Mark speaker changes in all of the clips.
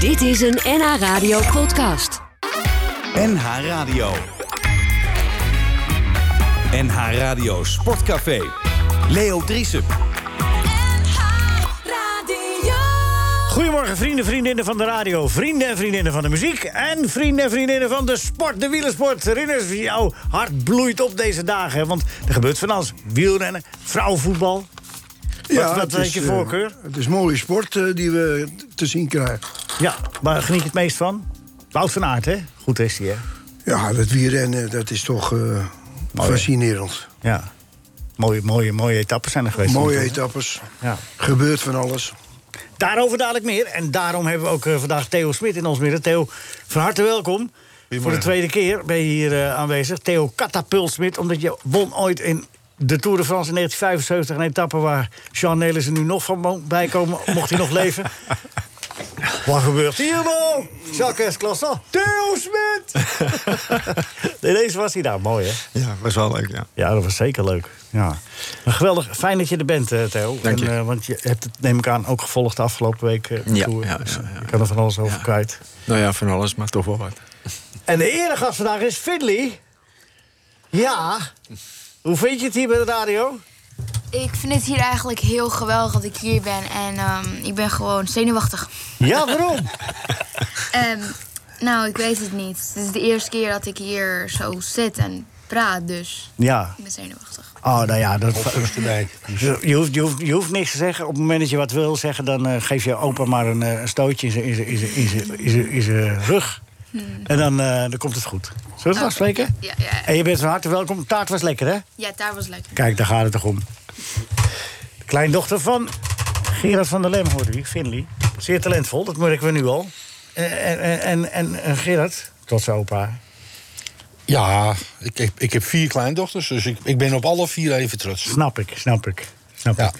Speaker 1: Dit is een NH Radio podcast.
Speaker 2: NH Radio. NH Radio Sportcafé. Leo Driesen.
Speaker 3: Goedemorgen, vrienden, vriendinnen van de radio, vrienden en vriendinnen van de muziek en vrienden en vriendinnen van de sport, de wielersport. Ridders, jouw hart bloeit op deze dagen, hè, want er gebeurt van alles. Wielrennen, vrouwenvoetbal. wat wat
Speaker 4: het
Speaker 3: heeft
Speaker 4: is,
Speaker 3: je
Speaker 4: eh,
Speaker 3: voorkeur?
Speaker 4: het is mooie sport eh, die we te zien krijgen.
Speaker 3: ja, waar geniet je het meest van? Wout van Aert, hè? Goed is hij, hè?
Speaker 4: Ja, dat wielrennen, dat is toch eh, fascinerend.
Speaker 3: Ja. Mooie, mooie, mooie etappes zijn er geweest.
Speaker 4: mooie
Speaker 3: natuurlijk, hè?
Speaker 4: etappes.
Speaker 3: Ja.
Speaker 4: Gebeurt van alles.
Speaker 3: Daarover dadelijk meer. En daarom hebben we ook eh, vandaag Theo Smit in ons midden. Theo, van harte welkom. Voor de tweede keer ben je hier eh, aanwezig. Theo Catapult Smit, omdat je won ooit in de Tour de France in 1975... een etappe waar Jean Nelissen nu nog van mo- bij komen, mocht hij nog leven. Wat gebeurt hier nou? Jacques Esclasson, Theo Smit! Ineens was hij daar, mooi hè?
Speaker 5: Ja, was wel leuk, ja.
Speaker 3: Ja, dat was zeker leuk. Ja. Maar geweldig, fijn dat je er bent, eh, Theo.
Speaker 5: Dank je.
Speaker 3: En, eh, want je hebt het, neem ik aan, ook gevolgd de afgelopen week. eh, de
Speaker 5: Ja,
Speaker 3: tour.
Speaker 5: ja, ja,
Speaker 3: Dus, eh,
Speaker 5: ja.
Speaker 3: Je kan er van alles over kwijt.
Speaker 5: Nou ja, van alles, maar toch wel wat.
Speaker 3: En de eregast vandaag is Finley. Ja. Hoe vind je het hier bij de radio?
Speaker 6: Ik vind het hier eigenlijk heel geweldig dat ik hier ben. En ehm, ik ben gewoon zenuwachtig.
Speaker 3: Ja, waarom?
Speaker 6: Ehm, nou, ik weet het niet. Het is de eerste keer dat ik hier zo zit en praat, dus
Speaker 3: ja.
Speaker 6: ik ben zenuwachtig.
Speaker 3: Oh, nou ja, dat... Je hoeft, je, hoeft, je hoeft niks te zeggen. Op het moment dat je wat wil zeggen, dan eh, geef je opa maar een eh, een stootje in zijn- in zijn- in zijn- in zijn- in zijn- in zijn rug.
Speaker 6: Hmm.
Speaker 3: En dan, eh, dan komt het goed. Zullen we het
Speaker 6: Oh,
Speaker 3: afspreken?
Speaker 6: ja, ja, ja.
Speaker 3: En je bent van harte welkom. Taart was lekker, hè?
Speaker 6: Ja, daar was lekker.
Speaker 3: Kijk, daar gaat het toch om. De kleindochter van Gerard van der Lem, hoorde u, Finley. Zeer talentvol, dat merken we nu al. Eh, En, en, en, en, en Gerard, tot zijn opa.
Speaker 7: Ja, ik heb, ik heb vier kleindochters, dus ik, ik ben op alle vier even trots.
Speaker 3: Snap ik, snap ik. Snap
Speaker 7: Ja.
Speaker 3: ik.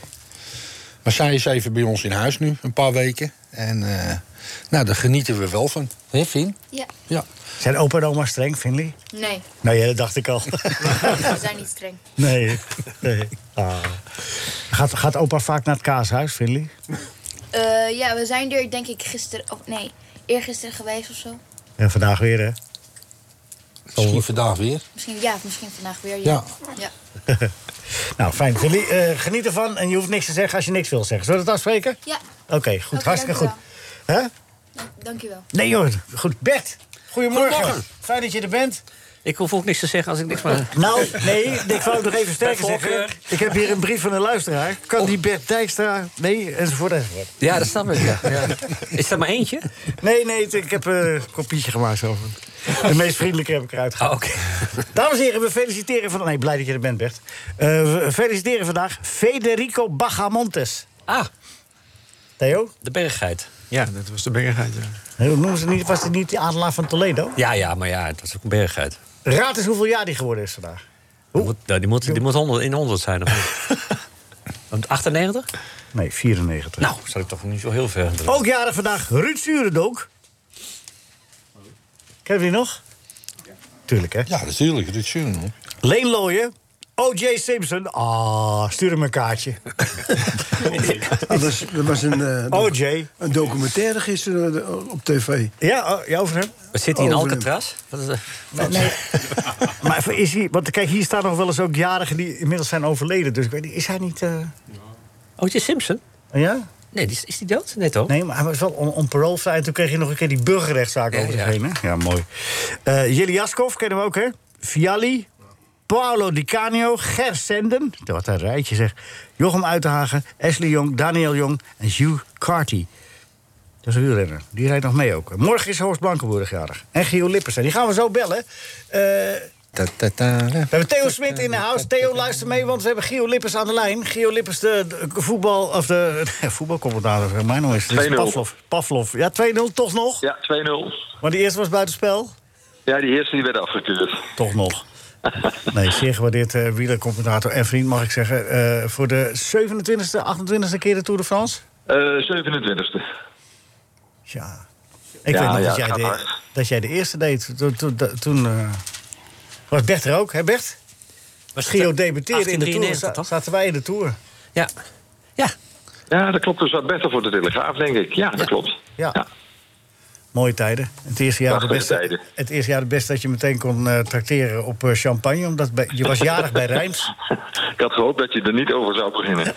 Speaker 7: Maar zij is even bij ons in huis nu, een paar weken. En eh, nou, daar genieten we wel van. Hé, Fien?
Speaker 6: Ja.
Speaker 7: Ja.
Speaker 3: Zijn opa en oma streng, Finley?
Speaker 6: Nee,
Speaker 3: Nou ja, dat dacht ik al.
Speaker 6: we zijn niet streng.
Speaker 3: nee, nee. Ah. Gaat, gaat opa vaak naar het kaashuis, Finley?
Speaker 6: Eh, ja, we zijn er denk ik gisteren, of nee, eergisteren geweest of zo.
Speaker 3: En vandaag weer, hè? Oh.
Speaker 7: Misschien Oh, vandaag weer.
Speaker 6: Misschien, ja, misschien vandaag weer.
Speaker 7: Ja.
Speaker 6: ja.
Speaker 3: Nou, fijn. Finley, eh, geniet ervan en je hoeft niks te zeggen als je niks wil zeggen. Zullen we dat afspreken?
Speaker 6: Ja,
Speaker 3: Oké, goed.
Speaker 6: Oké,
Speaker 3: hartstikke goed.
Speaker 6: dankjewel.
Speaker 3: Hè?
Speaker 6: dank- dankjewel.
Speaker 3: Nee joh, goed. Bert, goedemorgen.
Speaker 8: Goedemorgen.
Speaker 3: Fijn dat je er bent.
Speaker 8: Ik hoef ook niks te zeggen als ik niks meer...
Speaker 3: Nou, nee, ik wou het nog even sterker
Speaker 8: Bij voorkeur. Oh.
Speaker 3: zeggen. Ik heb hier een brief van een luisteraar. Kan die Bert Dijkstra... Nee, enzovoort, enzovoort.
Speaker 8: Ja, dat snap ik. Ja. Is dat maar eentje?
Speaker 3: Nee, nee, het- ik heb eh, een kopietje gemaakt over. De meest vriendelijke heb ik eruit gehaald.
Speaker 8: Ah, oké.
Speaker 3: Dames en heren, we feliciteren vandaag... Nee, blij dat je er bent, Bert. Eh, we feliciteren vandaag Federico Bagamontes.
Speaker 8: Ah,
Speaker 3: Theo,
Speaker 8: de berggeit.
Speaker 5: Ja, dat was de bergheid, ja.
Speaker 3: eh, hoe noemen ze het niet, was het niet de adelaar van Toledo?
Speaker 8: Ja, ja, maar ja, dat is ook een berggeit.
Speaker 3: Raad eens hoeveel jaar die geworden is vandaag.
Speaker 8: Die moet, nou, die moet, die moet 100, in 100 zijn. Of niet? Want 98?
Speaker 3: Nee, 94.
Speaker 8: Nou, zat ik toch niet zo heel ver. Oh.
Speaker 3: Ook jaren vandaag Ruud Surendonk. Ken je die nog? Tuurlijk, hè?
Speaker 7: Ja, natuurlijk, Ruud Schoen.
Speaker 3: Leen Looyen. O.J. Simpson. Ah, stuur hem een kaartje.
Speaker 4: Dat was, er was een, eh, doc-
Speaker 3: O.J.
Speaker 4: een documentaire gisteren eh, op tv.
Speaker 3: Ja, oh, ja, over hem.
Speaker 8: Zit hij in
Speaker 4: Over-
Speaker 8: Alcatraz? Wat is eh, dat?
Speaker 3: Maar even, is hij... Want kijk, hier staan nog wel eens ook jarigen die inmiddels zijn overleden. Dus ik weet niet, is hij niet... eh, Oh,
Speaker 8: O.J. Oh, Simpson?
Speaker 3: Ja?
Speaker 8: Nee, die is, is die dood? Nee, toch?
Speaker 3: Nee, maar hij was wel on, on parole vrij. En toen kreeg je nog een keer die burgerrechtszaak
Speaker 8: Ja,
Speaker 3: over zich
Speaker 8: ja.
Speaker 3: heen, hè? Ja, mooi. Eh Jeliaskov kennen we ook, hè? Vialli. Paolo Di Canio, Ger Senden, wat een rijtje zeg. Jochem Uitenhagen, Ashley Jong, Daniel Jong en Hugh Carty. Dat is een wielrenner. Die rijdt nog mee ook. Morgen is Horst Blankenburg jarig. En Gio Lippersen. Die gaan we zo bellen. Eh,
Speaker 7: Ta -ta -ta.
Speaker 3: we hebben Theo Smit in de house. Theo, luister mee, want we hebben Gio Lippers aan de lijn. Gio Lippers, de, de voetbal... Of de voetbalcommentator, zeg maar. Nou is het. Dit is
Speaker 9: 2-0.
Speaker 3: Pavlov. Pavlov. Ja, 2-0 toch nog?
Speaker 9: Ja, 2-0.
Speaker 3: Maar die eerste was buitenspel?
Speaker 9: Ja, die eerste die werd afgekeurd.
Speaker 3: Toch nog. Nee, zeer gewaardeerd eh wielercommentator en vriend, mag ik zeggen. Eh, voor de 27e, 28e keer de Tour de France?
Speaker 9: Eh 27e.
Speaker 3: Ja. Ik weet
Speaker 9: Ja,
Speaker 3: nog
Speaker 9: ja,
Speaker 3: dat,
Speaker 9: het
Speaker 3: jij
Speaker 9: gaat
Speaker 3: de,
Speaker 9: hard.
Speaker 3: dat jij de eerste deed. Toen, toen, toen, eh, was Bert er ook, hè Bert?
Speaker 8: Was het,
Speaker 3: Gio
Speaker 8: eh,
Speaker 3: debuteerde in de Tour.
Speaker 8: 1893,
Speaker 3: Za-
Speaker 8: toch?
Speaker 3: Zaten wij in de Tour.
Speaker 8: Ja. Ja,
Speaker 9: Ja, dat klopt. Dus wat beter voor de Telegraaf, denk ik. Ja, dat klopt.
Speaker 3: Ja. Mooie tijden. Het eerste jaar, de
Speaker 9: Prachtige
Speaker 3: beste,
Speaker 9: tijden.
Speaker 3: het eerste jaar de beste dat je meteen kon eh tracteren op eh, champagne. Omdat bij- je was jarig bij Rijms.
Speaker 9: Ik had gehoopt dat je er niet over zou beginnen.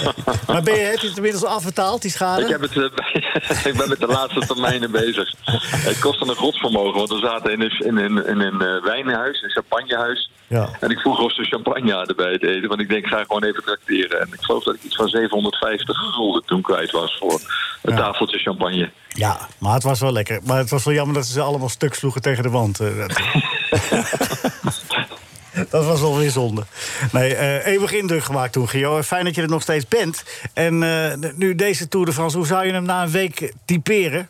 Speaker 3: Maar ben je, heb je het inmiddels al afbetaald, die schade?
Speaker 9: Ik, heb het, eh, bij- ik ben met de laatste termijnen bezig. Het kostte een godsvermogen, want we zaten in een, in een, in een eh, wijnhuis, een champagnehuis.
Speaker 3: Ja.
Speaker 9: En ik vroeg of ze champagne hadden bij het eten, want ik denk, ik ga gewoon even tracteren. En ik geloof dat ik iets van 750 gulden toen kwijt was voor een tafeltje champagne.
Speaker 3: Ja, maar het was wel lekker. Maar het was wel jammer dat ze ze allemaal stuk sloegen tegen de wand. eh, dat- Dat was wel weer zonde. Nee, eh, eeuwig indruk gemaakt toen, Gio. Fijn dat je er nog steeds bent. En eh, nu deze Tour de France, hoe zou je hem na een week typeren?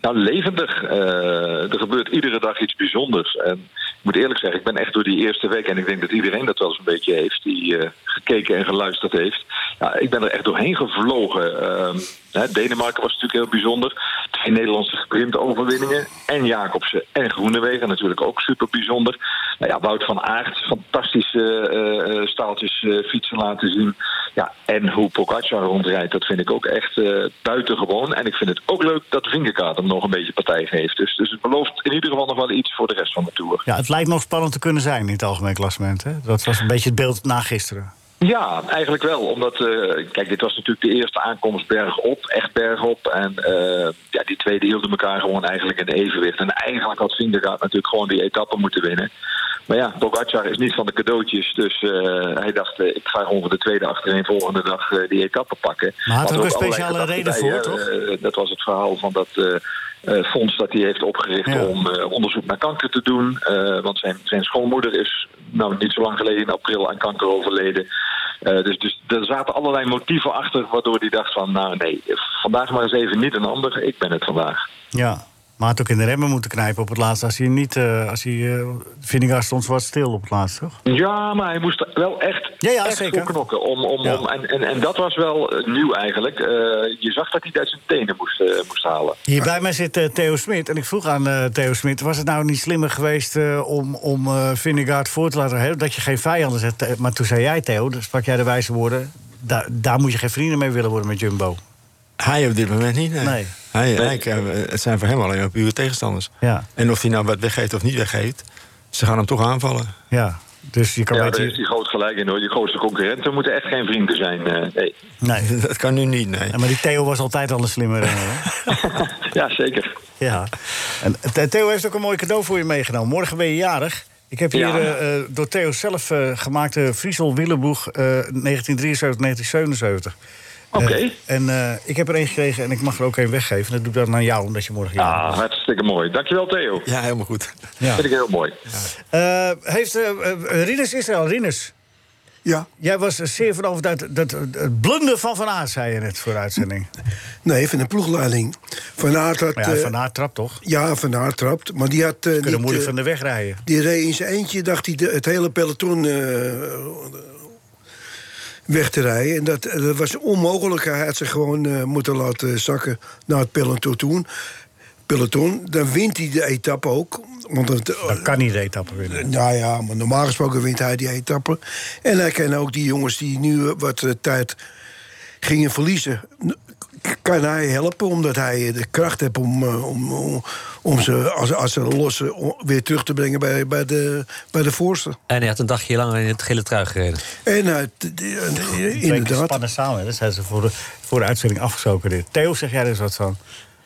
Speaker 9: Nou, levendig. Eh, er gebeurt iedere dag iets bijzonders. En ik moet eerlijk zeggen, ik ben echt door die eerste week... en ik denk dat iedereen dat wel eens een beetje heeft... die eh, gekeken en geluisterd heeft. Ja, ik ben er echt doorheen gevlogen. Ehm, hè, Denemarken was natuurlijk heel bijzonder. Twee Nederlandse sprintoverwinningen. En Jacobsen en Groenewegen natuurlijk ook super bijzonder. Nou ja, Wout van Aert, fantastische eh, eh, staaltjes eh, fietsen laten zien. Ja, en hoe Pogacar rondrijdt, dat vind ik ook echt eh, buitengewoon. En ik vind het ook leuk dat Vingegaard hem nog een beetje partij geeft. Dus, dus het belooft in ieder geval nog wel iets voor de rest van de Tour.
Speaker 3: Ja, het lijkt nog spannend te kunnen zijn in het algemeen klassement. Hè? Dat was een beetje het beeld na gisteren.
Speaker 9: Ja, eigenlijk wel. Omdat, eh, kijk, dit was natuurlijk de eerste aankomst bergop, echt bergop. En eh, ja, die tweede hielden elkaar gewoon eigenlijk in evenwicht. En eigenlijk had Vingegaard natuurlijk gewoon die etappe moeten winnen. Maar ja, Pogacar is niet van de cadeautjes. Dus eh, hij dacht, eh, ik ga gewoon voor de tweede achtereen volgende dag eh, die etappe pakken.
Speaker 3: Maar had er ook een
Speaker 9: allerlei
Speaker 3: speciale
Speaker 9: gedachten
Speaker 3: reden
Speaker 9: bij,
Speaker 3: voor,
Speaker 9: hè.
Speaker 3: toch?
Speaker 9: Eh, dat was het verhaal van dat eh, eh, fonds dat hij heeft opgericht
Speaker 3: Ja.
Speaker 9: om eh, onderzoek naar kanker te doen. Eh, want zijn, zijn schoonmoeder is nou, niet zo lang geleden in april aan kanker overleden. Eh, dus, dus er zaten allerlei motieven achter waardoor hij dacht van... nou nee, vandaag maar eens even niet een ander, ik ben het vandaag.
Speaker 3: Ja, maar het ook in de remmen moeten knijpen op het laatst. Als hij niet, eh als hij, eh, Vingegaard stond zwart stil op het laatst, toch?
Speaker 9: Ja, maar hij moest er wel echt,
Speaker 3: Ja, ja,
Speaker 9: echt
Speaker 3: zeker.
Speaker 9: voor knokken. Om, om,
Speaker 3: Ja.
Speaker 9: om, en, en, en dat was wel eh, nieuw eigenlijk. Eh, je zag dat hij het uit zijn tenen moest, eh, moest halen.
Speaker 3: Hier bij mij zit eh, Theo Smit. En ik vroeg aan eh, Theo Smit: was het nou niet slimmer geweest eh, om, om eh Vingegaard voor te laten hebben? Dat je geen vijanden zet. Eh, Maar toen zei jij, Theo, dan sprak jij de wijze woorden. "Daar- daar moet je geen vrienden mee willen worden met Jumbo.
Speaker 5: Hij op dit moment niet, nee.
Speaker 3: Nee.
Speaker 5: Hij, hij kan- het zijn voor hem alleen maar pure tegenstanders.
Speaker 3: Ja.
Speaker 5: En of hij nou wat weggeeft of niet weggeeft, ze gaan hem toch aanvallen.
Speaker 3: Ja, dus je kan
Speaker 9: Ja, daar
Speaker 3: beter.
Speaker 9: heeft hij groot gelijk in hoor. Je grootste concurrenten moeten echt geen vrienden zijn. eh, nee.
Speaker 3: Nee.
Speaker 5: Dat kan nu niet, nee.
Speaker 3: Ja, Maar die Theo was altijd al een eh. slimme renner. hè?
Speaker 9: Ja, zeker.
Speaker 3: Ja. En eh, Theo heeft ook een mooi cadeau voor je meegenomen. Morgen ben je jarig. Ik heb hier
Speaker 9: Ja.
Speaker 3: eh, eh, door Theo zelf eh, gemaakte Friesel Willeboeg eh, 1973-1977.
Speaker 9: Oké.
Speaker 3: en eh, ik heb er één gekregen en ik mag er ook één weggeven. Dat doe ik dan aan jou, omdat je morgen jarig
Speaker 9: Ja, hartstikt Ah, mooi. Dankjewel Theo.
Speaker 5: Ja, helemaal goed.
Speaker 3: bent.
Speaker 9: Vind ik heel mooi.
Speaker 3: Ja. Eh, heeft, eh eh, Rinus is er al, Rinus.
Speaker 4: Ja,
Speaker 3: Jij was er zeer van overtuigd dat dat- het blunder van Van Aert, zei je net voor de uitzending.
Speaker 4: nee, van de ploegleiding. Van Aert had...
Speaker 3: Maar ja,
Speaker 4: eh,
Speaker 3: Van Aert trapt toch?
Speaker 4: ja, Van Aert trapt. Maar die had... eh, niet,
Speaker 3: Kunnen moeilijk
Speaker 4: eh,
Speaker 3: van de weg rijden.
Speaker 4: Die reed in zijn eentje, dacht hij de- het hele peloton eh, weg te rijden. En dat, dat was onmogelijk. Hij had zich gewoon eh, moeten laten zakken naar het peloton. peloton. Dan wint hij de etappe ook. Want het, eh,
Speaker 3: Dat kan niet de etappe winnen.
Speaker 4: nou ja, maar normaal gesproken wint hij die etappe. En hij kan ook die jongens die nu wat eh, tijd gingen verliezen... n- k- kan hij helpen, omdat hij eh, de kracht heeft om, eh, om, om, om ze als, als ze lossen o- weer terug te brengen bij, bij, de, bij de voorste.
Speaker 8: En hij had een dagje lang in het gele trui gereden.
Speaker 4: En hij, t- die- eh,
Speaker 3: Twee keer
Speaker 4: inderdaad,
Speaker 3: spannen samen. hè. Dat zijn ze voor de, voor de uitzending afgestoken. Dit. Theo, zeg jij er eens wat van?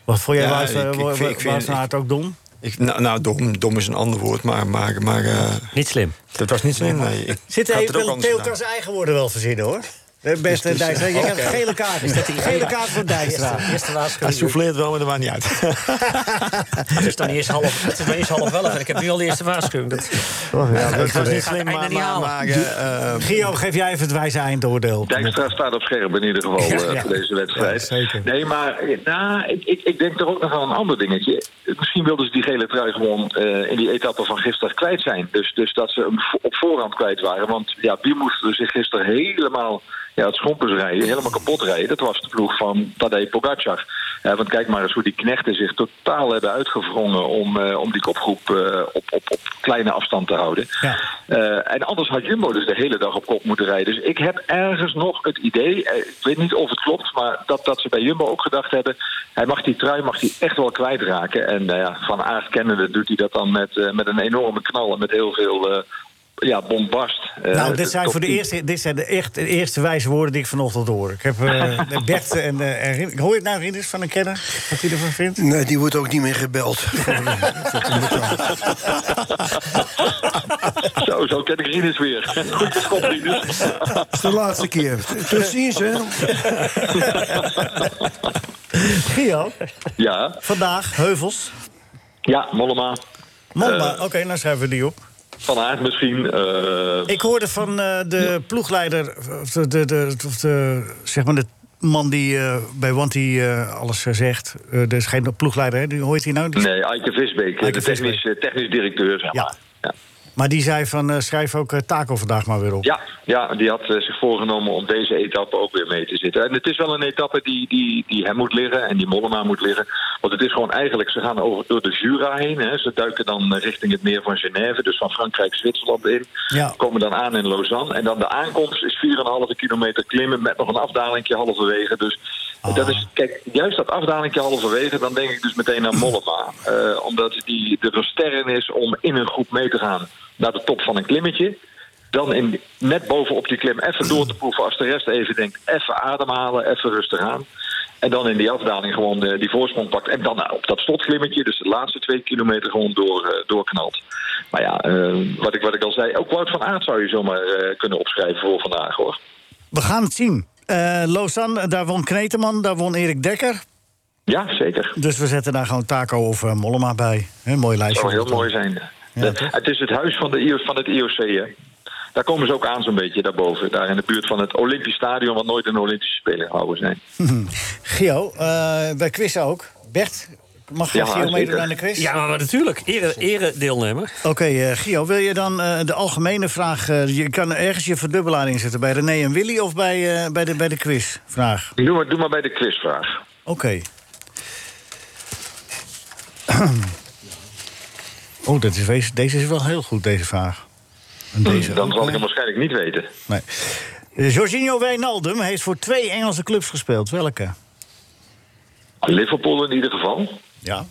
Speaker 3: Wat vond jij
Speaker 5: Ja,
Speaker 3: ja,
Speaker 5: ik- ik vind- ik vind-
Speaker 3: van Aert ook dom?
Speaker 5: Ik, nou, nou, dom, dom is een ander woord, maar, maar, maar eh,
Speaker 8: Niet slim.
Speaker 5: dat was niet slim. Nee, ik
Speaker 3: Zit
Speaker 5: had
Speaker 3: hij
Speaker 5: het ook
Speaker 3: wil
Speaker 5: anders
Speaker 3: Theo
Speaker 5: gedaan.
Speaker 3: kan zijn eigen woorden wel verzinnen, hoor. Eh, Beste Dijkstra, je krijgt een gele kaart. gele kaart voor Dijkstra.
Speaker 8: Eerste
Speaker 5: Hij
Speaker 8: waarschuwing.
Speaker 5: souffleert wel, maar dat maakt niet uit.
Speaker 8: Het is dan niet eens half, het is nog niet eens half elf en ik heb nu al de eerste waarschuwing. Dat,
Speaker 5: dat was niet slim,
Speaker 8: Ga het
Speaker 5: maar...
Speaker 8: einde niet
Speaker 5: maar,
Speaker 8: halen.
Speaker 5: maar, eh, eh,
Speaker 3: Gio, geef jij even het wijze eindoordeel.
Speaker 9: Dijkstra staat op scherp in ieder geval eh,
Speaker 3: ja.
Speaker 9: voor deze wedstrijd.
Speaker 3: Ja, zeker.
Speaker 9: Nee, maar eh, nou, ik, ik, ik denk toch ook nog aan een ander dingetje. Misschien wilden ze die gele trui gewoon eh, in die etappe van gisteren kwijt zijn. Dus, dus dat ze hem vo- op voorhand kwijt waren. Want ja, wie moest er zich gisteren helemaal ja, het schompers rijden, helemaal kapot rijden? Dat was de ploeg van Tadej Pogacar. Eh, want kijk maar eens hoe die knechten zich totaal hebben uitgevrongen om, eh, om die kopgroep eh, op, op, op kleine afstand te houden.
Speaker 3: Ja.
Speaker 9: Eh, en anders had Jumbo dus de hele dag op kop moeten rijden. Dus ik heb ergens nog het idee, eh, ik weet niet of het klopt, maar dat, dat ze bij Jumbo ook gedacht hebben, hij mag die trui mag die echt wel kwijtraken. En nou ja, van aard kennende doet hij dat dan met, eh, met een enorme knal en met heel veel eh, ja, bombast. Eh,
Speaker 3: nou, dit zijn
Speaker 9: top
Speaker 3: voor de
Speaker 9: 10.
Speaker 3: eerste, dit zijn de, echt, de eerste wijze woorden die ik vanochtend hoor. Ik heb eh Bert en, eh, en Rien- hoor je het nou, Rinus, van een kenner? Wat hij ervan vindt?
Speaker 4: Nee, die wordt ook niet meer gebeld.
Speaker 9: Zo, zo ken ik Rinus weer. Goed geschopt, Rinus.
Speaker 4: Dat is de laatste keer. Tot ziens, hè.
Speaker 3: Gio,
Speaker 9: Ja,
Speaker 3: vandaag, Heuvels.
Speaker 9: ja Mollema. Eh,
Speaker 3: Momba, oké, nou schrijven we die op.
Speaker 9: Van Aert misschien. eh,
Speaker 3: Ik hoorde van eh, de ploegleider, of de, de, de, of de, zeg maar de man die eh, bij Wanty eh, alles eh, zegt. Eh er is geen ploegleider, hè? Die- hoe heet hij nou? Die-
Speaker 9: nee, Eike Visbeek,
Speaker 3: Eike
Speaker 9: de technisch, eh, technisch directeur. Zeg
Speaker 3: Ja.
Speaker 9: maar. ja.
Speaker 3: Maar die zei van, eh, schrijf ook eh, Taco vandaag maar weer op.
Speaker 9: Ja, ja, die had eh, zich voorgenomen om deze etappe ook weer mee te zitten. En het is wel een etappe die, die, die hem moet liggen en die Mollema moet liggen. Want het is gewoon eigenlijk, ze gaan over, door de Jura heen. Hè. Ze duiken dan eh, richting het meer van Genève, dus van Frankrijk Zwitserland in.
Speaker 3: Ja.
Speaker 9: Komen dan aan in Lausanne. En dan de aankomst is 4,5 kilometer klimmen met nog een afdalingje halverwege. Dus dat is, kijk, juist dat afdalingje halverwege, dan denk ik dus meteen aan Mollema. Eh, omdat die de versterren is om in een groep mee te gaan naar de top van een klimmetje dan in, net bovenop die klim even door te proeven. Als de rest even denkt, even ademhalen, even rustig aan. En dan in die afdaling gewoon eh, die voorsprong pakt. En dan eh, op dat slotklimmetje, dus de laatste twee kilometer gewoon door, eh, doorknalt. Maar ja, eh, wat, ik, wat ik al zei, ook Wout van Aert zou je zomaar eh, kunnen opschrijven voor vandaag hoor.
Speaker 3: We gaan het zien. Eh Lausanne, daar won Kneteman, daar won Erik Dekker.
Speaker 9: Ja, zeker.
Speaker 3: Dus we zetten daar gewoon Taco of eh, Mollema bij. Een mooi lijstje.
Speaker 9: zou Oh, heel mooi zijn.
Speaker 3: Ja,
Speaker 9: De-
Speaker 3: toch?
Speaker 9: het is het huis van, de, I- van het IOC, hè. Daar komen ze ook aan zo'n beetje, daarboven. Daar in de buurt van het Olympisch Stadion, wat nooit een Olympische Spelen houden zijn.
Speaker 3: Gio, eh, bij quiz ook. Bert, mag
Speaker 9: Ja,
Speaker 3: Gio meedoen
Speaker 9: zeker.
Speaker 3: aan de quiz?
Speaker 8: Ja, maar, maar natuurlijk. Ere, ere deelnemer.
Speaker 3: Oké, eh, Gio, wil je dan eh, de algemene vraag... eh, je kan ergens je verdubbelaar inzetten bij René en Willy... of bij, eh, bij, de, bij de quizvraag?
Speaker 9: Doe maar, doe maar bij de quizvraag.
Speaker 3: Oké. oh, dat is, wees- deze is wel heel goed, deze vraag. En deze
Speaker 9: Dan
Speaker 3: ook,
Speaker 9: zal ik
Speaker 3: hè?
Speaker 9: hem waarschijnlijk niet weten.
Speaker 3: Nee. Eh, Jorginho Wijnaldum heeft voor twee Engelse clubs gespeeld. Welke?
Speaker 9: Liverpool in ieder geval.
Speaker 3: Ja.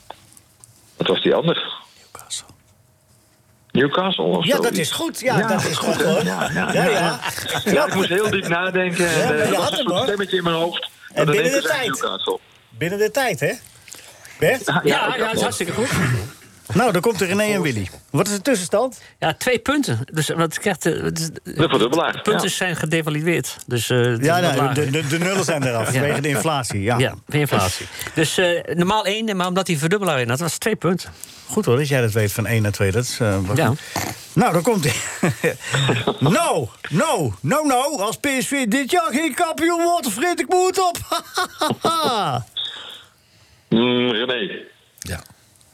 Speaker 9: Wat was die ander?
Speaker 3: Newcastle.
Speaker 9: Newcastle of
Speaker 3: Ja, dat
Speaker 9: zoiets.
Speaker 3: is goed. Ja, dat is goed hoor. Ja,
Speaker 9: Ja, ja,
Speaker 3: ja.
Speaker 9: Ja, ik moest heel diep nadenken.
Speaker 3: Ja, maar
Speaker 9: en, eh,
Speaker 3: je
Speaker 9: er
Speaker 3: had
Speaker 9: was
Speaker 3: hem,
Speaker 9: een soort
Speaker 3: hoor.
Speaker 9: stemmetje in mijn hoofd.
Speaker 3: En
Speaker 9: dat
Speaker 3: binnen
Speaker 9: ineens
Speaker 3: de
Speaker 9: zei
Speaker 3: tijd.
Speaker 9: Newcastle.
Speaker 3: Binnen de tijd, hè? Bert?
Speaker 9: Ja,
Speaker 8: Ja,
Speaker 9: dat
Speaker 8: ja, dat is
Speaker 9: wel.
Speaker 8: hartstikke goed.
Speaker 3: Nou, dan komt er René en Willy. Wat is de tussenstand?
Speaker 8: Ja, twee punten. Dus wat krijgt de, het is-
Speaker 9: De verdubbelaar,
Speaker 8: de punten
Speaker 9: ja.
Speaker 8: zijn gedevalueerd. Dus, eh, het is wat
Speaker 3: Ja, nou,
Speaker 8: lager.
Speaker 3: de, de, de nullen zijn eraf
Speaker 8: Ja.
Speaker 3: vanwege de inflatie. Ja.
Speaker 8: Ja, weer inflatie. Dus eh, normaal één, maar omdat hij verdubbelaar in had, was het twee punten.
Speaker 3: Goed hoor, dat jij dat weet van 1 naar 2. Dat is, eh, wat
Speaker 8: Ja.
Speaker 3: goed. Nou, dan komt ie. no, no, no, no. Als PSV dit jaar geen kampioen wordt, vreet ik moed op.
Speaker 9: Mm, René,
Speaker 7: Ja.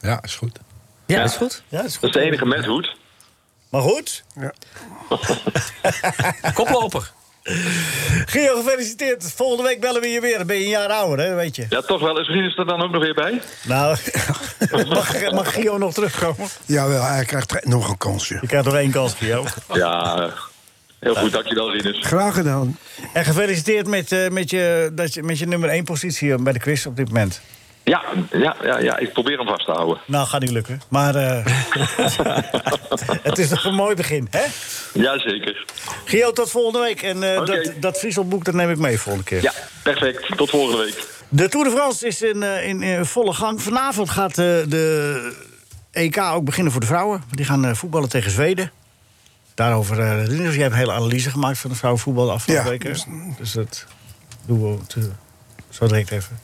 Speaker 7: ja, is goed.
Speaker 8: Ja, dat is goed.
Speaker 3: ja, is
Speaker 9: dat is de enige met hoed.
Speaker 3: Maar goed,
Speaker 8: Koploper.
Speaker 3: Gio, gefeliciteerd. Volgende week bellen we je weer. Dan ben je een jaar ouder, hè, weet je.
Speaker 9: Ja, toch wel. Is Rinus er dan ook nog weer bij?
Speaker 3: Nou, mag, mag Gio nog terugkomen?
Speaker 4: Jawel, hij krijgt nog een kansje.
Speaker 3: Je krijgt nog één kans, Gio.
Speaker 9: Ja, heel goed. Dankjewel, Rinus.
Speaker 4: Graag gedaan.
Speaker 3: En gefeliciteerd met, eh, met, je, dat je, met je nummer 1 positie eh, bij de quiz op dit moment.
Speaker 9: Ja, ja, ja, ja, ik probeer hem vast te houden.
Speaker 3: Nou, gaat niet lukken. Maar eh, het is toch een mooi begin, hè?
Speaker 9: Jazeker.
Speaker 3: Gio, tot volgende week. En eh,
Speaker 9: Oké.
Speaker 3: dat, dat Vrieselboek, dat neem ik mee volgende keer.
Speaker 9: Ja, perfect. Tot volgende week.
Speaker 3: De Tour de France is in, eh, in, eh, volle gang. Vanavond gaat eh, de EK ook beginnen voor de vrouwen. Die gaan eh, voetballen tegen Zweden. Daarover, eh Rinus, jij hebt een hele analyse gemaakt van de vrouwenvoetbal de afgelopen
Speaker 4: Ja.
Speaker 3: weken. Dus dat doen we te- zo direct even.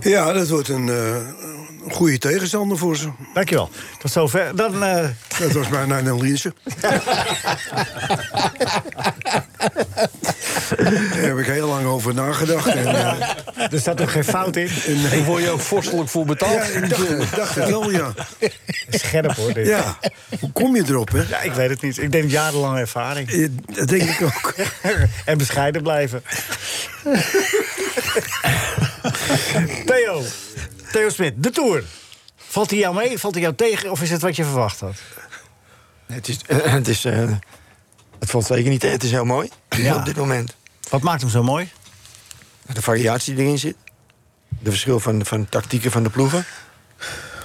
Speaker 4: Ja, dat wordt een eh, een goede tegenstander voor ze.
Speaker 3: Dankjewel. Tot zover. Dan, eh,
Speaker 4: Dat was mijn analyse. Daar heb ik heel lang over nagedacht. En, eh,
Speaker 3: er staat ook geen fout in.
Speaker 7: Daar word je ook vorstelijk voor
Speaker 4: ja,
Speaker 7: betaald.
Speaker 4: ik dacht, ik dacht het wel, ja.
Speaker 3: Scherp hoor. Dit.
Speaker 4: ja. Hoe kom je erop, hè?
Speaker 3: Ja, ik weet het niet. Ik denk jarenlange ervaring.
Speaker 4: Eh, Dat denk ik ook.
Speaker 3: en bescheiden blijven. Theo, Theo Smit, de Tour. Valt hij jou mee, valt hij jou tegen of is het wat je verwacht had?
Speaker 5: Het, is, het, is, eh, het valt zeker niet tegen. Het is heel mooi
Speaker 3: Ja.
Speaker 5: op dit moment.
Speaker 3: Wat maakt hem zo mooi?
Speaker 5: De variatie die erin zit. De verschil van, van tactieken van de ploegen.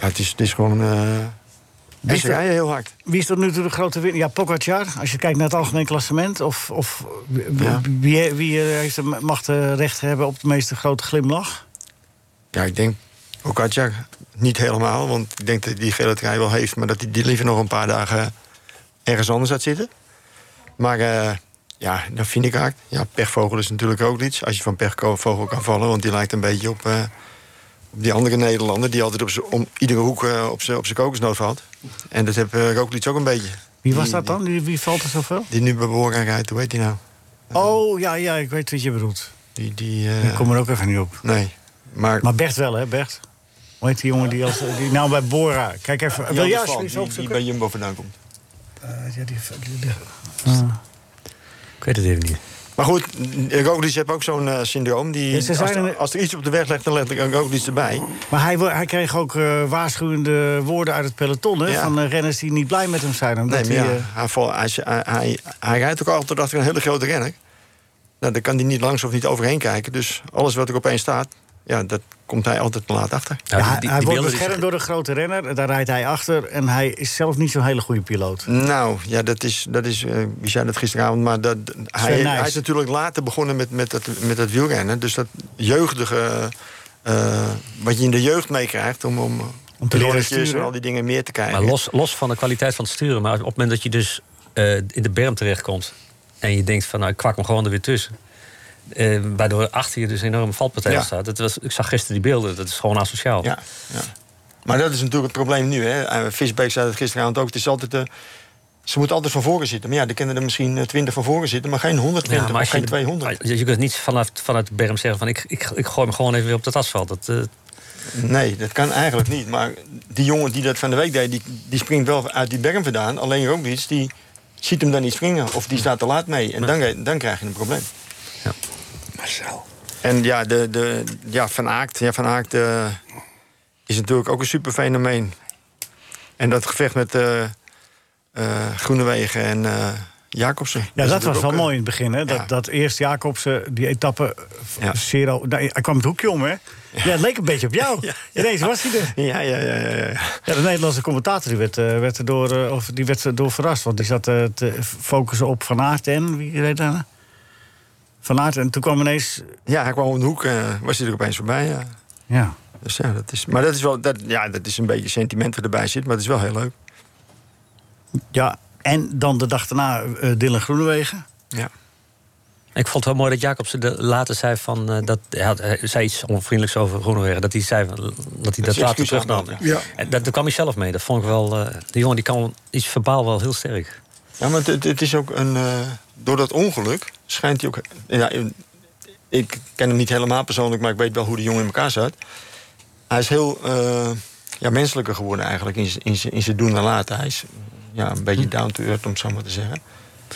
Speaker 5: Ja, het, is, het is gewoon... eh en
Speaker 3: is
Speaker 5: ze
Speaker 3: er-
Speaker 5: rijden heel hard.
Speaker 3: Wie is tot nu toe de grote winnaar? Ja, Pogacar, als je kijkt naar het algemeen klassement. Of, of wie-
Speaker 5: Ja.
Speaker 3: wie, wie heeft de macht eh, recht te hebben op de meeste grote glimlach?
Speaker 5: Ja, ik denk Okatja niet helemaal. Want ik denk dat die gele trui wel heeft. Maar dat hij die liever nog een paar dagen ergens anders had zitten. Maar eh, ja, dat vind ik hard. Ja, pechvogel is natuurlijk ook iets. Als je van pechvogel kan vallen. Want die lijkt een beetje op, eh, op die andere Nederlander. Die altijd op z'n- om iedere hoek eh, op zijn kokosnoot valt. En dat heb uh, Roglic ook een beetje.
Speaker 3: Wie was
Speaker 5: Die-
Speaker 3: dat dan? Wie, wie valt er zoveel?
Speaker 5: Die nu bij Bora rijdt. Hoe heet die nou?
Speaker 3: Oh, ja, ja, ik weet wat je bedoelt.
Speaker 5: Die, die, eh,
Speaker 3: Ik kom er ook even niet op.
Speaker 5: Nee. Maar,
Speaker 3: Maar Bert wel, hè, Bert? Hoe heet die jongen die, als, die nou bij Bora... Kijk even, wil
Speaker 5: Jan
Speaker 3: jij
Speaker 5: de Valk,
Speaker 3: alsjeblieft
Speaker 5: die, die
Speaker 3: opzoeken?
Speaker 5: bij Jumbo vandaan komt.
Speaker 3: Ah,
Speaker 8: Ik weet het even niet.
Speaker 5: Maar goed, Roglic heeft ook zo'n eh, syndroom. Die,
Speaker 3: Ja, ze zijn
Speaker 5: als, er-
Speaker 3: een-
Speaker 5: als er iets op de weg ligt, dan legt er Roglic erbij.
Speaker 3: Maar hij, wo- hij kreeg ook eh, waarschuwende woorden uit het peloton, hè?
Speaker 5: Ja.
Speaker 3: Van eh, renners die niet blij met hem zijn. Omdat
Speaker 5: Nee, maar ja,
Speaker 3: hij, eh,
Speaker 5: hij, val- hij, hij, hij, hij rijdt ook altijd achter een hele grote renner. Nou, dan kan hij niet langs of niet overheen kijken. Dus alles wat er opeens staat, ja, dat komt hij altijd te laat achter.
Speaker 8: Ja,
Speaker 3: ja, hij- hij wordt
Speaker 8: beelden die-
Speaker 5: dus-
Speaker 3: beschermd door de grote renner, daar rijdt hij achter... en hij is zelf niet zo'n hele goede piloot.
Speaker 5: Nou, ja, dat is, dat is eh, wie zei dat gisteravond, maar dat, hij,
Speaker 3: Nijs.
Speaker 5: hij is natuurlijk later begonnen met, met, dat, met dat wielrennen. Dus dat jeugdige, eh, wat je in de jeugd meekrijgt om, om,
Speaker 3: Om te leren
Speaker 5: pilotjes en
Speaker 3: sturen.
Speaker 5: al die dingen meer te krijgen.
Speaker 8: Maar los, los van de kwaliteit van het sturen, maar op het moment dat je dus eh, in de berm terechtkomt en je denkt van nou ik kwak me gewoon er weer tussen. eh, waardoor achter je dus een enorme valpartij
Speaker 5: Ja.
Speaker 8: staat. Dat was, ik zag gisteren die beelden, dat is gewoon asociaal.
Speaker 5: Ja, ja. Maar dat is natuurlijk het probleem nu. Hè. Eh, Visbeek zei het gisteravond ook. Het is altijd, eh, ze moeten altijd van voren zitten. Maar ja, er kunnen er misschien eh, twintig van voren zitten, maar geen 120 maar
Speaker 8: als
Speaker 5: of geen
Speaker 8: je-
Speaker 5: 200.
Speaker 8: als Je, je kunt niet vanaf, vanuit de berm zeggen van ik, ik, ik gooi me gewoon even weer op dat asfalt. Dat, eh,
Speaker 5: Nee, dat kan eigenlijk niet. Maar die jongen die dat van de week deed, die, die springt wel uit die berm vandaan. Alleen Roglic, die ziet hem dan niet springen. Of die staat te laat mee. En dan, dan krijg je een probleem.
Speaker 4: Marcel.
Speaker 5: En ja, de, de, ja Van Aakt, ja, van Aakt eh, is natuurlijk ook een superfenomeen. En dat gevecht met eh eh, Groenewegen en eh, Jacobsen.
Speaker 3: Ja,
Speaker 5: is
Speaker 3: dat was
Speaker 5: natuurlijk
Speaker 3: wel
Speaker 5: ook,
Speaker 3: mooi in het begin. Hè? Dat,
Speaker 5: Ja.
Speaker 3: dat eerst Jacobsen, die etappe,
Speaker 5: Ja.
Speaker 3: zero... Nou, hij kwam het hoekje om, hè? Ja, het leek een beetje op jou. Ineens was hij er.
Speaker 5: eh, Ja, ja, ja, ja. ja.
Speaker 3: Ja, de Nederlandse commentator die werd, eh, werd, erdoor, eh, of, die werd erdoor verrast. Want die zat eh, te focussen op Van Aert en... Wie reed daar? nou? Van Aert. En toen kwam ineens...
Speaker 5: Ja, hij kwam om de hoek, eh, was hij er opeens voorbij. Ja.
Speaker 3: Ja,
Speaker 5: Dus ja, dat is, maar dat is wel, dat, ja, dat is een beetje sentiment wat erbij zit, maar het is wel heel leuk.
Speaker 3: ja. en dan de dag daarna eh, Dylan Groenewegen.
Speaker 5: Ja.
Speaker 8: Ik vond het wel mooi dat Jacobsen de- later zei van... eh, dat, hij, had, hij zei iets onvriendelijks over Groenewegen. Dat hij zei van, dat hij dat
Speaker 5: hij
Speaker 8: later
Speaker 5: excuus
Speaker 8: terugnam.
Speaker 5: aanbood,
Speaker 4: ja.
Speaker 8: En dat, daar kwam hij zelf mee. Dat vond ik wel... eh die jongen die kan iets verbaal wel heel sterk.
Speaker 5: Ja, maar het, het is ook een. eh, door dat ongeluk schijnt hij ook. Ja, ik ken hem niet helemaal persoonlijk, maar ik weet wel hoe de jongen in elkaar zat. Hij is heel eh, ja, menselijker geworden eigenlijk in zijn- in zijn- in zijn doen en laten. Hij is ja, een beetje down to earth, om het zo maar te zeggen.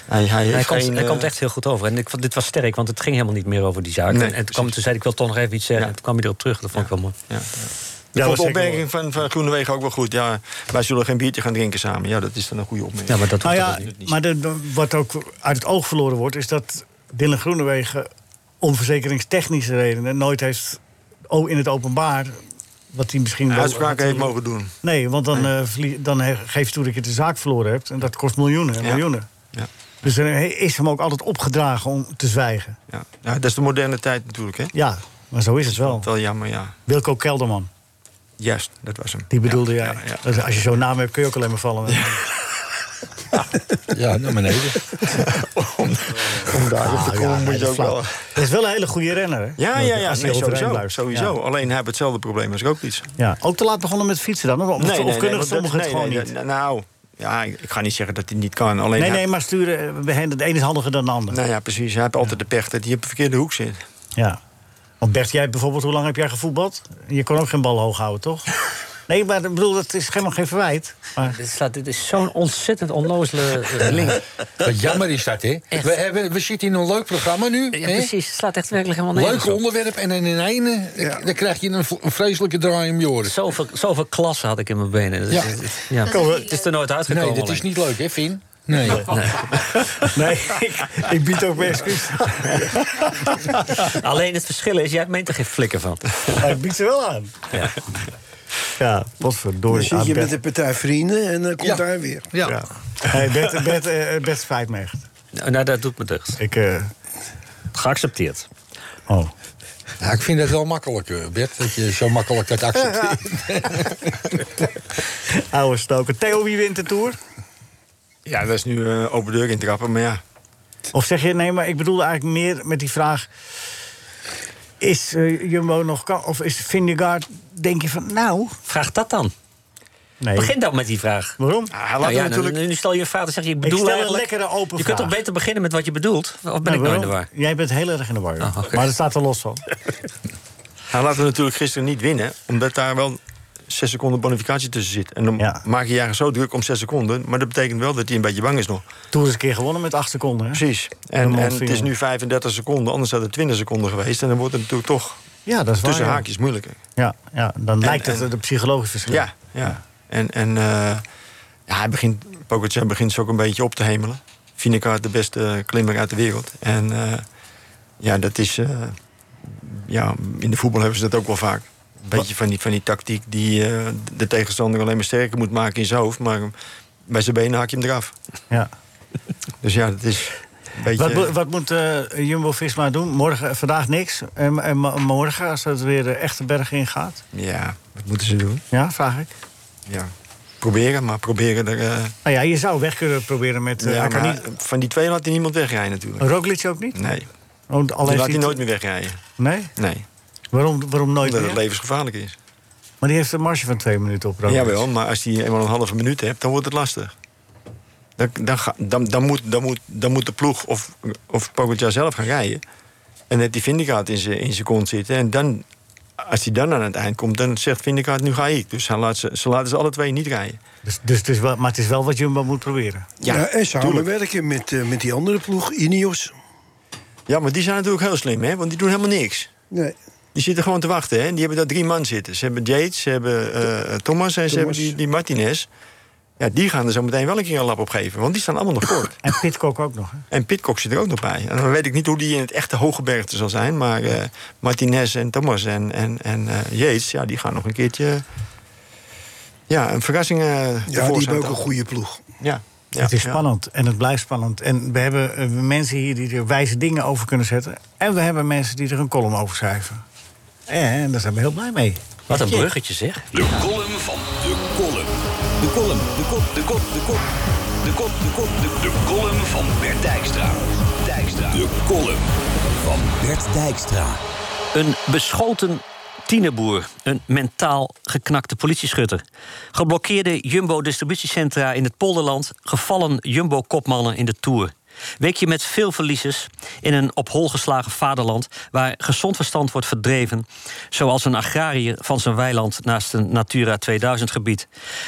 Speaker 5: Hij, hij, heeft
Speaker 8: Hm. Hij komt,
Speaker 5: geen,
Speaker 8: hij
Speaker 5: eh,
Speaker 8: komt echt heel goed over. En ik vond, dit was sterk, want het ging helemaal niet meer over die zaak.
Speaker 5: Nee,
Speaker 8: en en toen, kwam,
Speaker 5: precies.
Speaker 8: toen zei ik, ik wil toch nog even iets zeggen.
Speaker 5: Ja.
Speaker 8: En toen kwam hij erop terug. Dat vond ik wel mooi.
Speaker 5: Ja.
Speaker 3: Ja,
Speaker 5: Ik vond de
Speaker 3: was zeker
Speaker 5: opmerking van, van Groenewegen ook wel goed. Ja, wij zullen geen biertje gaan drinken samen. Ja, dat is dan een goede opmerking.
Speaker 8: Ja, maar dat
Speaker 3: Nou
Speaker 8: hoeft
Speaker 3: ja,
Speaker 8: ook niet.
Speaker 3: maar de- wat ook uit het oog verloren wordt... is dat Dylan Groenewegen om verzekeringstechnische redenen... nooit heeft o- in het openbaar... wat hij misschien wel...
Speaker 5: Uitspraken heeft mogen doen.
Speaker 3: Nee, want dan, eh, verlie- dan he- geeft toe dat je de zaak verloren hebt. En dat kost miljoenen en
Speaker 5: Ja.
Speaker 3: miljoenen.
Speaker 5: Ja.
Speaker 3: Dus er he- is hem ook altijd opgedragen om te zwijgen.
Speaker 5: Ja. Ja, dat is de moderne tijd natuurlijk, hè?
Speaker 3: Ja, maar zo is het wel.
Speaker 5: Wel jammer, ja.
Speaker 3: Wilco Kelderman,
Speaker 5: Juist, dat was hem.
Speaker 3: die bedoelde jij.
Speaker 5: ja, ja.
Speaker 3: Dat- Als je zo'n naam hebt, kun je ook alleen maar vallen.
Speaker 7: Ja, naar beneden.
Speaker 5: Om daarop
Speaker 3: Ah,
Speaker 5: te
Speaker 3: ja,
Speaker 5: komen
Speaker 3: nee,
Speaker 5: moet je
Speaker 3: dat
Speaker 5: ook
Speaker 3: is flauw.
Speaker 5: wel...
Speaker 3: Dat is wel een hele goede renner, hè?
Speaker 5: Ja, ja, ja.
Speaker 3: Als hij
Speaker 5: Nee,
Speaker 3: overeind
Speaker 5: sowieso.
Speaker 3: blijft.
Speaker 5: sowieso.
Speaker 3: Ja.
Speaker 5: Alleen hij heeft hetzelfde probleem als Roglic.
Speaker 3: Ja. Ook te laat begonnen met fietsen dan? Of, of- of kunnen
Speaker 5: want dat-
Speaker 3: sommigen het
Speaker 5: nee,
Speaker 3: gewoon
Speaker 5: nee,
Speaker 3: niet?
Speaker 5: dat- Nou, ja, ik ik ga niet zeggen dat hij niet kan. Alleen
Speaker 3: Nee,
Speaker 5: hij-
Speaker 3: nee, maar sturen, eh, bij hen, de een is handiger dan de ander.
Speaker 5: Nou ja, precies. Hij heeft altijd de pech dat hij op de verkeerde hoek zit.
Speaker 3: Ja. Want Bert, jij bijvoorbeeld, hoe lang heb jij gevoetbald? Je kon ook geen bal hoog houden, toch? Nee, maar ik bedoel, dat is helemaal geen verwijt. Maar...
Speaker 8: Dit, staat, dit is zo'n ontzettend onnozele eh, link.
Speaker 7: Wat jammer is dat, hè?
Speaker 8: Echt.
Speaker 7: We, hebben, we zitten in een leuk programma nu.
Speaker 8: Ja,
Speaker 7: hè?
Speaker 8: precies. Het slaat echt werkelijk helemaal nergens
Speaker 7: Leuk
Speaker 8: op.
Speaker 7: onderwerp en in een einde
Speaker 4: Ja.
Speaker 7: dan krijg je een, v- een vreselijke draai om je oren.
Speaker 8: Zoveel, zoveel klasse had ik in mijn benen. Dus
Speaker 7: Ja.
Speaker 8: het- het- ja.
Speaker 6: Dat is
Speaker 3: eh,
Speaker 6: niet
Speaker 8: Het is er nooit uitgekomen.
Speaker 7: Nee, dat is
Speaker 8: alleen.
Speaker 7: niet leuk, hè, Finn? Nee.
Speaker 3: Nee, ik, ik bied ook mijn excuus.
Speaker 8: Alleen het verschil is, jij meent er geen flikker van.
Speaker 3: Maar ik bied ze wel aan.
Speaker 8: Ja.
Speaker 3: Ja, wat
Speaker 4: Dan
Speaker 3: verdorie.
Speaker 4: zit je
Speaker 3: Ah,
Speaker 4: met
Speaker 3: Bert.
Speaker 4: de partij vrienden en dan komt
Speaker 7: Ja.
Speaker 4: hij weer.
Speaker 7: Ja.
Speaker 3: Ja. Hey, Bert, Bert, eh, Bert spijt me echt.
Speaker 8: Nou, nou, dat doet me deugd.
Speaker 3: Ik, eh,
Speaker 8: Geaccepteerd.
Speaker 3: oh.
Speaker 7: Ja, ik vind het wel makkelijk, eh, Bert, dat je zo makkelijk dat accepteert.
Speaker 3: Oude stoken. Theo, wie wint de Tour?
Speaker 5: Ja, dat is nu eh, open deur intrappen, maar ja.
Speaker 3: Of zeg je, nee, maar ik bedoelde eigenlijk meer met die vraag... Is eh, Jumbo nog... kan- Of is Vindegaard... Denk je van, nou...
Speaker 8: Vraag dat dan.
Speaker 3: Nee.
Speaker 8: Begin dan met die vraag.
Speaker 3: Waarom?
Speaker 5: Ah, hij laat
Speaker 8: Nou ja,
Speaker 5: hem natuurlijk...
Speaker 8: nu, nu stel je een vraag en zeg je, ik bedoel
Speaker 3: stel een
Speaker 8: eigenlijk-
Speaker 3: lekkere open
Speaker 8: Je kunt toch
Speaker 3: vraag.
Speaker 8: beter beginnen met wat je bedoelt? Of ben ik nou
Speaker 3: waarom?
Speaker 8: in de war?
Speaker 3: Jij bent heel erg in de war. joh.
Speaker 8: Ah, oké.
Speaker 3: Maar dat staat er los van.
Speaker 5: Hij laat hem natuurlijk gisteren niet winnen, omdat daar wel zes seconden bonificatie tussen zit. En dan
Speaker 3: Ja.
Speaker 5: maak je je eigenlijk zo druk om zes seconden, maar dat betekent wel dat hij een beetje bang is nog.
Speaker 3: Tour is een keer gewonnen met acht seconden. Hè?
Speaker 5: Precies.
Speaker 3: Een
Speaker 5: En, en het
Speaker 3: mondvinger.
Speaker 5: is nu 35 seconden, anders had het 20 seconden geweest. En dan wordt het natuurlijk toch
Speaker 3: Ja, dat is waar.
Speaker 5: tussen
Speaker 3: ja.
Speaker 5: haakjes moeilijker.
Speaker 3: Ja, ja dan lijkt het
Speaker 5: en-
Speaker 3: een psychologisch verschil.
Speaker 5: Ja, ja. En, en eh, ja, hij begint, Pogacar begint ze ook een beetje op te hemelen. Vinekaart, de beste klimmer uit de wereld. En eh, ja, dat is... eh, ja, in de voetbal hebben ze dat ook wel vaak. Een beetje van die, van die tactiek die eh, de tegenstander alleen maar sterker moet maken in zijn hoofd. Maar bij zijn benen haak je hem eraf.
Speaker 3: Ja.
Speaker 5: Dus ja, dat is een beetje...
Speaker 3: Wat, mo- wat moet eh, Jumbo-Visma doen? Morgen, vandaag niks. En, en mo- morgen, als het weer de echte berg ingaat?
Speaker 5: Ja, wat moeten ze doen?
Speaker 3: Ja, vraag ik.
Speaker 5: Ja, proberen, maar proberen er... eh,
Speaker 3: Nou ja, je zou weg kunnen proberen met... eh,
Speaker 5: ja,
Speaker 3: hij kan
Speaker 5: maar
Speaker 3: niet,
Speaker 5: Van die twee laat hij niemand wegrijden natuurlijk.
Speaker 3: Roglic ook niet?
Speaker 5: Nee,
Speaker 3: Want Oh, al
Speaker 5: die
Speaker 3: heeft
Speaker 5: laat hij
Speaker 3: hij-
Speaker 5: nooit meer wegrijden.
Speaker 3: Nee?
Speaker 5: Nee,
Speaker 3: Waarom, waarom nooit
Speaker 5: omdat
Speaker 3: meer?
Speaker 5: het levensgevaarlijk is.
Speaker 3: Maar die heeft een marge van twee minuten op Roglic.
Speaker 5: Jawel, maar als hij eenmaal een halve minuut hebt, dan wordt het lastig. Dan, dan, ga- dan, dan, moet, dan, moet, dan moet de ploeg of, of Pogacar zelf gaan rijden. En net die Vindicaat in zijn in zijn kont zitten. En dan, als hij dan aan het eind komt, dan zegt Vindicaat, nu ga ik. Dus hij laat ze, ze laten ze alle twee niet rijden.
Speaker 3: Dus, dus, het is wel, maar het is wel wat Jumbo moet proberen.
Speaker 5: Ja,
Speaker 4: Ja, en samenwerken met, eh, met die andere ploeg, Ineos.
Speaker 5: Ja, maar die zijn natuurlijk heel slim, hè? want die doen helemaal niks.
Speaker 4: Nee.
Speaker 5: Die zitten gewoon te wachten, hè? Die hebben daar drie man zitten. Ze hebben Yates, ze hebben eh, Thomas en ze hebben die, die Martinez. Ja, die gaan er zo meteen wel een keer een lap op geven, want die staan allemaal nog kort.
Speaker 3: En Pitcock ook nog. Hè?
Speaker 5: En Pitcock zit er ook nog bij. En dan weet ik niet hoe die in het echte hooggebergte zal zijn, maar eh, Martinez en Thomas en, en, en eh, Yates, ja, die gaan nog een keertje. Ja, een verrassing. eh,
Speaker 4: Ja, die
Speaker 5: tevoorschijn
Speaker 4: hebben ook een
Speaker 5: halen.
Speaker 4: goede ploeg.
Speaker 5: Ja, ja,
Speaker 3: het is
Speaker 5: ja.
Speaker 3: spannend en het blijft spannend. En we hebben eh, mensen hier die er wijze dingen over kunnen zetten. En we hebben mensen die er een column over schrijven. En daar zijn we heel blij mee.
Speaker 8: Wat een bruggetje zeg.
Speaker 2: De column van de kolom. De kolom, de kop, de kop, de kop. De kop, de kop, de De column van Bert Dijkstra. Dijkstra. De column van Bert Dijkstra.
Speaker 8: Een beschoten tienerboer. Een mentaal geknakte politieschutter. Geblokkeerde Jumbo-distributiecentra in het polderland. Gevallen Jumbo-kopmannen in de Tour. Weekje met veel verliezers in een op hol geslagen vaderland... waar gezond verstand wordt verdreven... zoals een agrariër van zijn weiland naast een Natura 2000-gebied.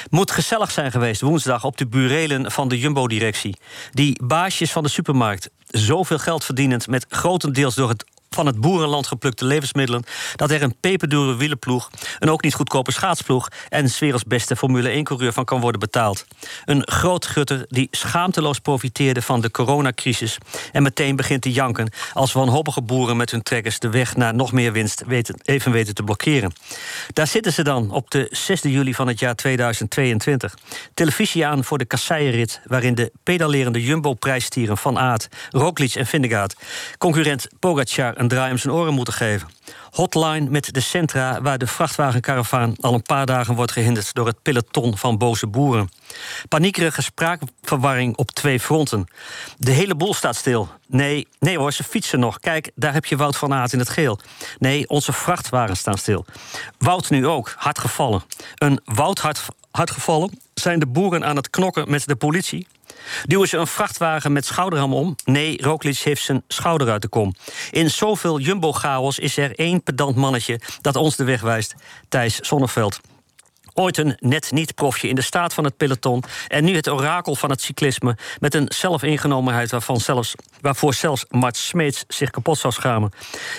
Speaker 8: Moet gezellig zijn geweest woensdag op de burelen van de Jumbo-directie. Die baasjes van de supermarkt, zoveel geld verdienend... met grotendeels door het van het boerenland geplukte levensmiddelen... dat er een peperdure wielenploeg, een ook niet goedkope schaatsploeg... en 's werelds beste Formule 1-coureur van kan worden betaald. Een grootgutter die schaamteloos profiteerde van de coronacrisis... en meteen begint te janken als wanhopige boeren met hun trekkers... de weg naar nog meer winst weten, even weten te blokkeren. Daar zitten ze dan op de 6 juli van het jaar 2022. Televisie aan voor de kasseienrit... waarin de pedalerende Jumbo-prijstieren Van Aert, Roglic en Vindegaard... concurrent Pogacar een draai om zijn oren moeten geven. Hotline met de centra waar de vrachtwagenkaravaan... al een paar dagen wordt gehinderd door het peloton van boze boeren. Paniekerige spraakverwarring op twee fronten. De hele boel staat stil. Nee, nee hoor, ze fietsen nog. Kijk, daar heb je Wout van Aert in het geel. Nee, onze vrachtwagens staan stil. Wout nu ook, hard gevallen. Een Wout hard, hard gevallen? Zijn de boeren aan het knokken met de politie? Duwen ze een vrachtwagen met schouderham om? Nee, Roglic heeft zijn schouder uit de kom. In zoveel jumbo-chaos is er één pedant mannetje... dat ons de weg wijst, Thijs Zonneveld. Ooit een net niet-profje in de staat van het peloton. En nu het orakel van het cyclisme. Met een zelfingenomenheid waarvan zelfs, waarvoor zelfs Mart Smeets zich kapot zou schamen.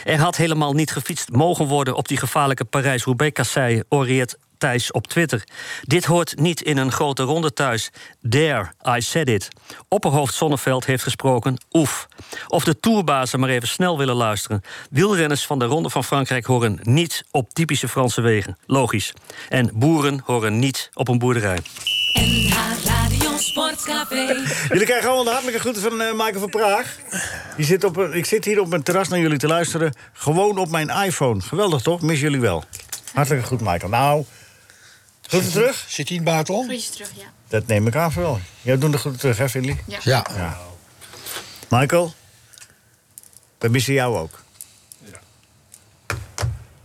Speaker 8: Er had helemaal niet gefietst mogen worden op die gevaarlijke Parijs-Roubaix-kasseien, oreert Thijs op Twitter. Dit hoort niet in een grote ronde thuis. There, I said it. Opperhoofd Zonneveld heeft gesproken, oef. Of de tourbazen maar even snel willen luisteren. Wielrenners van de Ronde van Frankrijk horen niet op typische Franse wegen. Logisch. En boeren horen niet op een boerderij.
Speaker 1: NH Radio Sportcafé.
Speaker 3: Jullie krijgen allemaal de hartelijke groeten van eh, Michael van Praag. Die zit op, een- ik zit hier op mijn terras naar jullie te luisteren. Gewoon op mijn iPhone. Geweldig toch? Mis jullie wel. Hartelijke groet, Michael. Nou, groeten terug?
Speaker 7: Zit hij in het buitenland?
Speaker 6: Groetjes terug, ja.
Speaker 3: Dat neem ik aan voor wel. Jij doet de groeten terug, hè, Philly?
Speaker 7: Ja.
Speaker 3: Ja. Michael, we missen jou ook. Ja.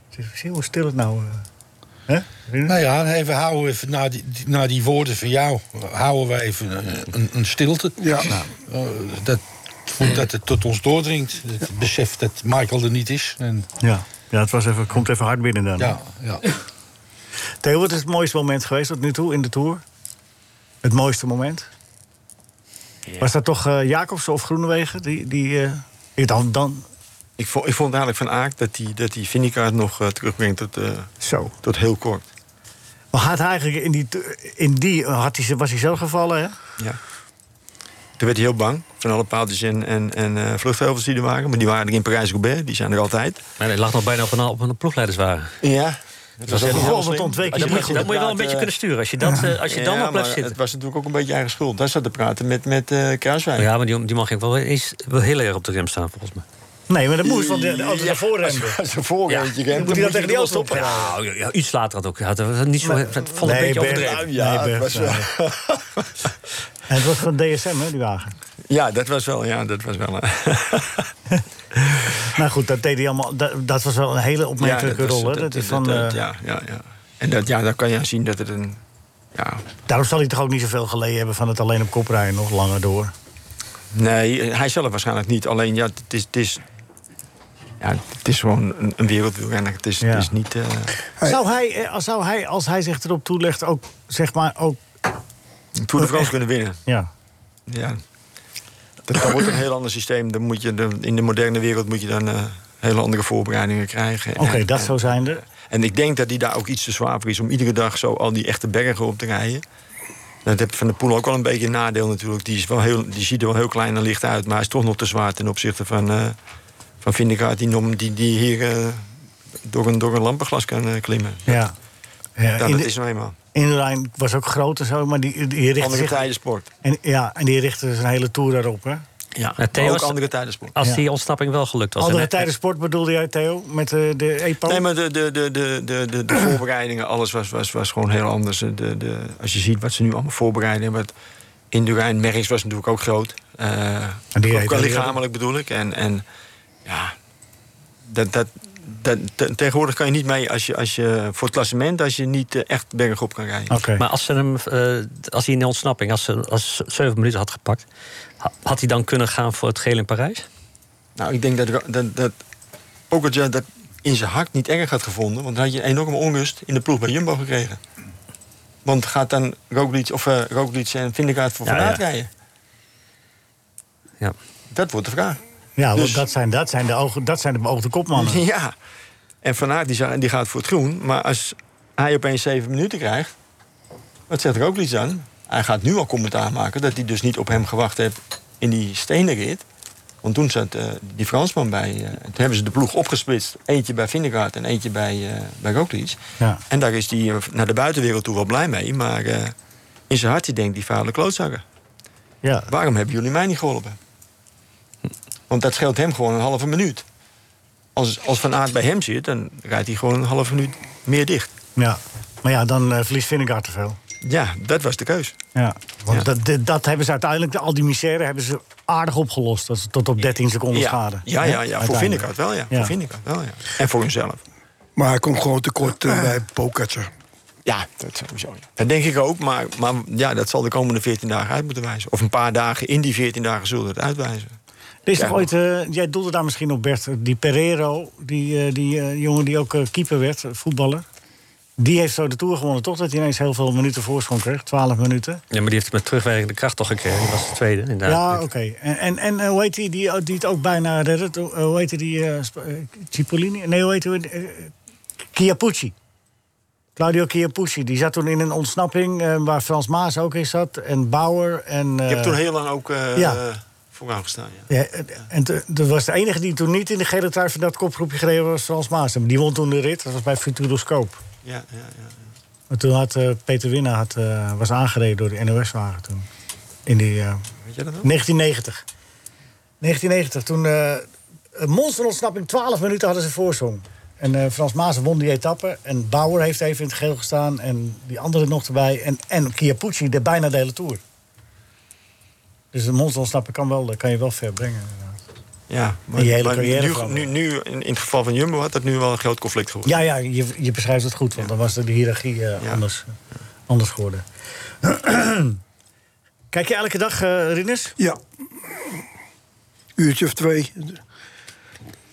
Speaker 3: Zie je hoe stil het nou... eh, Hè?
Speaker 7: Nou ja, even houden we even na die, die- na die woorden van jou. Houden we even een, een, een stilte.
Speaker 4: Ja.
Speaker 7: Eh, dat, voordat het tot ons doordringt. Het besef dat Michael er niet is. En,
Speaker 3: Ja. Ja, het was even, komt even hard binnen dan.
Speaker 7: ja, ja.
Speaker 3: Theo, wat is het mooiste moment geweest tot nu toe in de Tour? Het mooiste moment? Was dat toch eh, Jacobsen of Groenewegen? Die, die, eh, dan, dan,
Speaker 5: Ik vond, ik vond eigenlijk van Aak dat die, dat die Vindicaat nog eh, terugbrengt tot, eh,
Speaker 3: zo.
Speaker 5: tot heel kort.
Speaker 3: Maar had hij eigenlijk in die, in die eh, had hij, was hij zo gevallen, hè?
Speaker 5: Ja. Toen werd hij heel bang van alle paaltjes en, en, en eh, vluchthevels die er waren. Maar die waren er in Parijs-Roubaix, die zijn er altijd.
Speaker 8: Maar hij lag nog bijna op een, op een ploegleiderswagen.
Speaker 5: Ja. Dat was
Speaker 3: Goh,
Speaker 5: heel
Speaker 3: wat ontwikkeling.
Speaker 8: Dat moet, je- dat moet je wel een beetje kunnen sturen. Als je, dat, eh, als je dan nog blijft
Speaker 5: Het
Speaker 8: zitten.
Speaker 5: was natuurlijk ook een beetje eigen schuld. Daar zat te praten met, met eh Kruiswijk.
Speaker 8: Ja, maar die, die mag ik wel, eens, wel heel erg op de rem staan, volgens mij.
Speaker 3: Nee, maar dat moest, want de auto daarvoor remde.
Speaker 5: Als een voorreentje
Speaker 3: Moet hij dat tegen die auto op?
Speaker 8: Nou, ja, ja, iets later had ook. Had, had niet zo, het vond een beetje
Speaker 3: Bert,
Speaker 8: overdreven.
Speaker 5: Ja,
Speaker 3: nee,
Speaker 5: het
Speaker 3: Bert,
Speaker 5: was
Speaker 3: nee. eh, En het was van DSM, hè, die wagen.
Speaker 5: Ja, dat was wel. Ja, dat was wel eh,
Speaker 3: Nou goed, dat deed hij allemaal. Dat, dat was wel een hele opmerkelijke
Speaker 5: ja, dat was-
Speaker 3: rol, hè?
Speaker 5: dat-
Speaker 3: Dat is
Speaker 5: dat-
Speaker 3: van,
Speaker 5: dat-
Speaker 3: eh,
Speaker 5: Ja, ja, ja. En dat, ja, dan kan je aan zien dat het een... Ja,
Speaker 3: Daarom zal hij toch ook niet zoveel geleden hebben van het alleen op kop rijden, nog langer door.
Speaker 5: Nee, hij zelf waarschijnlijk niet. Alleen, ja, het is... Het is ja, het is gewoon een, een wereldwielrenner. Het is,
Speaker 3: Ja.
Speaker 5: het is niet... eh,
Speaker 4: Hey.
Speaker 3: Zou hij, eh, als- zou hij, als hij zich erop toelegt, ook zeg maar ook.
Speaker 5: een Tour de France kunnen winnen.
Speaker 3: Ja.
Speaker 5: Ja. Dat, dat wordt een heel ander systeem. Dan moet je, dan- in de moderne wereld moet je dan eh, hele andere voorbereidingen krijgen. eh,
Speaker 3: Oké, dat zou zijn er.
Speaker 5: En ik denk dat hij daar ook iets te zwaar voor is om iedere dag zo al die echte bergen op te rijden. Dat heb Van der Poel ook al een beetje een nadeel natuurlijk. Die, is wel heel, die ziet er wel heel klein en licht uit, maar hij is toch nog te zwaar ten opzichte van, eh van Vindegaard, die, nom- die, die hier eh, door, een, door een lampenglas kan eh, klimmen.
Speaker 3: Ja. Ja,
Speaker 5: Ja,
Speaker 3: eh, in
Speaker 5: dat
Speaker 3: de-
Speaker 5: is nou eenmaal.
Speaker 3: Inline was ook groot en zo, maar die, die richtte
Speaker 5: Andere
Speaker 3: zich.
Speaker 5: tijden sport.
Speaker 3: En, ja, en die richtte zijn hele tour daarop. Hè?
Speaker 5: Ja,
Speaker 8: Ja, Theo
Speaker 5: maar ook
Speaker 8: is-
Speaker 5: andere tijden sport.
Speaker 8: Als
Speaker 3: Ja.
Speaker 8: die ontsnapping wel gelukt was.
Speaker 3: Andere
Speaker 8: En-
Speaker 3: tijden sport bedoelde jij, Theo, met eh, de EPO?
Speaker 5: Nee, maar de, de, de, de, de, de, de voorbereidingen, alles was, was, was gewoon heel anders. De, de, als je ziet wat ze nu allemaal voorbereiden. Wat in Durijn, Merckx was natuurlijk ook groot. Eh,
Speaker 3: die
Speaker 5: ook
Speaker 3: reed-
Speaker 5: wel
Speaker 3: die-
Speaker 5: lichamelijk bedoel ik. En, en ja, dat, dat, dat, te- tegenwoordig kan je niet mee als je, als je, voor het klassement... als je niet eh, echt bergop kan rijden.
Speaker 3: Oké.
Speaker 8: Maar als, ze hem, eh, als hij in de ontsnapping, als ze als ze zeven minuten had gepakt, ha- had hij dan kunnen gaan voor het geel in Parijs?
Speaker 5: Nou, ik denk dat, dat, dat ook het ja, dat in zijn hart niet erg had gevonden. Want dan had je een enorme onrust in de ploeg bij Jumbo gekregen. Want gaat dan Roglic, of, eh Roglic en Vindegaard voor
Speaker 8: Ja,
Speaker 5: Van Aert
Speaker 8: ja.
Speaker 5: rijden?
Speaker 8: Ja.
Speaker 5: Dat wordt de vraag.
Speaker 3: ja, want
Speaker 5: dus-
Speaker 3: dat, zijn, dat, zijn de ogen, dat zijn de beoogde kopmannen.
Speaker 5: Ja. En Van Aert die, za- die gaat voor het groen. Maar als hij opeens zeven minuten krijgt... wat zegt Roglic dan? Hij gaat nu al commentaar maken dat hij dus niet op hem gewacht heeft... in die stenenrit. Want toen zat eh, die Fransman bij... eh, toen hebben ze de ploeg opgesplitst. Eentje bij Vindegaard en eentje bij, eh bij Roglic.
Speaker 3: Ja.
Speaker 5: En daar is hij eh, naar de buitenwereld toe wel blij mee. Maar eh, in zijn hart die denkt die vuile klootzakken.
Speaker 3: Ja.
Speaker 5: Waarom hebben jullie mij niet geholpen? Want dat scheelt hem gewoon een halve minuut. Als, als Van Aert bij hem zit, dan rijdt hij gewoon een halve minuut meer dicht.
Speaker 3: ja. Maar ja, dan eh, verliest Vinnegaard te veel.
Speaker 5: Ja, dat was de keus.
Speaker 3: Ja, want
Speaker 5: Ja.
Speaker 3: Dat, dat- dat hebben ze uiteindelijk, al die misère hebben ze aardig opgelost. Dat is tot op 13 seconden schade.
Speaker 5: Ja, ja, ja, ja voor
Speaker 3: Uiteindelijk.
Speaker 5: Vindegaard wel, ja.
Speaker 3: Ja.
Speaker 5: Voor Vindegaard wel, ja. En voor hemzelf.
Speaker 4: Maar hij komt gewoon tekort
Speaker 3: Ah.
Speaker 4: eh, bij Pogacar.
Speaker 5: Ja, dat sowieso. ja. Dat denk ik ook, maar, maar ja, dat zal de komende 14 dagen uit moeten wijzen. Of een paar dagen in die 14 dagen zullen het uitwijzen.
Speaker 3: Er is toch
Speaker 5: Ja.
Speaker 3: ooit, eh, jij doelde daar misschien op, Bert, die Pereiro, die, eh, die eh, jongen die ook eh, keeper werd, eh, voetballer. Die heeft zo de Tour gewonnen, toch? Dat hij ineens heel veel minuten voorsprong kreeg. 12 minuten.
Speaker 8: Ja, maar die heeft het met terugwerkende kracht toch gekregen. Die was de tweede, inderdaad.
Speaker 3: Ja, oké. En, en, en eh, hoe heet die, die, die het ook bijna redde? Hoe- Hoe heet die? eh, Sp- eh, Cipollini? Nee, hoe heet die? eh, Chiappucci. Claudio Chiappucci. Die zat toen in een ontsnapping eh, waar Frans Maas ook in zat. En Bauer. En,
Speaker 5: Ik heb
Speaker 3: eh,
Speaker 5: toen heel lang ook eh,
Speaker 3: ja.
Speaker 5: vooraan gestaan. Ja.
Speaker 3: ja, en- en te- dat was de enige die toen niet in de gele trui van dat kopgroepje gereden was, Frans Maas. En Die won toen de rit, dat was bij Futuroscoop.
Speaker 5: Ja, ja, ja.
Speaker 3: Maar toen had eh, Peter Winner had, eh, was aangereden door de NOS-wagen toen. In die, eh,
Speaker 5: Weet jij dat nog?
Speaker 3: 1990. 1990, toen eh, een monsterontsnapping, 12 minuten hadden ze voorsprong. En eh, Frans Maas won die etappe. En Bauer heeft even in het geel gestaan. En die andere nog erbij. En, en Chiappucci de bijna de hele Tour. Dus een monsterontsnapping kan, wel, eh, kan je wel ver brengen. inderdaad.
Speaker 5: Ja, maar,
Speaker 3: Die hele
Speaker 5: maar
Speaker 3: carrière
Speaker 5: nu,
Speaker 3: van-
Speaker 5: nu, nu, in, in het geval van Jumbo had dat nu wel een groot conflict geworden.
Speaker 3: Ja, ja je, je beschrijft het goed, want dan was de hiërarchie eh,
Speaker 5: Ja.
Speaker 3: anders, anders geworden. Kijk je elke dag, eh Rinus?
Speaker 4: Ja. Uurtje of twee. Ik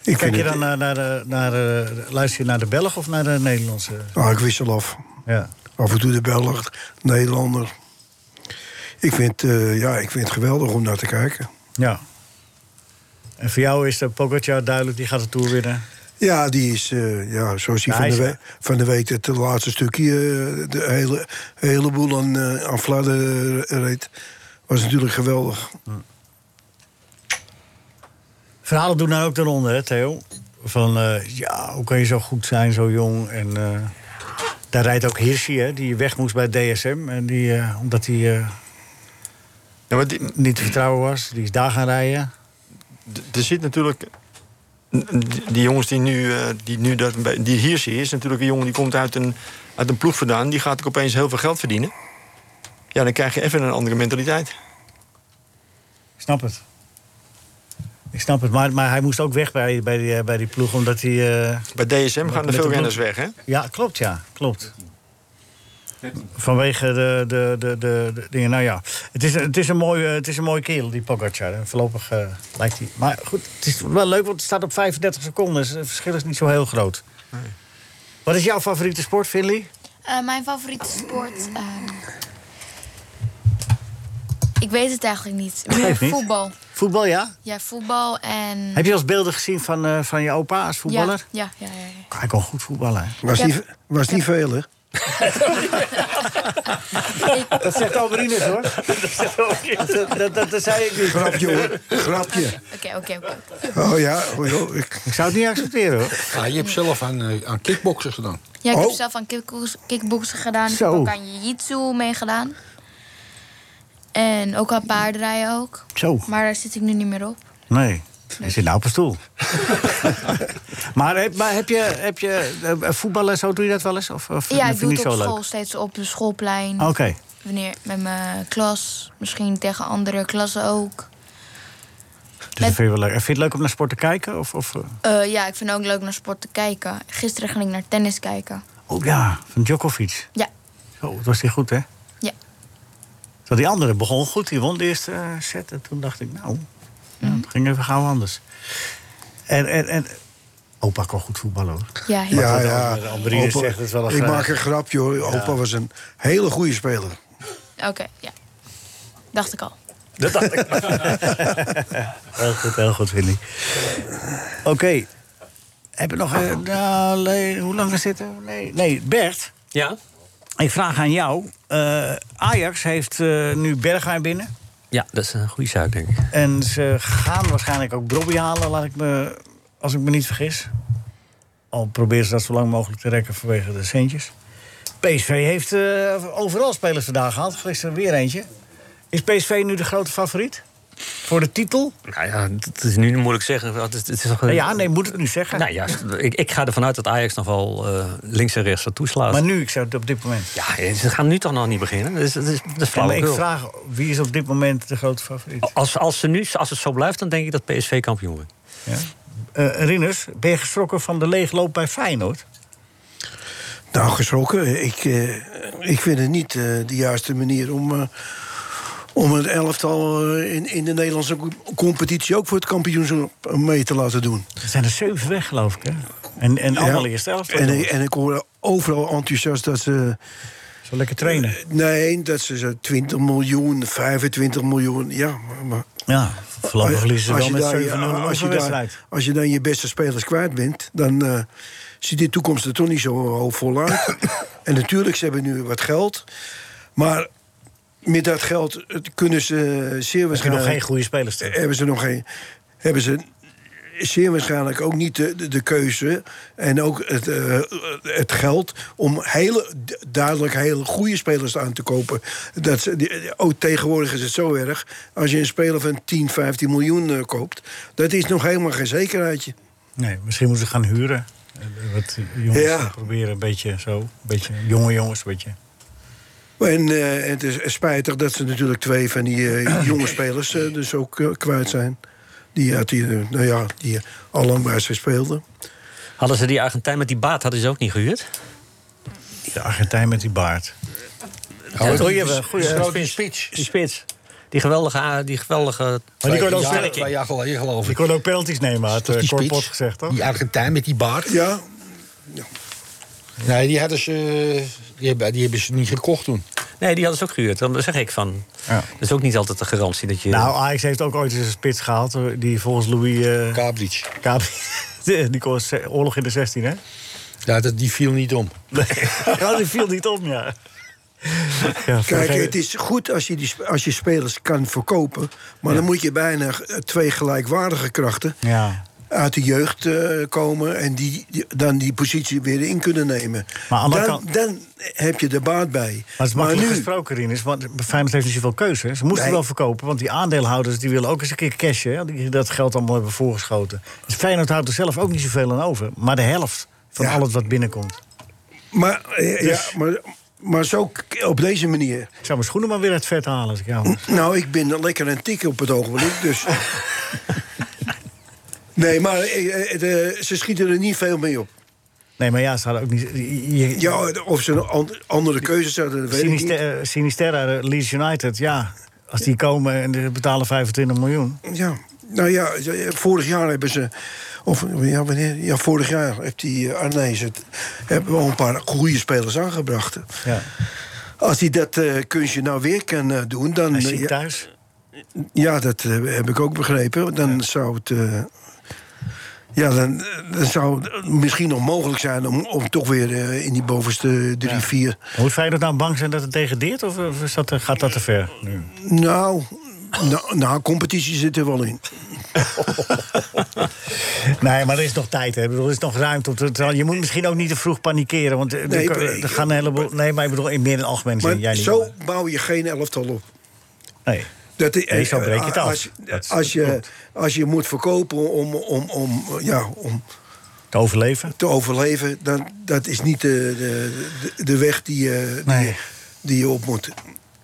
Speaker 3: Kijk
Speaker 4: vind
Speaker 3: je
Speaker 4: het-
Speaker 3: dan naar, naar, de- naar, de- luister je naar de Belg of naar de Nederlandse?
Speaker 4: Ah, ik wissel af.
Speaker 3: Ja.
Speaker 4: Af en toe de Belg, Nederlander. Ik vind, eh, ja, ik vind het geweldig om naar te kijken.
Speaker 3: ja. En voor jou is de Pogacar duidelijk, die gaat de Tour winnen.
Speaker 4: Ja, die is, eh, ja, zoals hij
Speaker 3: Ja,
Speaker 4: van,
Speaker 3: hij
Speaker 4: de
Speaker 3: is-
Speaker 4: we- van de week het laatste stukje eh, de hele, heleboel aan, eh, aan Fladder eh, reed. Was natuurlijk geweldig.
Speaker 3: Verhalen doen nou ook de ronde, hè, Theo? Van, eh, ja, hoe kan je zo goed zijn, zo jong? En eh, daar rijdt ook Hirschi, hè, die weg moest bij DSM. En die, eh, omdat hij eh,
Speaker 5: Ja, maar die-
Speaker 3: niet te vertrouwen was, die is daar gaan rijden.
Speaker 5: d- er zit natuurlijk... Die die jongens die nu, eh, die nu dat, bij- die hier zie, is natuurlijk een jongen die komt uit een, uit een ploeg vandaan. Die gaat ook opeens heel veel geld verdienen. Ja, dan krijg je even een andere mentaliteit.
Speaker 3: Ik snap het. Ik snap het, maar, maar hij moest ook weg bij, bij, die, bij die ploeg, omdat hij... eh,
Speaker 5: Bij DSM gaan
Speaker 3: met
Speaker 5: er
Speaker 3: de
Speaker 5: veel
Speaker 3: ploeg-
Speaker 5: renners weg, hè?
Speaker 3: Ja, klopt, ja. Klopt. Vanwege de, de, de, de, de dingen. Nou ja, het is, een- het, is een mooi, eh, het is een mooi kerel, die Pogacar. En voorlopig eh, lijkt hij... Maar goed, het is wel leuk, want het staat op 35 seconden. Dus het verschil is niet zo heel groot. Wat is jouw favoriete sport, Finley?
Speaker 6: Eh, mijn favoriete sport. ehm, ik weet het eigenlijk niet. Meer
Speaker 3: Geeft niet.
Speaker 6: voetbal.
Speaker 3: Voetbal, ja?
Speaker 6: Ja, voetbal en.
Speaker 3: Heb je wel eens beelden gezien van, eh, van je opa als voetballer?
Speaker 6: Ja, ja, ja. ja, ja.
Speaker 3: Hij kon goed voetballen. hè?
Speaker 4: Was,
Speaker 6: Ja.
Speaker 4: niet, was niet veel, hè?
Speaker 3: Dat zegt Alberines, hoor. dat zegt Alberines. Dat, dat, dat, dat zei ik niet.
Speaker 4: Grapje, hoor. Grapje.
Speaker 6: Oké, oké, oké.
Speaker 4: Oh ja, oh, joh, ik,
Speaker 3: Ik zou het niet accepteren, hoor.
Speaker 7: Ja, je hebt zelf aan, eh, aan kickboksen gedaan.
Speaker 6: Ja, ik heb
Speaker 4: Oh.
Speaker 6: zelf aan kickbox- kickboksen gedaan. Ik
Speaker 3: Zo.
Speaker 6: heb ook aan jiu-jitsu meegedaan. En ook aan paardrijden ook.
Speaker 3: Zo.
Speaker 6: Maar daar zit ik nu niet meer op.
Speaker 3: Nee. Hij zit nou op een stoel. maar heb, maar heb je, heb je eh, voetballen, zo doe je dat wel eens? Of, of
Speaker 6: Ja,
Speaker 3: vind
Speaker 6: ik
Speaker 3: je
Speaker 6: doe
Speaker 3: niet
Speaker 6: het op
Speaker 3: zo
Speaker 6: school
Speaker 3: leuk?
Speaker 6: steeds op de schoolplein.
Speaker 3: Oké. dus
Speaker 6: Wanneer met mijn klas. Misschien tegen andere klassen ook.
Speaker 3: Dus dat vind je wel leuk. En vind je het leuk om naar sport te kijken? Of, of, eh,
Speaker 6: Eh, ja, ik vind het ook leuk naar sport te kijken. Gisteren ging ik naar tennis kijken.
Speaker 3: oh ja, van Djokovic.
Speaker 6: Ja,
Speaker 3: Zo, dat was die goed, hè?
Speaker 6: ja.
Speaker 3: Terwijl die andere begon goed. Die won de eerste eh, set. En toen dacht ik, nou, ja,
Speaker 6: Mhm.
Speaker 3: het ging even gauw anders. En, en, en opa kon goed voetballen, hoor.
Speaker 6: Ja, heel
Speaker 4: ja,
Speaker 3: dat
Speaker 4: ja.
Speaker 3: Albert- Albert
Speaker 4: Opa-
Speaker 3: zegt het wel een
Speaker 4: Ik
Speaker 3: graag.
Speaker 4: maak een grapje, hoor. Opa was een hele goede speler.
Speaker 6: Oké, ja. Dacht ik al.
Speaker 3: Heel goed, heel goed, Willy. Oké. Heb je nog... eh, nou, nee, hoe lang is dit? eh? Nee, nee Bert.
Speaker 8: Ja?
Speaker 3: Ik vraag aan jou. Eh, Ajax heeft eh, nu Bergwijn binnen.
Speaker 8: Ja, dat is een goede zaak, denk ik.
Speaker 3: En ze gaan waarschijnlijk ook Brobby halen, laat ik me, als ik me niet vergis. Al proberen ze dat zo lang mogelijk te rekken vanwege de centjes. PSV heeft eh, overal spelers vandaag gehad. Gisteren weer eentje. Is PSV nu de grote favoriet? Voor de titel?
Speaker 8: Nou ja, het is nu moeilijk zeggen. Het is, het is nog een-
Speaker 3: Nou ja, nee, moet ik nu zeggen.
Speaker 8: Nou ja, ik, ik ga ervan uit dat Ajax nog wel eh, links en rechts gaat toeslaat.
Speaker 3: Maar nu, ik zou het op dit moment.
Speaker 8: Ja, ze gaan nu toch nog niet beginnen? Dat is, dat is, dat is Oh.
Speaker 3: Ja, maar ik
Speaker 8: flauwekul.
Speaker 3: vraag, wie is op dit moment de grote favoriet?
Speaker 8: Als, als, ze nu, als het zo blijft, dan denk ik dat PSV kampioen wordt.
Speaker 3: Ja. Eh, Rinus, ben je geschrokken van de leegloop bij Feyenoord?
Speaker 4: Nou, geschrokken. Ik, eh, ik vind het niet eh, de juiste manier om, eh, om een elftal eh, in, in de Nederlandse co- competitie ook voor het kampioenschap eh, mee te laten doen.
Speaker 3: Er zijn er zeven weg, geloof ik. Hè? En, en allemaal eerst elf.
Speaker 4: En, ik- en ik hoor overal enthousiast dat ze... eh,
Speaker 3: Zo lekker trainen.
Speaker 4: Nee, dat ze zo 20 miljoen, 25 miljoen, ja, maar...
Speaker 3: Ja, voorlopig verliezen ze wel met
Speaker 4: daar-
Speaker 3: 7-0
Speaker 4: als, je
Speaker 3: een
Speaker 4: daar,
Speaker 3: wedstrijd.
Speaker 4: als je dan je beste spelers kwijt bent, dan eh, ziet de toekomst er toch niet zo hoopvol uit. en natuurlijk, ze hebben nu wat geld. Maar met dat geld eh, kunnen ze zeer
Speaker 3: Heb je nog
Speaker 4: waarschijnlijk...
Speaker 3: geen goede spelers tegen.
Speaker 4: Eh, hebben ze nog geen. Hebben ze zeer waarschijnlijk ook niet de, de, de keuze en ook het, eh, het geld om hele, duidelijk hele goede spelers aan te kopen. Dat ze, die- ook tegenwoordig is het zo erg. Als je een speler van 10, 15 miljoen eh, koopt, dat is nog helemaal geen zekerheidje.
Speaker 3: Nee, misschien moeten ze gaan huren. Eh, Wat jongens
Speaker 4: Ja.
Speaker 3: proberen een beetje zo. Een beetje jonge jongens, een beetje.
Speaker 4: En eh, het is spijtig dat ze natuurlijk twee van die eh, jonge spelers eh, dus ook eh, kwijt zijn. Die, uit die, eh, nou ja, die al lang bij ze speelden.
Speaker 8: Hadden ze die Argentijn met die baat hadden ze ook niet gehuurd?
Speaker 3: De Argentijn met die baard.
Speaker 7: Oh,
Speaker 3: goeie, eh, goeie, eh,
Speaker 7: goede spits.
Speaker 8: Die spits. Die geweldige... a- Die geweldige
Speaker 3: Maar die kon ook,
Speaker 7: Twee jaar-
Speaker 3: sterk-
Speaker 7: Twee jaar geleden geloof
Speaker 3: die
Speaker 7: ik.
Speaker 3: kon ook penalties nemen, had
Speaker 7: Dat is
Speaker 3: eh,
Speaker 7: die
Speaker 3: Cor
Speaker 7: spits.
Speaker 3: Pot gezegd, toch?
Speaker 7: Die Argentijn met die baard.
Speaker 4: Ja,
Speaker 7: Nee, die hadden ze, die hebben, die hebben ze niet gekocht toen.
Speaker 8: nee, die hadden ze ook gehuurd. Dan zeg ik van...
Speaker 3: Ja.
Speaker 8: Dat is ook niet altijd de garantie dat je...
Speaker 3: Nou, Ajax heeft ook ooit eens een spits gehaald... eh, die volgens Louis eh
Speaker 7: Kablic.
Speaker 3: Kaap... die kon ze- oorlog in de 16, hè?
Speaker 7: Ja, dat, die viel niet om.
Speaker 3: Nee, Ja, die viel niet om, ja. ja voor
Speaker 4: Kijk,
Speaker 3: degene-
Speaker 4: het is goed als je, die, sp- als je spelers kan verkopen. Maar dan moet je bijna eh, twee gelijkwaardige krachten
Speaker 3: Ja.
Speaker 4: uit de jeugd eh, komen. En die, die- dan die positie weer in kunnen nemen.
Speaker 3: Maar aan de
Speaker 4: dan,
Speaker 3: kant-
Speaker 4: dan heb je er baat bij.
Speaker 3: Maar het is makkelijk gesproken, Rinus, want Feyenoord heeft niet zoveel keuze. hè. Ze moesten
Speaker 4: Nee.
Speaker 3: wel verkopen, want die aandeelhouders die willen ook eens een keer cashen. hè, Die dat geld allemaal hebben voorgeschoten. Dus Feyenoord houdt er zelf ook niet zoveel aan over. Maar de helft van
Speaker 4: Ja.
Speaker 3: alles wat binnenkomt.
Speaker 4: maar, eh,
Speaker 3: Dus-
Speaker 4: ja, maar, maar zo k- op deze manier.
Speaker 3: Ik zou mijn schoenen maar weer uit het vet halen. Als ik jou was.
Speaker 4: Nou, ik ben lekker een tik op het ogenblik, dus... Nee, maar eh, eh, de- ze schieten er niet veel mee op.
Speaker 3: Nee, maar ja, ze hadden ook niet... je- je-
Speaker 4: Ja, of ze een an- andere keuzes hadden, dat weet ik niet.
Speaker 3: Sinister- eh, Sinisterra, eh, Leeds United, ja. Als die komen en die betalen 25 miljoen.
Speaker 4: Ja, nou ja, vorig jaar hebben ze. Of ja, wanneer? Ja, vorig jaar heeft die eh, Arnees het. Hebben we al een paar goede spelers aangebracht.
Speaker 3: Ja.
Speaker 4: Als hij dat eh, kunstje nou weer kan eh, doen, dan.
Speaker 3: En
Speaker 4: eh,
Speaker 3: ziek
Speaker 4: ja,
Speaker 3: thuis.
Speaker 4: ja, dat eh, heb ik ook begrepen. Dan zou het. eh, ja, dan, eh, dan zou het misschien nog mogelijk zijn om, om toch weer eh, in die bovenste drie, vier.
Speaker 3: Moet Feyenoord nou bang zijn dat het degradeert? Of, eh, of is dat, te- gaat dat te ver? nu?
Speaker 4: Nou, nou, nou, competitie zit er wel in.
Speaker 3: Nee, maar er is nog tijd. Hè. Ik bedoel, er is nog ruimte. Om te, terwijl je moet misschien ook niet te vroeg panikeren. Want eh, er,
Speaker 4: Nee,
Speaker 3: er-
Speaker 4: maar-
Speaker 3: er gaan een heleboel. Nee, maar ik bedoel, in meer in het algemeen zin. Jij
Speaker 4: Maar
Speaker 3: niet.
Speaker 4: zo bouw je geen elftal op.
Speaker 3: Nee.
Speaker 4: Dat, is-
Speaker 3: Nee, zo breek je het af.
Speaker 4: Als,
Speaker 3: Dat-
Speaker 4: als, je,
Speaker 3: klopt.
Speaker 4: als je moet verkopen om, om, om, ja, om
Speaker 3: Te overleven.
Speaker 4: te overleven, dan dat is niet de, de, de- de weg die, je- die,
Speaker 3: Nee.
Speaker 4: je- die je op moet.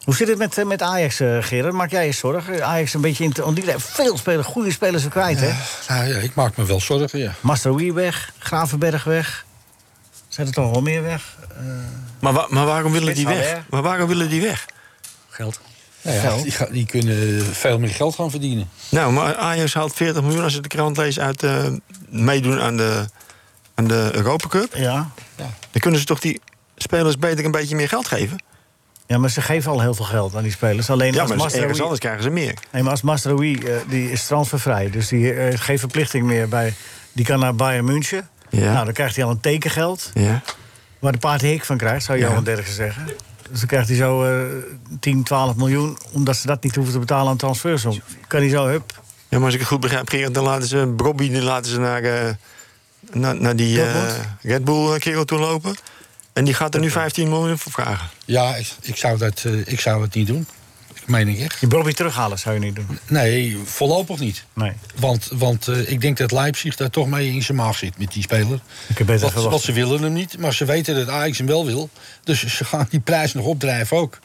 Speaker 3: Hoe zit het met, eh, met Ajax, eh, Gerard? Maak jij je zorgen? Ajax een beetje in te- want die hebben Veel spelers, goede spelers er kwijt, hè?
Speaker 7: Nou ja, ik maak me wel zorgen, ja.
Speaker 3: Mastrowi weg, Gravenberg weg. Zijn er toch wel meer weg? Eh,
Speaker 5: Maar, wa- maar waarom willen die
Speaker 3: Spits
Speaker 5: weg?
Speaker 3: Haller.
Speaker 5: Maar waarom willen die weg?
Speaker 8: Geld.
Speaker 7: Nou ja,
Speaker 3: Geld.
Speaker 7: die, ga- die kunnen veel meer geld gaan verdienen.
Speaker 5: Nou, maar Ajax haalt 40 miljoen als je de krant leest uit eh, meedoen aan de, aan de Europa Cup.
Speaker 3: ja.
Speaker 5: Dan kunnen ze toch die spelers beter een beetje meer geld geven?
Speaker 3: ja, maar ze geven al heel veel geld aan die spelers. Alleen
Speaker 5: Ja,
Speaker 3: als
Speaker 5: maar dus
Speaker 3: Mastrowi...
Speaker 5: ergens anders krijgen ze meer.
Speaker 3: Nee, maar als Mastrowi, eh, die is transfervrij. Dus die eh, heeft geen verplichting meer bij... Die kan naar Bayern München.
Speaker 5: Ja.
Speaker 3: Nou, dan krijgt hij al een tekengeld.
Speaker 5: Ja.
Speaker 3: Waar de paard hik van krijgt, zou Johan
Speaker 5: Ja.
Speaker 3: Derksen zeggen. Dus dan krijgt hij zo eh 10, 12 miljoen... omdat ze dat niet hoeven te betalen aan transfersom. Kan hij zo, hup.
Speaker 5: ja, maar als ik het goed begrijp, Gerard, dan laten ze Bobby die laten ze naar, eh, naar, naar die eh,
Speaker 3: Dortmund?
Speaker 5: Red Bull eh, kerel toe lopen. En die gaat er nu 15 miljoen voor vragen.
Speaker 7: Ja, ik, ik, zou, dat, eh, ik zou het niet doen. Ik meen ik echt.
Speaker 3: Je Bobby terughalen zou je niet doen.
Speaker 7: Nee, voorlopig niet.
Speaker 3: Nee.
Speaker 7: Want, want eh, ik denk dat Leipzig daar toch mee in zijn maag zit met die speler.
Speaker 3: Ik heb beter
Speaker 7: Want,
Speaker 3: verwacht.
Speaker 7: want ze willen hem niet, maar ze weten dat Ajax hem wel wil. Dus ze gaan die prijs nog opdrijven ook.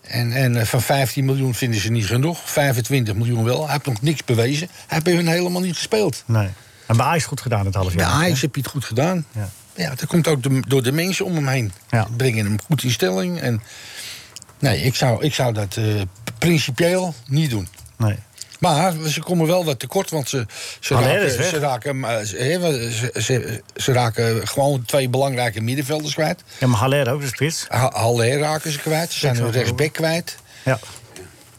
Speaker 7: En, en eh, van 15 miljoen vinden ze niet genoeg. 25 miljoen wel. Hij heeft nog niks bewezen. Hij heeft hun helemaal niet gespeeld.
Speaker 3: Nee. En bij Ajax goed gedaan het half
Speaker 7: Bij
Speaker 3: jaar.
Speaker 7: Ajax heb je het goed gedaan.
Speaker 3: Ja.
Speaker 7: Ja. dat komt ook de- door de mensen om hem heen.
Speaker 3: Ja.
Speaker 7: Brengen hem goed in stelling. En, nee, ik zou, ik zou dat eh, principieel niet doen.
Speaker 3: Nee.
Speaker 7: Maar ze komen wel wat tekort, want ze, ze,
Speaker 3: Haller is
Speaker 7: raken,
Speaker 3: weg.
Speaker 7: ze, raken, eh, ze, hè, ze- ze- ze raken gewoon twee belangrijke middenvelders kwijt.
Speaker 3: Ja, maar Haller ook, de spits.
Speaker 7: Ha- Haller raken ze kwijt. Ze zijn
Speaker 3: Ik
Speaker 7: hun
Speaker 3: zag
Speaker 7: rechtsback kwijt.
Speaker 3: Ja.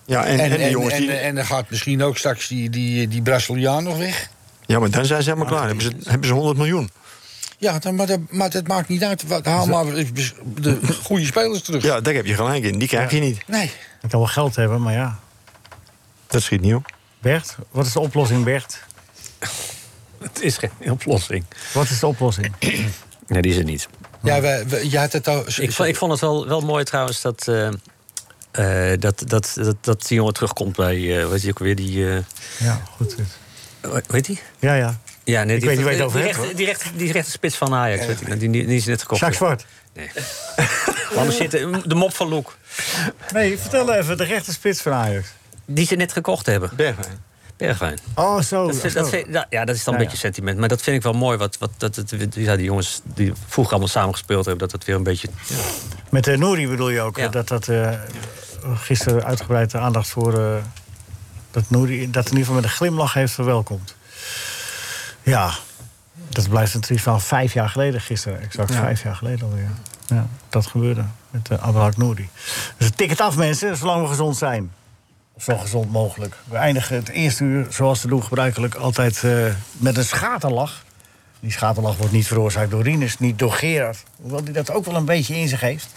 Speaker 5: Ja, en, en, die jongens
Speaker 7: en,
Speaker 5: die...
Speaker 7: en, dan gaat misschien ook straks die, die, die Braziliaan nog weg.
Speaker 5: Ja, maar dan zijn ze helemaal klaar. Hebben ze, hebben ze 100 miljoen.
Speaker 7: Ja, dan, maar, dat, maar dat maakt niet uit. Wat- Haal Ah, maar de goede spelers terug.
Speaker 5: Ja, daar heb je gelijk in. Die krijg je niet.
Speaker 7: Nee.
Speaker 3: Ik kan wel geld hebben, maar ja.
Speaker 5: Dat schiet niet op.
Speaker 3: Bert, wat is de oplossing, Bert?
Speaker 8: Het is geen oplossing.
Speaker 3: Wat is de oplossing?
Speaker 8: Nee, die is er niet.
Speaker 7: Ja, we, we- je had het al.
Speaker 8: Ik, vond- ik vond het wel, wel mooi trouwens dat, eh, eh, dat, dat, dat, dat die jongen terugkomt bij, weet je ook weer, die... eh,
Speaker 3: Ja, goed.
Speaker 8: hoe heet die?
Speaker 3: Ja, ja.
Speaker 8: Ja, nee,
Speaker 3: Ik
Speaker 8: die,
Speaker 3: weet niet waar je het over
Speaker 8: die,
Speaker 3: hebt,
Speaker 8: rechter- die, rechter- die rechter spits van Ajax, weet ik, nou, die, die, die is net gekocht.
Speaker 3: Jacques Zwart.
Speaker 8: Anders zit de de mop van Loek,
Speaker 3: Nee, vertel even, de rechter spits van Ajax.
Speaker 8: die ze net gekocht hebben.
Speaker 5: Bergwijn.
Speaker 8: Bergwijn.
Speaker 3: Oh, zo.
Speaker 8: Dat vind-
Speaker 3: zo.
Speaker 8: dat vind- dat- ja, dat is dan
Speaker 3: Ja,
Speaker 8: een beetje sentiment. Maar dat vind ik wel mooi. Wat, wat, dat, het- ja, die jongens die vroeger allemaal samen gespeeld hebben, dat dat weer een beetje.
Speaker 3: Met de Nouri bedoel je ook,
Speaker 8: Ja.
Speaker 3: hè, dat dat eh, gisteren uitgebreid de aandacht voor... eh, dat Nouri dat in ieder geval met een glimlach heeft verwelkomd. Ja, dat blijft natuurlijk van vijf jaar geleden gisteren. Exact vijf jaar geleden alweer. Ja, dat gebeurde met eh Abdelhak Nouri. Dus het tikt af, mensen, zolang we gezond zijn. Of zo gezond mogelijk. We eindigen het eerste uur, zoals te doen gebruikelijk, altijd eh, met een schaterlach. Die schaterlach wordt niet veroorzaakt door Rinus, niet door Gerard. Hoewel die dat ook wel een beetje in zich heeft.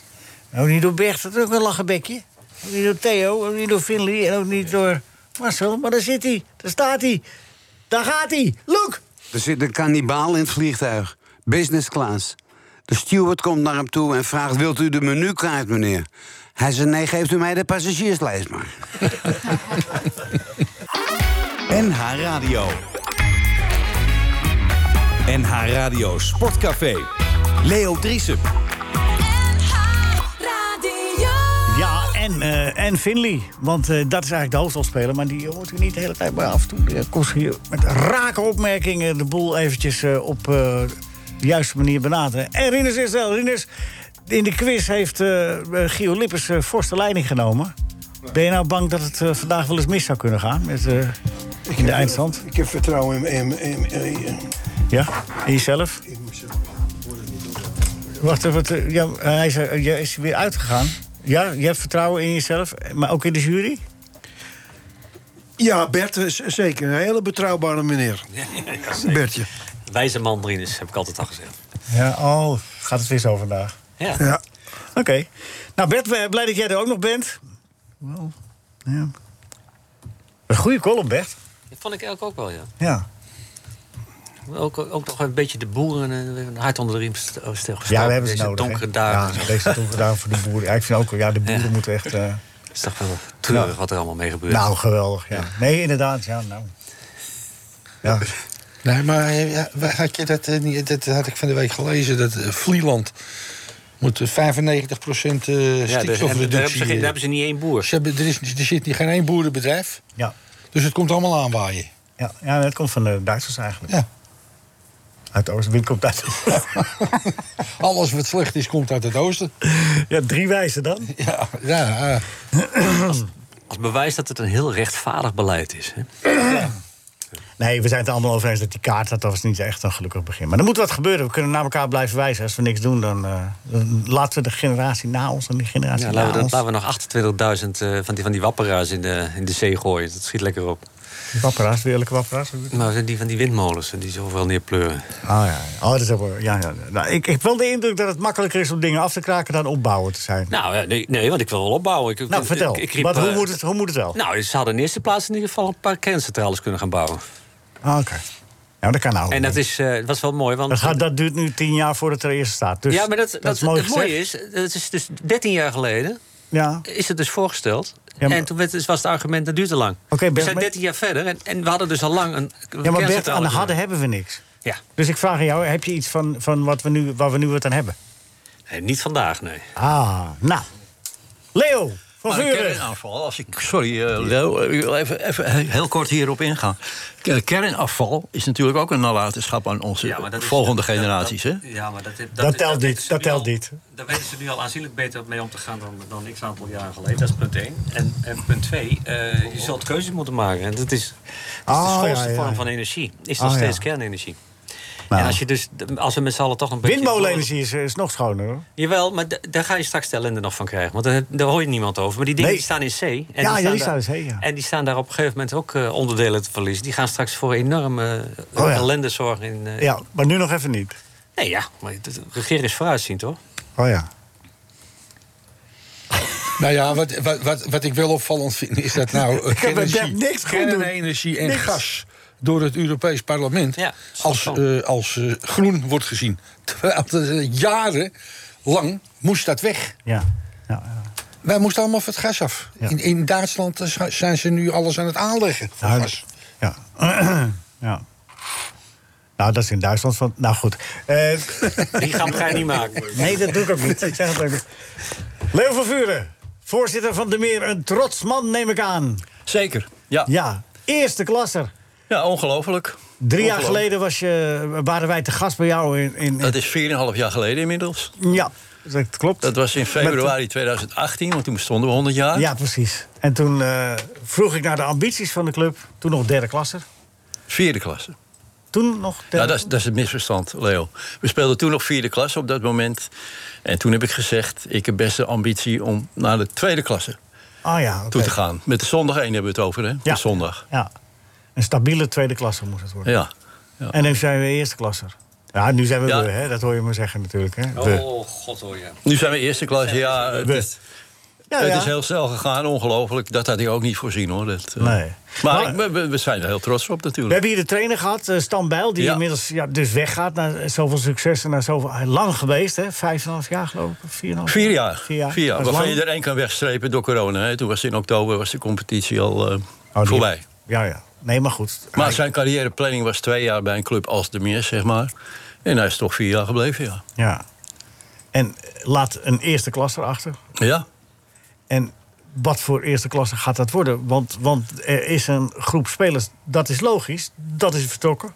Speaker 3: En ook niet door Bert, dat is ook wel een lachenbekje. Ook niet door Theo, ook niet door Finley en ook niet door Marcel. Maar daar zit hij, daar staat hij, daar gaat hij. Look!
Speaker 10: Er zit een kannibaal in het vliegtuig. Business class. De steward komt naar hem toe en vraagt... wilt u de menukaart, meneer? Hij zegt, nee, geeft u mij de passagierslijst maar.
Speaker 2: NH Radio. NH Radio Sportcafé. Leo Driesen.
Speaker 1: Radio.
Speaker 3: Ja, en, eh, en Finley. Want eh, dat is eigenlijk de hoofdrolspeler. Maar die hoort u niet de hele tijd. Maar af en toe eh, komt ze hier met rake opmerkingen... de boel eventjes eh, op eh, de juiste manier benaderen. En Rinus is wel. Rinus, in de quiz heeft eh Gio Lippers eh, forse leiding genomen. Ben je nou bang dat het eh, vandaag wel eens mis zou kunnen gaan? Met, eh, in de eindstand?
Speaker 4: Ik heb vertrouwen in, in, in, in-
Speaker 3: Ja? In jezelf? Wacht even. wat, eh, Ja, hij is, eh, ja, is weer uitgegaan. Ja, je hebt vertrouwen in jezelf, maar ook in de jury?
Speaker 4: Ja, Bert is zeker. Een hele betrouwbare meneer. Bertje.
Speaker 8: Wijze man erin is, heb ik altijd al gezegd.
Speaker 3: Ja, oh, gaat het weer zo vandaag.
Speaker 8: Ja.
Speaker 4: Ja.
Speaker 3: Oké. Nou, Bert, we- blij dat jij er ook nog bent. Wel, ja. Een goede column, Bert.
Speaker 8: Dat vond ik eigenlijk ook wel, ja.
Speaker 3: Ja.
Speaker 8: Ook, ook nog een beetje de boeren eh, hard onder de riem st- oh, stil
Speaker 3: Ja, we hebben ze
Speaker 8: Deze
Speaker 3: nodig. hè.
Speaker 8: donkere dagen.
Speaker 3: Ja, nou, deze donkere dagen voor de boeren. Ja, ik vind ook, ja, de boeren
Speaker 8: Ja.
Speaker 3: moeten echt... eh,
Speaker 8: Het is toch wel treurig wat er allemaal mee gebeurt.
Speaker 3: nou, geweldig, ja. Nee, inderdaad, ja, nou. Ja,
Speaker 7: Nee, maar eh, ja, waar had je dat, eh, niet, dat had ik van de week gelezen. Dat eh, Vlieland moet eh, 95% eh
Speaker 8: ja, dus- daar, hebben, daar, hebben ze,
Speaker 7: stikstofreductie.
Speaker 8: geen- daar
Speaker 7: eh,
Speaker 8: hebben ze niet één boer.
Speaker 7: ze hebben- er, is, er zit niet geen één boerenbedrijf.
Speaker 3: ja.
Speaker 7: Dus het komt allemaal aanwaaien.
Speaker 3: Ja, ja, dat komt van de Duitsers eigenlijk.
Speaker 7: Ja.
Speaker 3: Uit de Oosten. Wind komt uit
Speaker 7: Alles wat slecht is, komt uit het oosten.
Speaker 3: Ja, drie wijzen dan.
Speaker 7: Ja, ja eh,
Speaker 8: Als bewijs dat het een heel rechtvaardig beleid is. Hè?
Speaker 3: Nee, we zijn het allemaal over eens dat die kaart, dat was niet echt een gelukkig begin. Maar er moet wat gebeuren. We kunnen naar elkaar blijven wijzen. Als we niks doen, dan, eh, dan laten we de generatie na ons en die generatie
Speaker 8: Ja,
Speaker 3: na
Speaker 8: laten, we, dat-
Speaker 3: ons.
Speaker 8: laten we nog 28.000 eh, van, die, van die wapperaars in de, in de zee gooien. Dat schiet lekker op.
Speaker 3: Die wapperaars, de eerlijke wapperaars.
Speaker 8: Maar die van die windmolens, die ze overal neerpleuren.
Speaker 3: Ah ja, ja. Oh, dat is ook wel- ja, ja. Nou, ik, ik heb wel de indruk dat het makkelijker is om dingen af te kraken dan opbouwen te zijn. Nou,
Speaker 8: Nou, ja, nee, nee, want ik wil wel opbouwen. Ik, ik-
Speaker 3: vertel.
Speaker 8: ik- ik riep,
Speaker 3: Wat, hoe,
Speaker 8: eh,
Speaker 3: moet het, hoe moet het wel?
Speaker 8: Nou, ze hadden in eerste plaats in ieder geval een paar kerncentrales kunnen gaan bouwen.
Speaker 3: Ah, Oké. Nou, dat kan nou.
Speaker 8: En dat is, eh, dat was wel mooi, want...
Speaker 3: dat, gaat, dat duurt nu tien jaar voordat er eerst staat. Dus
Speaker 8: ja, maar dat, dat,
Speaker 3: is mooi
Speaker 8: het mooie
Speaker 3: gezegd.
Speaker 8: is, het is dus 13 jaar geleden
Speaker 3: Ja.
Speaker 8: is het dus voorgesteld.
Speaker 3: Ja, maar-
Speaker 8: En toen werd, dus was het argument, dat duurt te lang.
Speaker 3: Oké, Bert,
Speaker 8: we zijn
Speaker 3: maar-
Speaker 8: 13 jaar verder en, en we hadden dus al lang een
Speaker 3: ja, maar Bert,
Speaker 8: kerncentrale
Speaker 3: aan de
Speaker 8: kunnen-
Speaker 3: hadden hebben we niks.
Speaker 8: Ja,
Speaker 3: Dus ik vraag aan jou, heb je iets van, van wat we nu, waar we nu wat aan hebben?
Speaker 8: Nee, niet vandaag, nee.
Speaker 3: Ah, nou. Leo, Van
Speaker 11: Maar een
Speaker 3: Vuren.
Speaker 11: kernafval, als ik, sorry eh, Leo, ik wil even, even heel kort hierop ingaan. Ke- Kernafval is natuurlijk ook een nalatenschap aan onze volgende generaties. hè?
Speaker 12: Ja, maar dat, dat,
Speaker 3: Dat telt
Speaker 12: weten
Speaker 3: niet,
Speaker 12: ze
Speaker 3: dat
Speaker 12: nu
Speaker 3: telt
Speaker 12: al-
Speaker 3: niet.
Speaker 12: Daar weten ze nu al aanzienlijk beter mee om te gaan dan, dan x aantal jaren geleden. Dat is punt één. En, en punt twee, eh, je zult keuzes moeten maken. En dat is, dat is
Speaker 3: Ah,
Speaker 12: de schoonste
Speaker 3: ja, ja,
Speaker 12: vorm
Speaker 3: ja.
Speaker 12: van energie. Is nog
Speaker 3: Ah, ja. Nou.
Speaker 12: steeds kernenergie. En als, je dus, als we met z'n allen toch een beetje...
Speaker 3: Windmolenenergie is, is nog schoner hoor.
Speaker 12: Jawel, maar d- daar ga je straks de ellende nog van krijgen. Want daar, daar hoor je niemand over. Maar die dingen
Speaker 3: Nee.
Speaker 12: die staan in C. En
Speaker 3: ja, ja,
Speaker 12: staan
Speaker 3: die
Speaker 12: daar-
Speaker 3: staan dus heen. Ja.
Speaker 12: En die staan daar op een gegeven moment ook eh, onderdelen te verliezen. Die gaan straks voor enorme eh,
Speaker 3: Oh ja.
Speaker 12: ellende zorgen. In, eh,
Speaker 3: ja, maar nu nog even niet.
Speaker 12: Nee, ja, maar de regering is vooruitziend, hoor.
Speaker 3: Oh ja.
Speaker 7: Nou ja, wat, wat, wat, wat ik wel opvallend vind is dat nou eh,
Speaker 12: Ik heb met
Speaker 7: kernenergie,
Speaker 12: Bert niks goed doen.
Speaker 7: kernenergie en
Speaker 12: Niks.
Speaker 7: gas door het Europees Parlement als, eh, als eh, groen wordt gezien. Terwijl het, eh, jarenlang moest dat weg.
Speaker 3: Ja.
Speaker 7: Wij moesten allemaal van het gas af. In, in Duitsland eh, zi- zijn ze nu alles aan het aanleggen. voor
Speaker 3: Nou,
Speaker 7: gas.
Speaker 3: Ja. ja. Nou, dat is in Duitsland van. Nou goed. Eh,
Speaker 12: Die grap ga je niet maken.
Speaker 3: Nee, dat doe ik ook niet. Ik zeg het ook niet. Leo van Vuren, voorzitter van de Meer. Een trots man, neem ik aan.
Speaker 11: Zeker, ja.
Speaker 3: Ja, eerste klasser.
Speaker 11: Ja, ongelooflijk.
Speaker 3: Drie jaar
Speaker 11: Ongelooflijk.
Speaker 3: geleden was je, waren wij te gast bij jou in. in,
Speaker 11: Dat is 4,5 jaar geleden inmiddels.
Speaker 3: ja, dat klopt.
Speaker 11: Dat was in februari 2018, want toen bestonden we 100 jaar.
Speaker 3: Ja, precies. En toen eh, vroeg ik naar de ambities van de club. Toen nog derde klasser.
Speaker 11: Vierde klasse.
Speaker 3: Toen nog
Speaker 11: Ja,
Speaker 3: derde
Speaker 11: dat is, dat is het misverstand, Leo. We speelden toen nog vierde klasse op dat moment. En toen heb ik gezegd, ik heb best de ambitie om naar de tweede klasse
Speaker 3: Ah ja, oké.
Speaker 11: toe te gaan. Met de zondag 1 hebben we het over, hè? De zondag.
Speaker 3: Ja. Oh, Een stabiele tweede klasse moest het worden.
Speaker 11: Ja.
Speaker 3: En nu zijn we eerste klasser. Ja, nu zijn we
Speaker 11: Ja.
Speaker 3: we, hè? dat hoor je me zeggen natuurlijk. Hè? We.
Speaker 12: god hoor je.
Speaker 11: Nu zijn we eerste klasse, ja. Het, is-
Speaker 3: Ja,
Speaker 11: het
Speaker 3: ja.
Speaker 11: is heel snel gegaan, ongelooflijk. Dat had ik ook niet voorzien, hoor. Dat, eh.
Speaker 3: Nee.
Speaker 11: Maar ik- we- we, we zijn er heel trots op,
Speaker 3: We
Speaker 11: natuurlijk.
Speaker 3: hebben hier de trainer gehad, eh, Stan Bijl, die
Speaker 11: Ja.
Speaker 3: inmiddels ja, dus weggaat na zoveel succes en na zoveel hij is lang geweest, hè? Vijf en een half jaar geloof ik, of Oh, vier en een half
Speaker 11: Vier jaar.
Speaker 3: Vier jaar.
Speaker 11: Vier jaar.
Speaker 3: Dat is
Speaker 11: Waarvan
Speaker 3: lang.
Speaker 11: je er één kan wegstrepen door corona. Hè. Toen was in oktober was de competitie al
Speaker 3: Oh,
Speaker 11: eh, voorbij.
Speaker 3: Ja, ja. Nee, maar goed.
Speaker 11: Maar zijn carrièreplanning was twee jaar bij een club als de Meer, zeg maar. En hij is toch vier jaar gebleven, ja.
Speaker 3: Ja. En eh, laat een eerste klas erachter.
Speaker 11: Ja.
Speaker 3: En wat voor eerste klasse gaat dat worden? Want, want er is een groep spelers, dat is logisch, dat is vertrokken.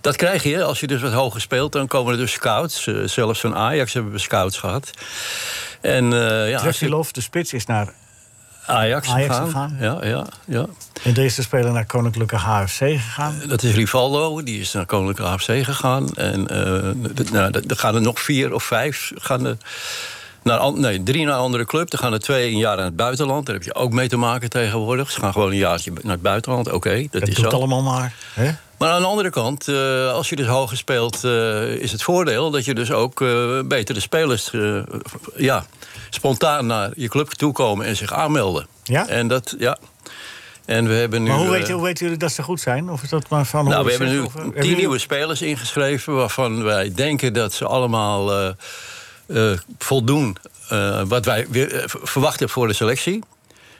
Speaker 11: Dat krijg je, hè. als je dus wat hoger speelt, dan komen er dus scouts. Eh, zelfs van Ajax hebben we scouts gehad. En eh, ja, als je
Speaker 3: Trefilov, de spits, is naar
Speaker 11: Ajax,
Speaker 3: Ajax
Speaker 11: gegaan.
Speaker 3: gegaan.
Speaker 11: Ja, ja, ja. Eh,
Speaker 3: En deze speler naar Koninklijke HFC gegaan.
Speaker 11: Dat is Rivaldo, die is naar Koninklijke AFC gegaan. En eh, d- nou, d- er gaan er nog vier of vijf. Gaan er naar, an- nee, drie naar een andere club. Er gaan er twee een jaar naar het buitenland. Daar heb je ook mee te maken tegenwoordig. Ze gaan gewoon een jaartje naar het buitenland. Oké, dat,
Speaker 3: Dat
Speaker 11: is
Speaker 3: doet
Speaker 11: zo.
Speaker 3: allemaal maar. Hè?
Speaker 11: Maar aan de andere kant, eh, als je dus hoger speelt, eh, is het voordeel dat je dus ook eh, betere spelers eh, ja, spontaan naar je club toekomen en zich aanmelden.
Speaker 3: Ja?
Speaker 11: En dat, ja. En we hebben nu.
Speaker 3: Maar hoe,
Speaker 11: eh,
Speaker 3: weten, hoe weten jullie dat ze goed zijn? Of is dat maar van
Speaker 11: nou,
Speaker 3: horen
Speaker 11: we hebben
Speaker 3: zeggen?
Speaker 11: nu
Speaker 3: Of, eh, hebben
Speaker 11: tien
Speaker 3: jullie-
Speaker 11: nieuwe spelers ingeschreven... waarvan wij denken dat ze allemaal eh, eh, voldoen... eh, wat wij weer, eh, v- verwachten voor de selectie.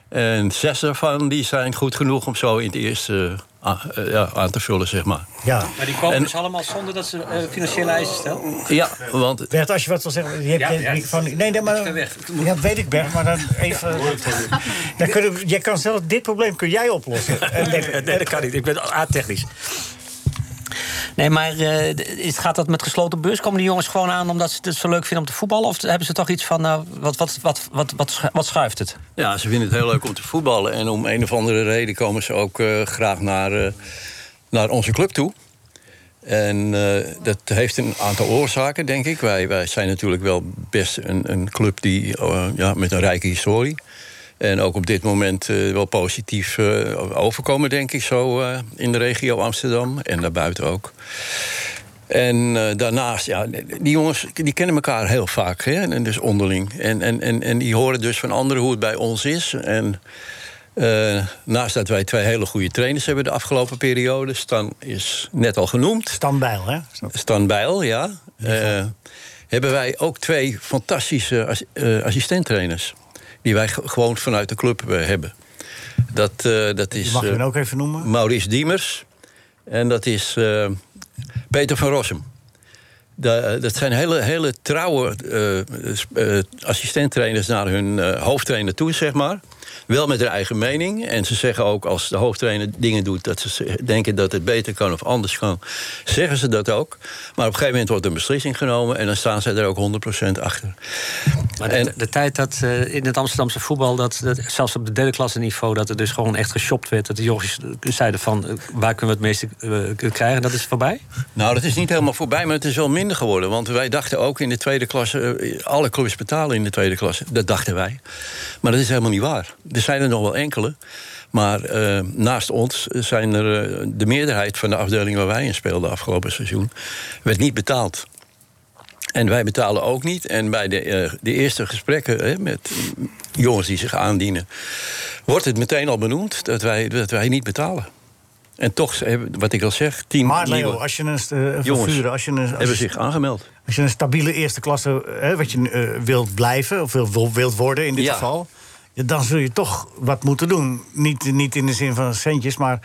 Speaker 11: En zes daarvan die zijn goed genoeg om zo in het eerste eh, a- eh, ja, aan te vullen, zeg maar.
Speaker 3: Ja.
Speaker 12: Maar die komen
Speaker 11: En-
Speaker 12: dus allemaal zonder dat ze eh, financiële eisen stellen.
Speaker 11: Ja, want...
Speaker 3: Bert, als je wat wil zeggen. Je hebt
Speaker 12: Ja,
Speaker 3: je
Speaker 12: ja.
Speaker 3: microfoon niet- Nee, nee, maar. Ja, weet ik, Bert, maar dan even. Dan kun je, jij kan zelf, dit probleem kun jij oplossen.
Speaker 12: Nee, dat kan niet. Ik ben aardtechnisch. Nee, maar eh, d- is, gaat dat met gesloten beurs? Komen die jongens gewoon aan omdat ze het zo leuk vinden om te voetballen? Of hebben ze toch iets van, nou, wat, wat, wat, wat, wat, schu- wat schuift het?
Speaker 11: Ja, ze vinden het heel leuk om te voetballen. En om een of andere reden komen ze ook eh, graag naar, eh, naar onze club toe. En eh, dat heeft een aantal oorzaken, denk ik. Wij, wij zijn natuurlijk wel best een, een club die, eh, ja, met een rijke historie. En ook op dit moment eh, wel positief eh, overkomen, denk ik, zo eh, in de regio Amsterdam en daarbuiten ook. En eh, daarnaast, ja, die jongens die kennen elkaar heel vaak, hè? En dus onderling. En, en, en, en die horen dus van anderen hoe het bij ons is. En eh, naast dat wij twee hele goede trainers hebben de afgelopen periode, Stan is net al genoemd.
Speaker 3: Stan Bijl, hè?
Speaker 11: Stan Bijl, ja. Eh, hebben wij ook twee fantastische as, eh, assistenttrainers. Die wij ge- gewoon vanuit de club eh, hebben. Dat, eh, dat is.
Speaker 3: Die mag je
Speaker 11: eh,
Speaker 3: dan ook even noemen.
Speaker 11: Maurice Diemers. En dat is eh, Peter van Rossum. Da- dat zijn hele, hele trouwe eh, sp- eh, assistenttrainers naar hun eh, hoofdtrainer toe, zeg maar. Wel met hun eigen mening. En ze zeggen ook als de hoofdtrainer dingen doet dat ze z- denken dat het beter kan of anders kan, zeggen ze dat ook. Maar op een gegeven moment wordt een beslissing genomen en dan staan zij er ook 100% achter.
Speaker 12: Maar de, de tijd dat eh, in het Amsterdamse voetbal, dat, dat, zelfs op de derde klasse niveau, dat er dus gewoon echt geshopt werd. Dat de jongens zeiden van eh, waar kunnen we het meeste eh, krijgen, dat is voorbij.
Speaker 11: Nou, dat is niet helemaal voorbij, maar het is wel minder geworden. Want wij dachten ook in de tweede klasse, eh, alle clubs betalen in de tweede klasse. Dat dachten wij. Maar dat is helemaal niet waar. Er zijn er nog wel enkele. Maar eh, naast ons zijn er eh, de meerderheid van de afdeling waar wij in speelden afgelopen seizoen, werd niet betaald. En wij betalen ook niet. En bij de, eh, de eerste gesprekken hè, met jongens die zich aandienen, wordt het meteen al benoemd dat wij, dat wij niet betalen. En toch, eh, wat ik al zeg, tien
Speaker 3: Maar Leo,
Speaker 11: nieuwe-
Speaker 3: als je een eh,
Speaker 11: Jongens,
Speaker 3: vervuren, als je een, als,
Speaker 11: hebben zich aangemeld.
Speaker 3: als je een stabiele eerste klasse eh, wat je eh, wilt blijven of wil- wil- wilt worden in dit
Speaker 11: Ja.
Speaker 3: geval, ja, dan zul je toch wat moeten doen. Niet, niet in de zin van centjes, maar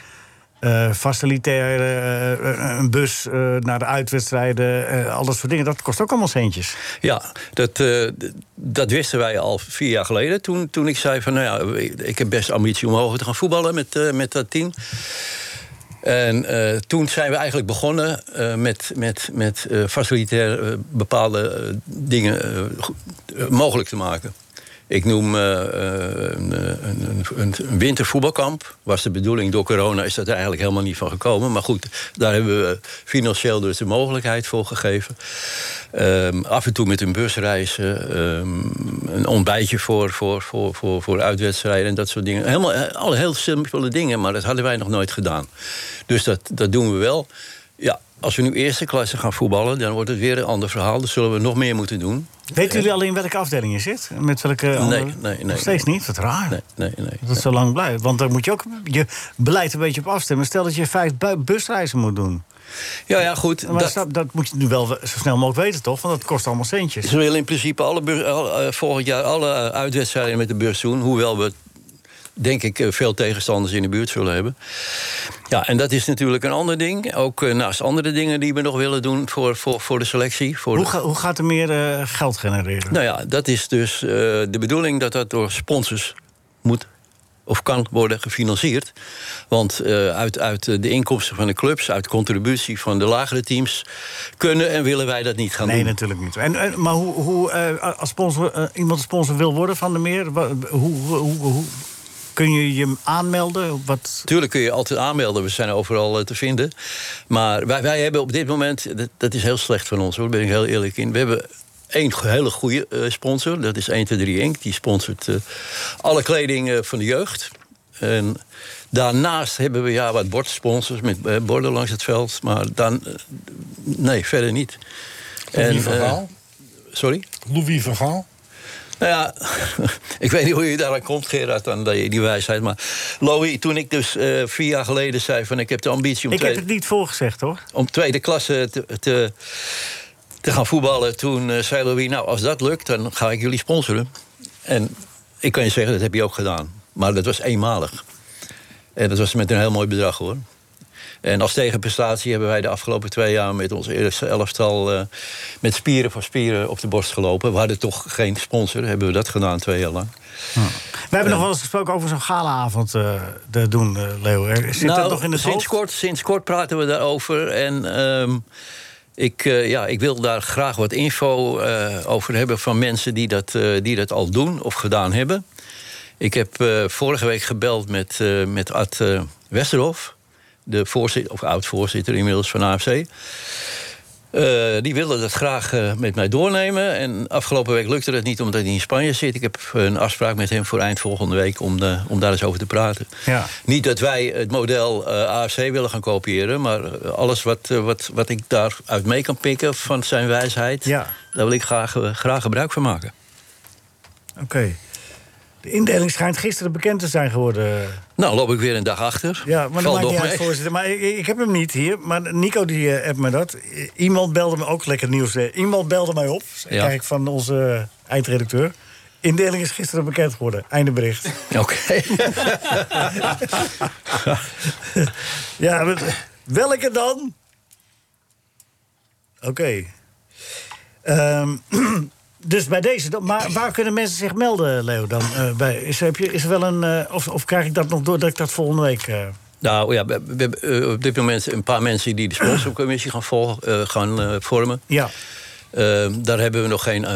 Speaker 3: eh faciliteren, eh, eh, een bus eh, naar de uitwedstrijden, eh, al dat soort dingen. Dat kost ook allemaal centjes.
Speaker 11: Ja, dat, eh, d- dat wisten wij al vier jaar geleden. Toen, toen ik zei van, nou ja, ik- ik heb best ambitie om hoger te gaan voetballen met, eh, met dat team. En eh, toen zijn we eigenlijk begonnen eh, met, met, met eh, facilitair eh, bepaalde eh, dingen eh, go- eh, mogelijk te maken. Ik noem eh, eh, een, een, een, een wintervoetbalkamp. Was de bedoeling, door corona is dat er eigenlijk helemaal niet van gekomen. Maar goed, daar hebben we financieel dus de mogelijkheid voor gegeven. Ehm, af en toe met een bus reizen. ehm, een ontbijtje voor, voor, voor, voor, voor uitwedstrijden en dat soort dingen. Helemaal, eh, alle heel simpele dingen, maar dat hadden wij nog nooit gedaan. Dus dat, dat doen we wel. Ja, als we nu eerste klasse gaan voetballen, dan wordt het weer een ander verhaal. Dan zullen we nog meer moeten doen.
Speaker 3: Weten jullie al in welke afdeling je zit? Met welke andere-
Speaker 11: nee, nee.
Speaker 3: eh, Nog steeds niet? Wat raar.
Speaker 11: Nee, nee, nee.
Speaker 3: Dat het zo lang blijft. Want dan moet je ook je beleid een beetje op afstemmen. Stel dat je vijf bu- busreizen moet doen.
Speaker 11: Ja, ja, goed.
Speaker 3: Maar
Speaker 11: dat-
Speaker 3: snap- dat moet je nu wel we- zo snel mogelijk weten, toch? Want dat kost allemaal centjes.
Speaker 11: Ze willen in principe alle bus, al, eh, volgend jaar alle eh, uitwedstrijden met de bus doen. Hoewel we, denk ik, eh, veel tegenstanders in de buurt zullen hebben. Ja, en dat is natuurlijk een ander ding. Ook eh, naast andere dingen die we nog willen doen voor, voor, voor de selectie. Voor
Speaker 3: Hoe,
Speaker 11: de-
Speaker 3: ga- hoe gaat er meer eh, geld genereren?
Speaker 11: Nou ja, dat is dus eh, de bedoeling dat dat door sponsors moet of kan worden gefinancierd. Want eh, uit, uit de inkomsten van de clubs, uit contributie van de lagere teams, kunnen en willen wij dat niet gaan
Speaker 3: Nee,
Speaker 11: doen.
Speaker 3: natuurlijk niet. En, en- maar hoe, hoe eh, als sponsor, eh, iemand een sponsor wil worden van de meer, wa- hoe, hoe, hoe, hoe- kun je je aanmelden? Wat,
Speaker 11: Tuurlijk kun je altijd aanmelden, we zijn overal eh, te vinden. Maar wij, wij hebben op dit moment, dat, dat is heel slecht van ons hoor, daar ben ik heel eerlijk in. We hebben één go- hele goede eh, sponsor, dat is 123 Inc. Die sponsort eh, alle kleding eh, van de jeugd. En daarnaast hebben we ja, wat bordsponsors met eh, borden langs het veld. Maar dan, eh, nee, verder niet.
Speaker 7: Louis van
Speaker 11: eh,
Speaker 7: Gaal?
Speaker 11: sorry?
Speaker 7: Louis van Gaal.
Speaker 11: Nou ja, ik weet niet hoe je daaraan komt, Gerard, aan die, die wijsheid. Maar Louis, toen ik dus eh, vier jaar geleden zei van ik heb de ambitie om,
Speaker 3: ik heb
Speaker 11: tweede,
Speaker 3: het niet voorgezegd, hoor.
Speaker 11: om tweede klasse te, te, te gaan voetballen, toen eh, zei Louis, nou als dat lukt, dan ga ik jullie sponsoren. En ik kan je zeggen, dat heb je ook gedaan. Maar dat was eenmalig. En dat was met een heel mooi bedrag hoor. En als tegenprestatie hebben wij de afgelopen twee jaar met ons eerste elftal eh, met spieren voor spieren op de borst gelopen. We hadden toch geen sponsor, hebben we dat gedaan twee jaar lang.
Speaker 3: We hebben nog wel eens gesproken over zo'n galaavond eh te doen, eh, Leo. Er- Zit dat nog in het
Speaker 11: Nou, sinds
Speaker 3: hoofd?
Speaker 11: Kort, sinds kort praten we daarover. En ehm, ik, eh, ja, ik wil daar graag wat info eh, over hebben van mensen die dat, eh, die dat al doen of gedaan hebben. Ik heb eh, vorige week gebeld met, eh, met Ad eh, Westerhof, de voorzitter, of oud-voorzitter inmiddels van AFC. Eh, die wilde dat graag eh, met mij doornemen. En afgelopen week lukte dat niet omdat hij in Spanje zit. Ik heb een afspraak met hem voor eind volgende week om, eh, om daar eens over te praten.
Speaker 3: Ja.
Speaker 11: Niet dat wij het model eh, AFC willen gaan kopiëren, maar eh, alles wat, eh, wat, wat ik daaruit mee kan pikken van zijn wijsheid, daar wil ik graag, eh, graag gebruik van maken.
Speaker 3: Oké. De indeling schijnt gisteren bekend te zijn geworden.
Speaker 11: Nou, loop ik weer een dag achter.
Speaker 3: Ja, maar dat
Speaker 11: Valt
Speaker 3: maakt niet
Speaker 11: nog
Speaker 3: uit,
Speaker 11: mee.
Speaker 3: voorzitter. Maar ik, ik heb hem niet hier. Maar Nico die eh, appt me dat. I- Iemand belde me ook lekker nieuws. eh, Iemand belde mij op.
Speaker 11: Ja.
Speaker 3: Kijk van onze eh, eindredacteur. Indeling is gisteren bekend geworden. Einde bericht.
Speaker 11: Oké.
Speaker 3: ja, maar welke dan? Oké. Ehm, dus bij deze. dan- Maar waar kunnen mensen zich melden, Leo? Dan, eh, bij, is, heb je, is er wel een. eh, of, of krijg ik dat nog door dat ik dat volgende week. eh,
Speaker 11: Nou ja, we, we hebben eh, op dit moment een paar mensen die de sponsorcommissie gaan, vol, eh, gaan eh, vormen.
Speaker 3: ja.
Speaker 11: Eh, daar hebben we nog geen eh,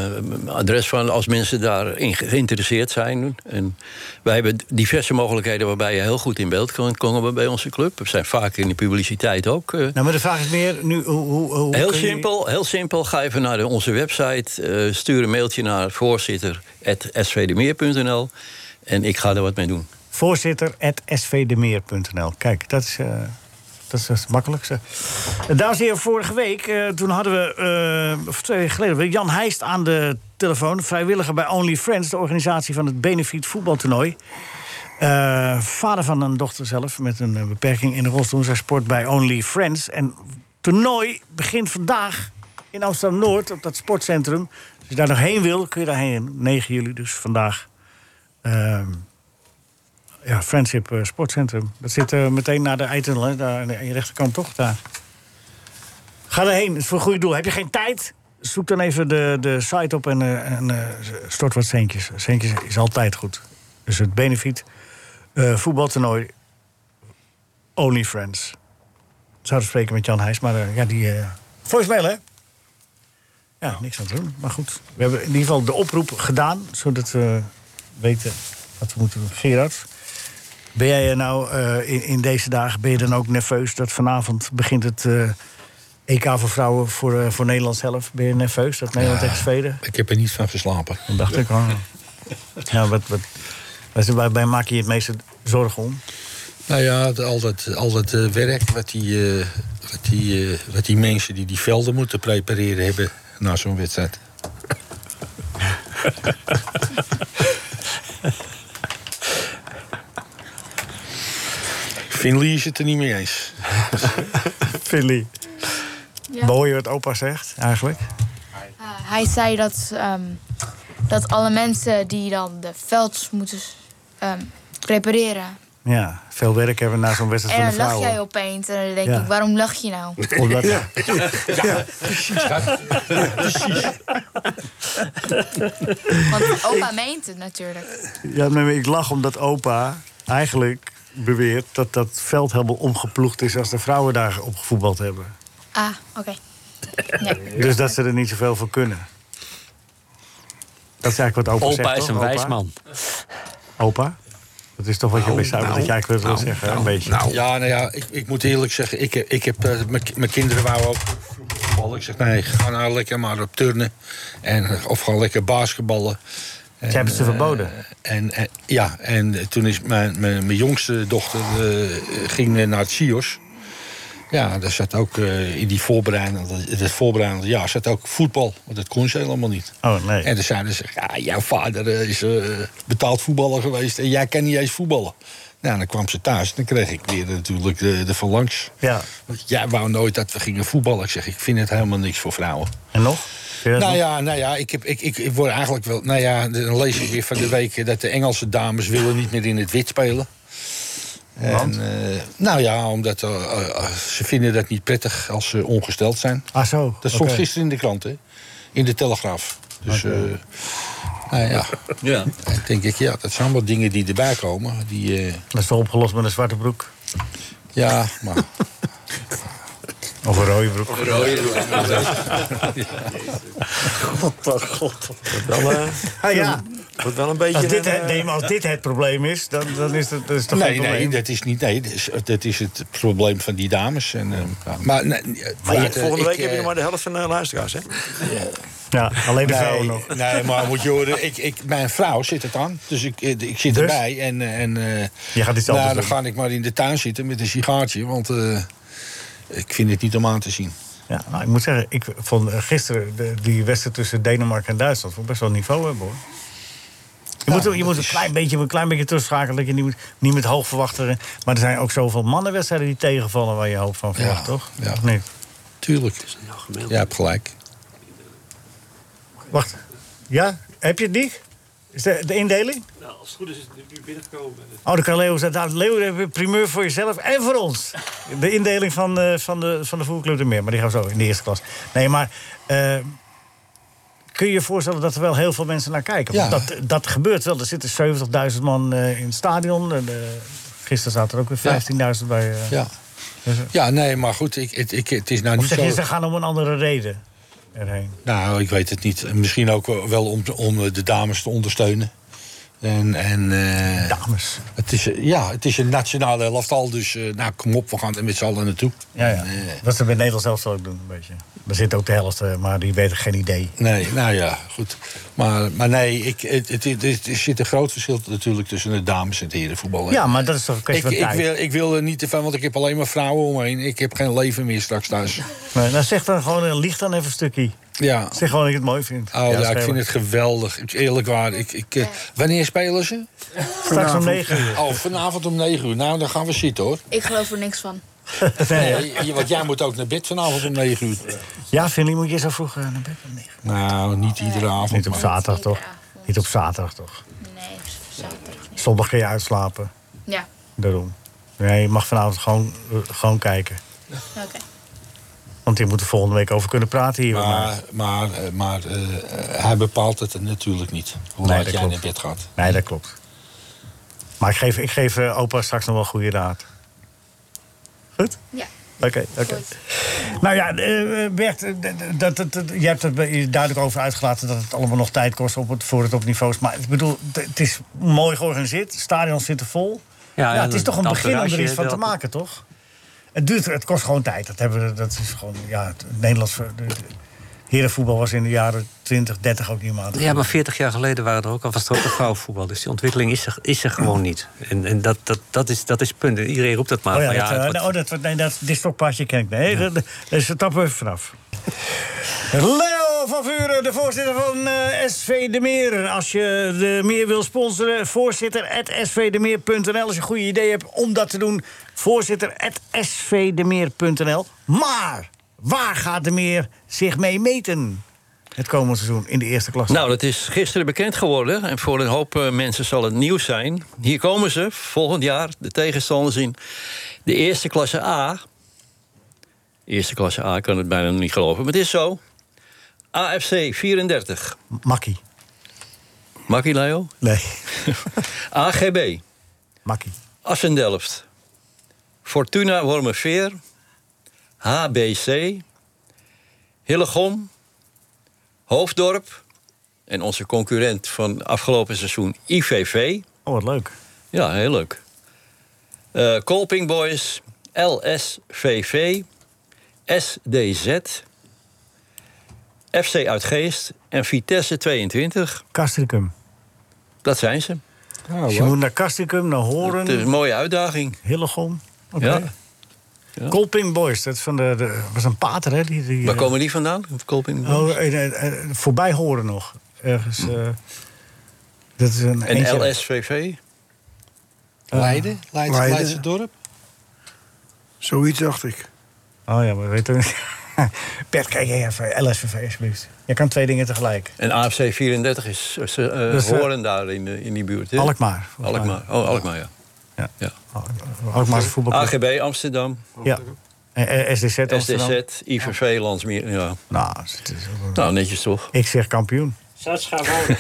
Speaker 11: adres van als mensen daarin ge- geïnteresseerd zijn. En wij hebben diverse mogelijkheden waarbij je heel goed in beeld kan komen bij onze club. We zijn vaak in de publiciteit ook. eh,
Speaker 3: Nou, maar de vraag is meer nu. Hoe, hoe, hoe
Speaker 11: Heel
Speaker 3: kun je-
Speaker 11: simpel, heel simpel. Ga even naar de- onze website. eh, stuur een mailtje naar voorzitter.svdemeer.nl. En ik ga er wat mee doen.
Speaker 3: Voorzitter at svdemeer.nl. Kijk, dat is, eh, dat is het makkelijkste. Eh, Dames en heren, vorige week, eh, toen hadden we, eh, of twee weken geleden, hadden we Jan Heijst aan de telefoon. Vrijwilliger bij Only Friends, de organisatie van het Benefiet voetbaltoernooi. Eh, vader van een dochter zelf, met een eh, beperking in de rolstoel. Zij sport bij Only Friends. En het toernooi begint vandaag in Amsterdam-Noord, op dat sportcentrum. Als je daar nog heen wil, kun je daarheen. 9 juli dus, vandaag. Ehm, ja, Friendship eh, Sportcentrum. Dat zit eh, meteen na de eitunnel, hè? Daar aan de- aan je rechterkant toch? Daar. Ga erheen, het is voor een goede doel. Heb je geen tijd? Zoek dan even de, de site op en, eh, en eh, stort wat centjes. Centjes is altijd goed. Dus het benefiet eh, voetbaltoernooi Only Friends. Zouden spreken met Jan Heijs, maar eh, ja, die... eh voicemail, hè? Ja, niks aan te doen, maar goed. We hebben in ieder geval de oproep gedaan, zodat we weten wat we moeten doen. Gerard, ben jij er nou eh, in, in deze dagen ben je dan ook nerveus dat vanavond begint het eh, EK voor vrouwen voor, eh, voor Nederland zelf? Ben je nerveus dat Nederland
Speaker 7: Ja,
Speaker 3: tegen Zweden?
Speaker 7: Ik heb er niet van geslapen.
Speaker 3: Dat dacht ik al. Ja, wat, wat, waar- waarbij maak je je het meeste zorgen om?
Speaker 7: Nou ja, het- al dat, al dat eh, werk wat die, eh, wat, die, eh, wat die mensen die die velden moeten prepareren hebben na zo'n wedstrijd. Finley is het er niet mee eens.
Speaker 3: Finley.
Speaker 6: Ja.
Speaker 3: Hoor je wat opa zegt eigenlijk?
Speaker 6: Eh, hij zei dat, ehm, dat alle mensen die dan de velds moeten ehm, prepareren.
Speaker 3: Ja, veel werk hebben na zo'n wedstrijd
Speaker 6: En
Speaker 3: van
Speaker 6: dan
Speaker 3: de
Speaker 6: Eh, lach
Speaker 3: vrouwen.
Speaker 6: jij opeens en dan denk
Speaker 3: Ja.
Speaker 6: ik, waarom lach je nou?
Speaker 3: Omdat- Ja.
Speaker 7: Ja, precies. schat. Ja, precies.
Speaker 6: Want opa meent het natuurlijk.
Speaker 3: Ja, nee, maar ik lach omdat opa eigenlijk beweert dat dat veld helemaal omgeploegd is als de vrouwen daar op gevoetbald hebben.
Speaker 6: Ah, oké.
Speaker 3: Dus dat ze er niet zoveel voor kunnen. Dat is eigenlijk wat opa,
Speaker 8: Opa
Speaker 3: zegt.
Speaker 8: is
Speaker 3: toch,
Speaker 8: een wijsman.
Speaker 3: Opa? Dat is toch wat
Speaker 7: Nou,
Speaker 3: je bij Simon dat je eigenlijk wil zeggen, hè, een beetje.
Speaker 7: Ja, nou ja, ik, ik moet eerlijk zeggen, ik, heb- ik heb, eh, mijn ki- mijn kinderen wouden ook vroeger voetballen. Ik zeg, nee, ga nou lekker maar op turnen. En, of ga lekker basketballen. En,
Speaker 3: hebben ze
Speaker 7: eh,
Speaker 3: verboden.
Speaker 7: en, en- ja, en toen is mijn, mijn, mijn jongste dochter eh, ging naar het CIOS. Ja, daar zat ook eh, in die voorbereidende, in het voorbereidende jaar zat ook voetbal. Want dat kon ze helemaal niet.
Speaker 3: Oh, nee.
Speaker 7: En toen zeiden ze, ja, jouw vader eh, is eh, betaald voetballer geweest... en jij kan niet eens voetballen. Nou, dan kwam ze thuis en dan kreeg ik weer natuurlijk de, de verlangs.
Speaker 3: Ja.
Speaker 7: Want jij wou nooit dat we gingen voetballen. Ik zeg, ik vind het helemaal niks voor vrouwen.
Speaker 3: En nog?
Speaker 7: Nou
Speaker 3: nog?
Speaker 7: ja, nou ja ik, heb, ik, ik, ik word eigenlijk wel... Nou ja, dan lees ik weer van de week... eh, dat de Engelse dames willen niet meer in het wit spelen.
Speaker 3: Want?
Speaker 7: eh, nou ja, omdat eh, eh, ze vinden dat niet prettig als ze ongesteld zijn.
Speaker 3: Ah zo,
Speaker 7: Dat stond
Speaker 3: oké.
Speaker 7: gisteren in de krant, hè? In de Telegraaf. Dus, eh nou ja.
Speaker 11: ja.
Speaker 7: Dan denk ik, ja, dat zijn wel dingen die erbij komen. Die, eh,
Speaker 3: Dat is wel opgelost met een zwarte broek.
Speaker 7: ja, maar...
Speaker 3: Of een rode broek.
Speaker 7: Of een rode broek.
Speaker 3: God, oh god.
Speaker 5: Wel, eh,
Speaker 3: Ah, ja.
Speaker 5: wordt wel een beetje...
Speaker 3: Als dit,
Speaker 5: een,
Speaker 3: het,
Speaker 5: eh,
Speaker 3: nee, maar als dit het probleem is, dan, dan is het dat is toch geen
Speaker 7: Nee,
Speaker 3: probleem.
Speaker 7: nee, dat is niet. Nee, dat is, dat is het probleem van die dames. En, eh, ja, maar nee, later,
Speaker 5: volgende
Speaker 7: ik,
Speaker 5: week heb je
Speaker 7: eh,
Speaker 5: nog maar de helft van de luisteraars, hè?
Speaker 3: Ja, alleen de
Speaker 7: nee,
Speaker 3: vrouwen nog.
Speaker 7: Nee, maar moet je horen, ik, ik, mijn vrouw zit het aan. Dus ik, ik ik zit
Speaker 3: Dus?
Speaker 7: erbij. En, eh, en, eh,
Speaker 3: Je gaat iets
Speaker 7: nou,
Speaker 3: anders
Speaker 7: dan
Speaker 3: doen.
Speaker 7: ga ik maar in de tuin zitten met een sigaartje. Want eh, ik vind het niet om aan te zien.
Speaker 3: Ja, nou, ik moet zeggen, ik vond eh, gisteren de, die wedstrijd tussen Denemarken en Duitsland vond ik best wel een niveau hebben hoor. Je moet, je moet een, klein beetje, een klein beetje terugschakelen. Dat je niet, moet- niet met hoog verwachten. Maar er zijn ook zoveel mannenwedstrijden die tegenvallen waar je hoop van verwacht, toch?
Speaker 7: ja.
Speaker 3: Of niet?
Speaker 7: Tuurlijk. Jij hebt gelijk.
Speaker 3: Wacht. Ja? Heb je het, Diek? Is de, de indeling?
Speaker 12: Nou, als het goed is, is het nu binnengekomen.
Speaker 3: Oh, dan kan Leo zeggen. Leo, heb je Eh, primeur voor jezelf en voor ons. De indeling van, eh, van de, van de voetbalclub de Meer. Maar die gaan we zo in de eerste klas. Nee, maar eh, kun je je voorstellen dat er wel heel veel mensen naar kijken. Want
Speaker 7: Ja.
Speaker 3: dat, dat gebeurt wel. Er zitten 70.000 man eh, in het stadion. En, eh, gisteren zaten er ook
Speaker 7: Ja.
Speaker 3: weer 15.000 bij. eh,
Speaker 7: Ja. ja, nee, maar goed, ik, het- ik, het is nou
Speaker 3: Of
Speaker 7: niet
Speaker 3: zeg
Speaker 7: zo...
Speaker 3: je, ze gaan om een andere reden erheen.
Speaker 7: Nou, ik weet het niet. Misschien ook wel om, om de dames te ondersteunen. En, en, eh,
Speaker 3: dames?
Speaker 7: Het is, eh, ja, het is een nationale elftal, dus eh, nou, kom op, we gaan er met z'n allen naartoe. eh,
Speaker 3: Ja, ja. Dat ze bij Nederland zelf ook doen, een beetje. Er zit ook de helft, eh, maar die weten geen idee.
Speaker 7: Nee, nou ja, goed. Maar, maar nee, ik, het, het, het- er zit een groot verschil natuurlijk tussen de dames en het herenvoetbal.
Speaker 3: Ja, maar dat is toch een kwestie
Speaker 7: ik,
Speaker 3: van
Speaker 7: ik
Speaker 3: tijd.
Speaker 7: wil, ik wil er niet te van, want ik heb alleen maar vrouwen omheen. Ik heb geen leven meer straks thuis.
Speaker 3: Nee, nou, zeg dan gewoon, eh, lieg dan even een stukje.
Speaker 7: Ja.
Speaker 3: Zeg gewoon dat ik het mooi vind.
Speaker 7: Oh ja, ik
Speaker 3: schelen.
Speaker 7: vind het geweldig. Ik- Eerlijk waar. Ik, ik, eh, wanneer spelen ze?
Speaker 3: Straks om 9 uur.
Speaker 7: Oh, vanavond om 9 uur. Nou, dan gaan we zitten hoor.
Speaker 6: Ik geloof er niks van.
Speaker 7: Nee, je- want jij moet ook naar bed vanavond om 9 uur.
Speaker 3: Ja, Vinnie, moet je zo vroeg eh, naar bed? Nee.
Speaker 7: Nou, niet iedere avond.
Speaker 3: Niet op
Speaker 7: maar-
Speaker 3: zaterdag, toch? Niet op zaterdag, toch?
Speaker 6: Nee, zaterdag niet.
Speaker 3: Zondag kun je uitslapen,
Speaker 6: Ja,
Speaker 3: daarom. Nee, je mag vanavond gewoon, eh, gewoon kijken.
Speaker 6: oké.
Speaker 3: Want hier moeten we volgende week over kunnen praten hier.
Speaker 7: Maar, maar, eh, maar eh, hij bepaalt het natuurlijk niet. Hoe
Speaker 3: Nee,
Speaker 7: laat
Speaker 3: dat
Speaker 7: jij
Speaker 3: klopt.
Speaker 7: naar bed gaat.
Speaker 3: Nee, dat klopt. Maar ik geef, ik geef eh, opa straks nog wel een goede raad. Goed?
Speaker 6: Ja.
Speaker 3: Oké, oké. Nou ja, eh, Bert, eh, d- dat, dat, dat- je hebt er bij- duidelijk over uitgelaten dat het allemaal nog tijd kost op het, voor het op niveaus. Maar ik bedoel, d- het is mooi georganiseerd, stadions zitten vol. Ja,
Speaker 8: ja,
Speaker 3: het is
Speaker 8: dat-
Speaker 3: toch een
Speaker 8: dat
Speaker 3: begin om er
Speaker 8: terrasje,
Speaker 3: iets van
Speaker 8: dat-
Speaker 3: te maken, toch? Het, duurt, het kost gewoon tijd. Dat, hebben, we- dat is gewoon, ja, het Nederlands. ver- de- de- Herenvoetbal was in de jaren 20, 30 ook niet meer aan de
Speaker 8: Ja, maar 40 jaar geleden waren er ook al, was er ook al vrouwenvoetbal. Dus die ontwikkeling is er, is er gewoon niet. En, en dat, dat, dat, is, dat is het punt. Iedereen roept dat maar.
Speaker 3: Oh ja,
Speaker 8: Maar ja,
Speaker 3: dat, eh,
Speaker 8: het wordt-
Speaker 3: nou, dat, wordt- nee, dat dit stokpaardje ken ik. Nee, dat, dat, dus daar tappen we even vanaf. Leo van Vuren, de voorzitter van eh, SV De Meer. Als je De Meer wil sponsoren, voorzitter at svdemeer.nl. Als je een goede idee hebt om dat te doen, voorzitter at svdemeer.nl. Maar waar gaat De Meer zich mee meten het komende seizoen in de eerste klasse?
Speaker 11: Nou, dat is gisteren bekend geworden. En voor een hoop eh, mensen zal het nieuws zijn. Hier komen ze volgend jaar, de tegenstanders in de eerste klasse A. Eerste klasse A ik kan het bijna niet geloven, maar het is zo. AFC 34.
Speaker 3: Makkie.
Speaker 11: Makkie Leo?
Speaker 3: Nee.
Speaker 11: AGB.
Speaker 3: Makkie.
Speaker 11: Assendelft. Fortuna Wormerveer. HBC. Hillegom. Hoofddorp. En onze concurrent van afgelopen seizoen, IVV.
Speaker 3: Oh, wat leuk.
Speaker 11: Ja, heel leuk. Eh Colping Boys. LSVV. SDZ. FC Uitgeest. En Vitesse 22.
Speaker 3: Castricum.
Speaker 11: Dat zijn ze.
Speaker 3: Dus je moet naar Castricum, naar Horen.
Speaker 11: Het is een mooie uitdaging.
Speaker 3: Hillegom. Oké.
Speaker 11: Ja.
Speaker 3: Colping Boys, dat is van de, de- was een pater, hè? Die, die, eh,
Speaker 11: Waar komen die vandaan? Colping Boys?
Speaker 3: Oh, eh, eh, eh, voorbij horen nog. Ergens.
Speaker 4: Mm.
Speaker 3: eh, dat is een
Speaker 11: En
Speaker 3: eentje-
Speaker 11: LSVV?
Speaker 3: Eh,
Speaker 7: Leiden? Leiden?
Speaker 3: Leiden.
Speaker 7: Leidse dorp?
Speaker 4: Zoiets dacht ik.
Speaker 3: Oh ja, maar weet je. Bert, kijk jij even. LSVV, alsjeblieft. Je kan twee dingen tegelijk.
Speaker 11: En AFC 34 is, ze eh,
Speaker 3: Dus, eh,
Speaker 11: horen daar in, eh, in die buurt. Hè?
Speaker 3: Alkmaar, volgens mij.
Speaker 11: Alkmaar. Oh, Alkmaar, ja.
Speaker 3: Ja.
Speaker 11: ja.
Speaker 3: Alkmaar is een voetbalclub.
Speaker 11: AGB Amsterdam,
Speaker 3: Ja. En, eh, SDZ Amsterdam.
Speaker 11: SDZ, IVV, Landsmeer. Ja.
Speaker 3: Nou,
Speaker 11: nou, netjes toch?
Speaker 3: Ik zeg kampioen.
Speaker 12: Zuid-Schaafhouden.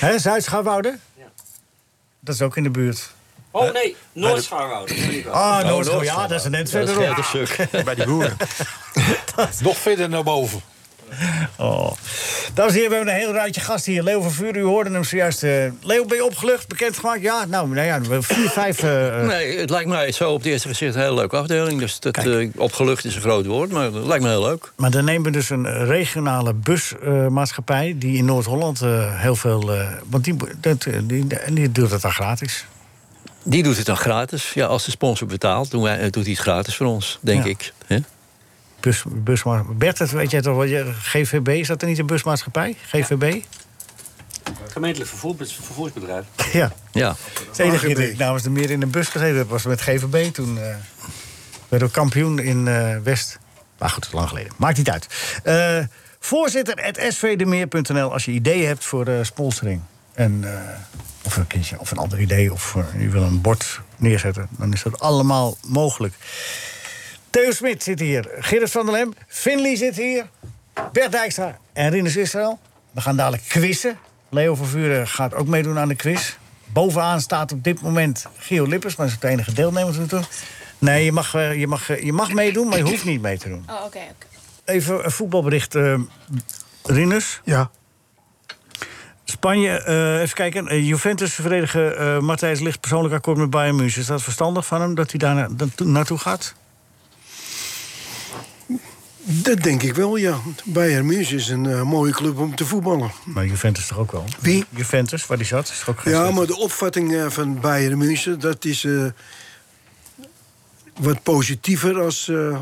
Speaker 3: Hè, Zuid-Schouwwoude? Dat is ook in de buurt.
Speaker 12: Oh nee, Noord-Schaafhouden.
Speaker 3: Ah, Noord- oh, ja, dat is net verderop.
Speaker 7: Bij die boeren. Nog verder naar boven.
Speaker 3: Oh. Dames en heren, we hebben een heel raadje gasten hier. Leo van Vuur, u hoorde hem zojuist. eh, Leo, ben je opgelucht, bekendgemaakt? Ja, nou, nou ja, we hebben vier, vijf... eh, eh,
Speaker 11: Nee, het lijkt mij zo op het eerste gezicht een hele leuke afdeling. Dus dat, eh, opgelucht is een groot woord, maar het lijkt me heel leuk.
Speaker 3: Maar dan nemen we dus een regionale busmaatschappij... die in Noord-Holland eh, heel veel... eh, want die, dat, eh, die, die doet dat dan gratis.
Speaker 11: Die doet het dan gratis. Ja, als de sponsor betaalt, doen wij, eh, doet hij het gratis voor ons, denk
Speaker 3: Ja.
Speaker 11: ik. hè?
Speaker 3: Bus, busmaatschappij. Bert, dat weet jij toch wel? je- GVB, is dat er niet een busmaatschappij? GVB?
Speaker 12: Gemeentelijk vervoer, vervoersbedrijf.
Speaker 3: Ja.
Speaker 11: Ja.
Speaker 3: Het enige keer dat ik namens de meer in een bus gezeten heb... was met GVB toen... eh werden we kampioen in eh, West. Maar goed, dat is lang geleden. Maakt niet uit. Eh, voorzitter at svdemeer.nl als je ideeën hebt voor eh, sponsoring. En, eh, of, een kindje, of een ander idee, of eh, je wil een bord neerzetten. Dan is dat allemaal mogelijk. Theo Smit zit hier. Gerrit van der Lem. Finley zit hier. Bert Dijkstra en Rinus Israël. We gaan dadelijk quizzen. Leo van Vuren gaat ook meedoen aan de quiz. Bovenaan staat op dit moment Gio Lippers, maar dat is de enige deelnemer tot nu toe. Nee, je mag, eh, je, mag, eh, je mag meedoen, maar je hoeft niet mee te doen.
Speaker 6: Oh, oké.
Speaker 3: Even een voetbalbericht, eh Rinus.
Speaker 4: Ja.
Speaker 3: Spanje, eh, even kijken. Eh, Juventus verdediger eh Matthijs ligt persoonlijk akkoord met Bayern München. Is dat verstandig van hem dat hij daar na- naartoe- naartoe gaat?
Speaker 4: Dat denk ik wel, ja. Bayern München is een eh, mooie club om te voetballen.
Speaker 3: Maar Juventus toch ook wel?
Speaker 4: Wie?
Speaker 3: Juventus, waar die zat. Is toch ook geen
Speaker 4: Ja,
Speaker 3: slechte-
Speaker 4: maar de opvatting eh, van Bayern München... dat is eh, wat positiever als, eh,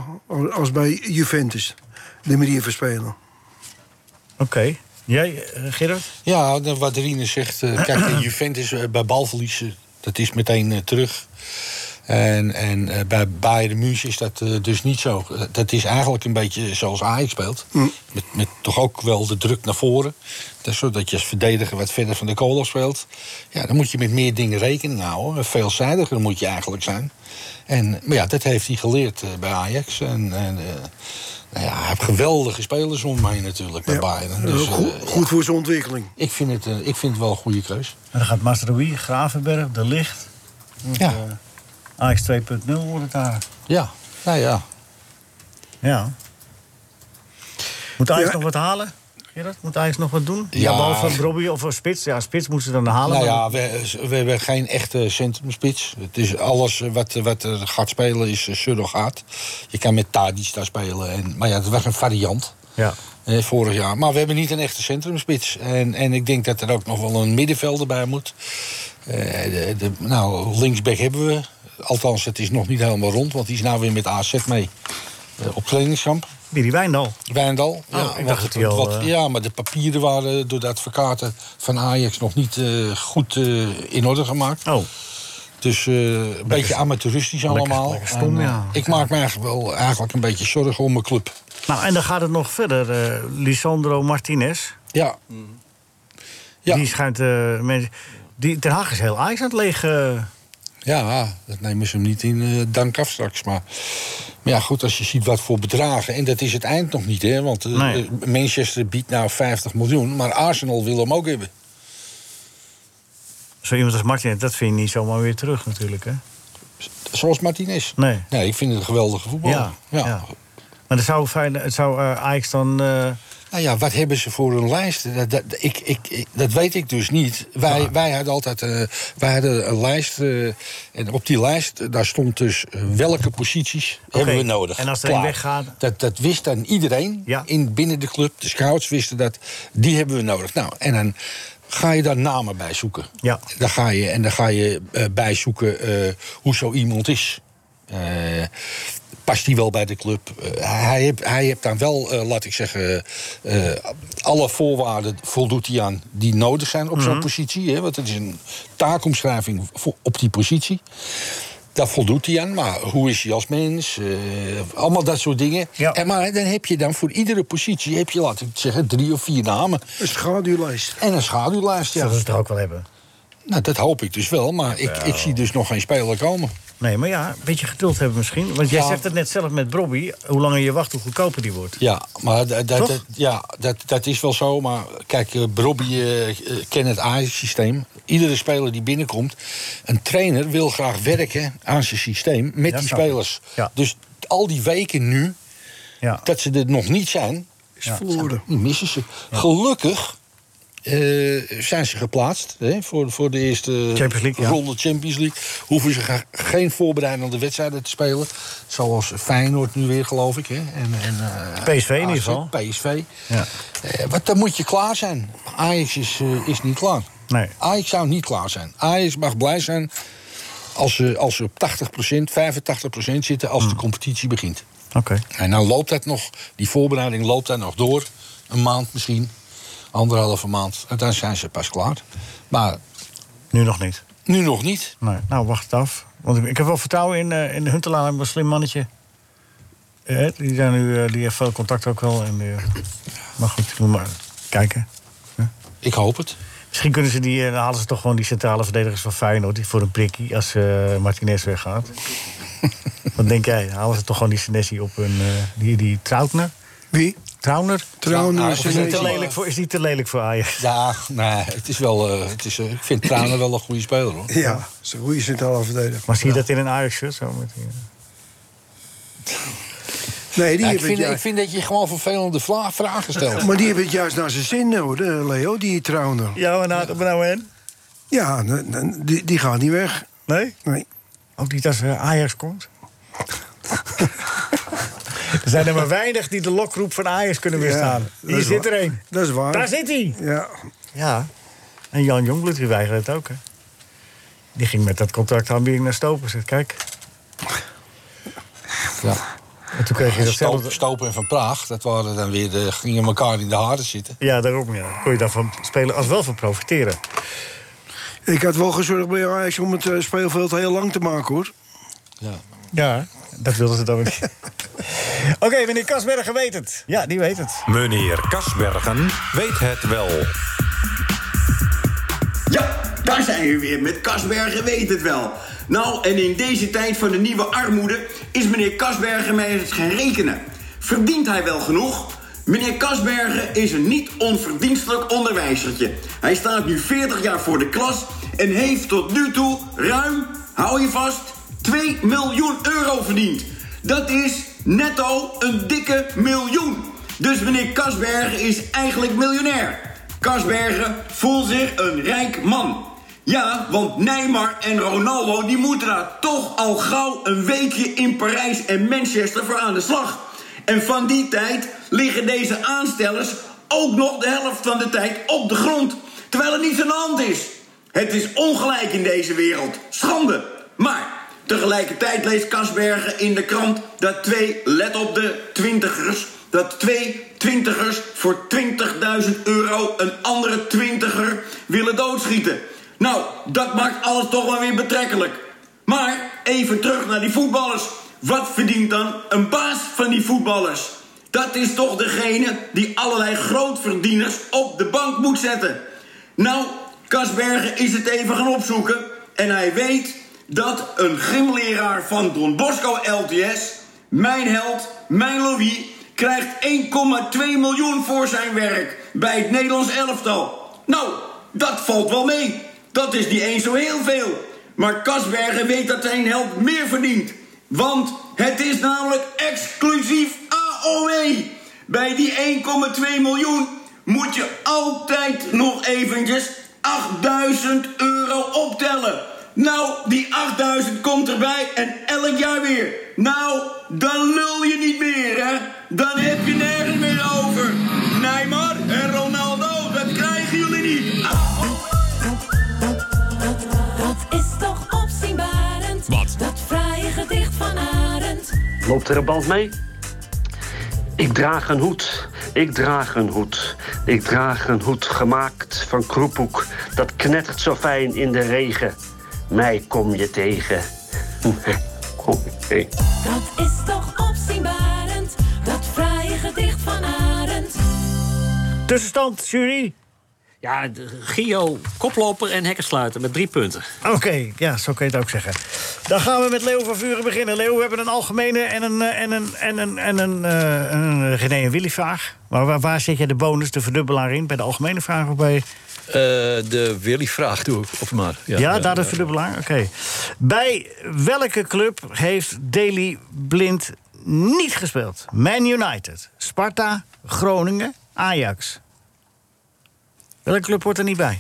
Speaker 4: als bij Juventus. De manier van spelen.
Speaker 3: Oké. Jij, eh, Gerard?
Speaker 7: Ja, de- wat Rine zegt. eh, kijk, de Juventus eh, bij balverliezen, dat is meteen eh, terug. En, en eh, bij Bayern München is dat eh, dus niet zo. Eh, Dat is eigenlijk een beetje zoals Ajax speelt. Met, met toch ook wel de druk naar voren. Dat is zodat je als verdediger wat verder van de kool af speelt. Ja, dan moet je met meer dingen rekening houden. Veelzijdiger moet je eigenlijk zijn. En, maar ja, dat heeft hij geleerd eh, bij Ajax. En, en, eh, nou ja, hij heeft geweldige spelers om mij natuurlijk bij Bayern. Dus,
Speaker 4: Eh, goed,
Speaker 7: eh,
Speaker 4: goed voor zijn ontwikkeling.
Speaker 7: ik vind het, eh, ik vind het wel een goede keus.
Speaker 3: En dan gaat Masrowi, Gravenberg, De eh, Licht.
Speaker 7: Ja.
Speaker 3: AX 2.0 wordt het daar.
Speaker 7: Ja, nou ja.
Speaker 3: Ja. Moet Ajax nog wat halen? Gerard, moet Ajax nog wat doen? Ja,
Speaker 7: Ja.
Speaker 3: behalve Robbie of een Spits. Ja, Spits moeten ze dan halen.
Speaker 7: nou
Speaker 3: maar-
Speaker 7: ja, we, we hebben geen echte centrumspits. Het is alles eh, wat, wat er gaat spelen is eh, surrogaat. Je kan met Tadic daar spelen. En, maar ja, dat was een variant.
Speaker 3: Ja.
Speaker 7: eh, vorig jaar. Maar we hebben niet een echte centrumspits. En, en ik denk dat er ook nog wel een middenvelder bij moet. Eh, de, de- nou, linksback hebben we. Althans, het is nog niet helemaal rond, want die is nou weer met AZ mee eh, op trainingskamp.
Speaker 3: Wie die Wijndal? Oh,
Speaker 7: Wijndal. ja,
Speaker 3: ik dacht
Speaker 7: want-
Speaker 3: dat die al,
Speaker 7: want-
Speaker 3: eh,
Speaker 7: ja, maar de papieren waren door de advocaten van Ajax nog niet eh, goed eh, in orde gemaakt.
Speaker 3: Oh.
Speaker 7: Dus eh, een beetje amateuristisch
Speaker 3: lekker-
Speaker 7: allemaal.
Speaker 3: lekker stom,
Speaker 7: eh,
Speaker 3: ja.
Speaker 7: Ik maak me eigenlijk wel eigenlijk een beetje zorgen om mijn club.
Speaker 3: Nou, en dan gaat het nog verder. eh, Lisandro Martinez.
Speaker 7: Ja.
Speaker 3: Die schijnt... eh, mensen, die, Ten Hag is heel Ajax aan het leeg... eh,
Speaker 7: Ja, dat nemen ze hem niet in eh, dank af straks. Maar, maar ja, goed, als je ziet wat voor bedragen. En dat is het eind nog niet, hè? Want eh,
Speaker 3: Nee.
Speaker 7: eh, Manchester biedt nou 50 miljoen. Maar Arsenal wil hem ook hebben.
Speaker 3: zo iemand als Martinez, dat vind je niet zomaar weer terug natuurlijk, hè?
Speaker 7: Zoals Martinez.
Speaker 3: Nee.
Speaker 7: Nee, ik vind het een geweldige voetbal.
Speaker 3: Ja, ja. Maar dan zou, Feyenoord- het zou eh, Ajax dan... eh,
Speaker 7: Nou ja, wat hebben ze voor een lijst? Dat, dat, ik, ik, ik- dat weet ik dus niet. Wij, wij hadden altijd eh, wij hadden een lijst. eh, en op die lijst, eh, daar stond dus eh, welke posities hebben we nodig.
Speaker 3: en als er
Speaker 7: Klaar.
Speaker 3: een weggaat-
Speaker 7: Dat, dat wist dan iedereen in, binnen de club. De scouts wisten dat. Die hebben we nodig. Nou, en dan ga je daar namen bij zoeken.
Speaker 3: Ja.
Speaker 7: Daar ga je, en dan ga je eh, bij zoeken eh, hoe zo iemand is. Eh, past hij wel bij de club? Eh, hij, heeft, hij heeft dan wel, eh, laat ik zeggen, eh, alle voorwaarden voldoet hij aan die nodig zijn op zo'n
Speaker 13: Mhm.
Speaker 7: positie. Hè? Want het is een taakomschrijving voor- op die positie. Daar voldoet hij aan, maar hoe is hij als mens? Eh, allemaal dat soort dingen. En maar dan heb je dan voor iedere positie, heb je, laat ik zeggen, drie of vier namen.
Speaker 4: Een schaduwlijst.
Speaker 7: En een schaduwlijst, ja.
Speaker 3: Zullen ze het er ook wel hebben?
Speaker 7: Nou, dat hoop ik dus wel, maar ik, ik zie dus nog geen speler komen.
Speaker 3: Nee, maar ja, een beetje geduld hebben misschien. Want jij
Speaker 7: Ja.
Speaker 3: zegt het net zelf met Bobby. Hoe langer je wacht, hoe goedkoper die wordt.
Speaker 7: Ja, maar dat, dat,
Speaker 3: Toch?
Speaker 7: dat- ja, dat, dat is wel zo. Maar kijk, eh, Robbie eh, eh, kent het Ajax-systeem. Iedere speler die binnenkomt, een trainer wil graag werken aan zijn systeem met die
Speaker 3: snap ik.
Speaker 7: spelers. Dus al die weken nu,
Speaker 3: Ja.
Speaker 7: dat ze er nog niet zijn, is
Speaker 4: verloren.
Speaker 7: Die missen ze. Gelukkig eh, zijn ze geplaatst hè, voor, voor de eerste
Speaker 3: Champions League, ja.
Speaker 7: ronde Champions League. Hoeven ze ga- geen voorbereidende wedstrijden te spelen. Zoals Feyenoord nu weer, geloof ik. Hè. En, en, eh,
Speaker 3: PSV in ieder
Speaker 7: AZ,
Speaker 3: geval.
Speaker 7: PSV.
Speaker 3: Ja.
Speaker 7: Eh, want dan moet je klaar zijn. Ajax is, eh, is niet klaar.
Speaker 3: Nee.
Speaker 7: Ajax zou niet klaar zijn. Ajax mag blij zijn als ze, als ze op 80%, 85% zitten als de competitie begint.
Speaker 3: Oké.
Speaker 7: En dan loopt dat nog, die voorbereiding loopt daar nog door. Een maand misschien, anderhalve maand. En dan zijn ze pas klaar. Maar
Speaker 3: Nu nog niet.
Speaker 7: nu nog niet.
Speaker 3: Nee. Nou, wacht het af. Want ik, ik heb wel vertrouwen in, eh in Huntelaar, een slim mannetje. Eh, die, zijn nu, eh, die heeft veel contact ook wel. En, eh, maar goed, moet maar kijken.
Speaker 7: Ik hoop het.
Speaker 3: Misschien kunnen ze die, eh, dan halen ze toch gewoon die centrale verdedigers van Feyenoord... die voor een prikkie als eh Martinez weggaat. Wat denk jij? Halen ze toch gewoon die Senesi op een... eh die, die Troutner?
Speaker 4: Wie?
Speaker 3: Trauner?
Speaker 7: Trauner
Speaker 3: Of Nou, is die te lelijk voor, is die te lelijk voor Ajax?
Speaker 7: Ja, nou, het is wel, eh, het is, eh, ik vind Tranen wel een goede speler hoor.
Speaker 4: Ja, zo hoe je zit al verdedigen.
Speaker 3: Maar zie je dat in een Ajax-shirt zo? Met die,
Speaker 4: Nee, die
Speaker 7: Ja, ik,
Speaker 4: hebben
Speaker 7: vind,
Speaker 4: het
Speaker 7: ik vind dat je gewoon vervelende vla- vragen stelt.
Speaker 4: juist, maar die hebben het juist naar zijn zin, hoor, de Leo, die trouwner.
Speaker 3: Ja, maar nou, nou en?
Speaker 4: Ja, n- n- die, die gaat niet weg.
Speaker 3: Nee?
Speaker 4: Nee.
Speaker 3: Ook niet als eh, Ajax komt? er zijn er maar weinig die de lokroep van Ajax kunnen weerstaan.
Speaker 4: dat
Speaker 3: Hier
Speaker 4: is
Speaker 3: zit
Speaker 4: waar.
Speaker 3: er één.
Speaker 4: Dat is waar.
Speaker 3: Daar zit hij.
Speaker 4: Ja.
Speaker 3: Ja. En Jan Jongbloed, die weigerde het ook, hè? Die ging met dat contractaanbieding naar Stopen. Zegt, kijk.
Speaker 7: Ja.
Speaker 3: En toen kreeg je datzelfde...
Speaker 7: Stoop, Stopen en Van Praag, dat waren dan weer de, gingen elkaar in de haren zitten.
Speaker 3: Ja, daarom ja. Kon je daarvan spelen als wel van profiteren.
Speaker 4: Ik had wel gezorgd bij Ajax om het eh, speelveld heel lang te maken, hoor.
Speaker 3: Ja, dat wilden ze dan weer niet. Oké, meneer Kasbergen weet het. Ja, die weet het.
Speaker 13: Meneer Kasbergen weet het wel.
Speaker 14: Ja, daar zijn we weer met Kasbergen weet het wel. Nou, en in deze tijd van de nieuwe armoede is meneer Kasbergen mij eens gaan rekenen. Verdient hij wel genoeg? Meneer Kasbergen is een niet onverdienstelijk onderwijzertje. Hij staat nu 40 jaar voor de klas en heeft tot nu toe ruim, hou je vast, 2 miljoen euro verdiend. Dat is netto een dikke miljoen. Dus meneer Kasbergen is eigenlijk miljonair. Kasbergen voelt zich een rijk man. Ja, want Neymar en Ronaldo die moeten daar toch al gauw een weekje in Parijs en Manchester voor aan de slag. En van die tijd liggen deze aanstellers ook nog de helft van de tijd op de grond, terwijl er niets aan de hand is. Het is ongelijk in deze wereld. Schande. Maar Tegelijkertijd leest Kasbergen in de krant dat twee, let op de twintigers, dat twee twintigers voor 20.000 euro een andere twintiger willen doodschieten. Nou, dat maakt alles toch wel weer betrekkelijk. Maar even terug naar die voetballers. Wat verdient dan een baas van die voetballers? Dat is toch degene die allerlei grootverdieners op de bank moet zetten. Nou, Kasbergen is het even gaan opzoeken. En hij weet dat een gymleraar van Don Bosco LTS, mijn held, mijn Louis, krijgt 1,2 miljoen voor zijn werk bij het Nederlands elftal. Nou, dat valt wel mee. Dat is niet eens zo heel veel. Maar Kasbergen weet dat zijn held meer verdient. Want het is namelijk exclusief E. AOW. Bij die 1,2 miljoen moet je altijd nog eventjes 8000 euro optellen. Nou, die 8000 komt erbij en elk jaar weer. Nou, dan lul je niet meer, hè? Dan heb je nergens meer over. Neymar en Ronaldo, dat krijgen jullie niet. Ah, oh.
Speaker 1: Dat is toch opzienbarend.
Speaker 13: Wat?
Speaker 1: Dat fraaie gedicht van Arend.
Speaker 15: Loopt er een band mee? Ik draag een hoed, ik draag een hoed. Ik draag een hoed gemaakt van kroepoek. Dat knettert zo fijn in de regen. Mij kom je tegen. Mij kom je tegen.
Speaker 1: Dat is toch opzienbarend. Dat fraaie gedicht van Arend.
Speaker 3: Tussenstand, jury.
Speaker 12: Ja, de- Gio, koploper en hekkensluiter met drie punten.
Speaker 3: Oké, ja, zo kun je het ook zeggen. Dan gaan we met Leo van Vuren beginnen. Leo, we hebben een algemene en een, eh, en een, en een, en een, eh, een eh, René en Willy vraag. Maar waar, waar zit jij de bonus, de verdubbelaar in? Bij de algemene vraag of bij...
Speaker 11: Eh, de Willy-vraag doe ik, of maar.
Speaker 3: Ja, daar de verdubbelaar, oké. Bij welke club heeft Daley Blind niet gespeeld? Man United, Sparta, Groningen, Ajax. Welke club hoort er niet bij?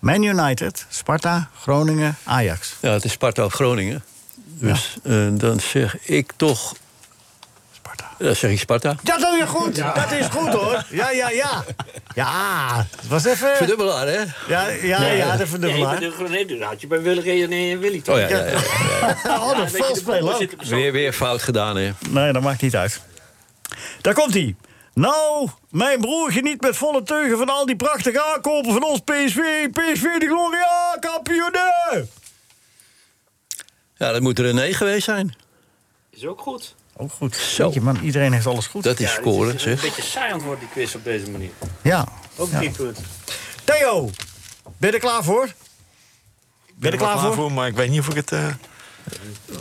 Speaker 3: Man United, Sparta, Groningen, Ajax.
Speaker 11: Ja, het is Sparta op Groningen. Dus eh, dan zeg ik toch... Sparta. Dan zeg ik Sparta.
Speaker 3: Dat doe je goed.
Speaker 11: Ja.
Speaker 3: Dat is goed hoor. Ja, ja, ja. Ja, het was even.
Speaker 11: Verdubbelaar, hè?
Speaker 3: Ja, ja, ja, de verdubbelaar.
Speaker 12: Nee, maar de- nee, dat had je bij Willy René en Willy toch?
Speaker 11: eh, Oh ja, ja, ja, ja.
Speaker 3: Oh, dat vals spelen ook.
Speaker 11: Weer, weer fout gedaan, hè?
Speaker 3: Nee, dat maakt niet uit. Daar komt hij. Nou, mijn broer geniet met volle teugen van al die prachtige aankopen van ons PSV. PSV de Gloria, kampioen!
Speaker 11: Ja, dat moet er een 9 geweest zijn.
Speaker 12: Is ook goed.
Speaker 3: Ook goed. Zo. man, iedereen heeft alles goed.
Speaker 11: Dat is scoren,
Speaker 12: Het is een
Speaker 11: zeg.
Speaker 12: beetje saai aan het worden, die quiz op deze manier.
Speaker 3: Ja.
Speaker 12: Ook
Speaker 3: Ja.
Speaker 12: drie punten.
Speaker 3: Theo, ben je er klaar voor? Ben je er klaar voor?
Speaker 5: Maar ik weet niet of ik het... eh,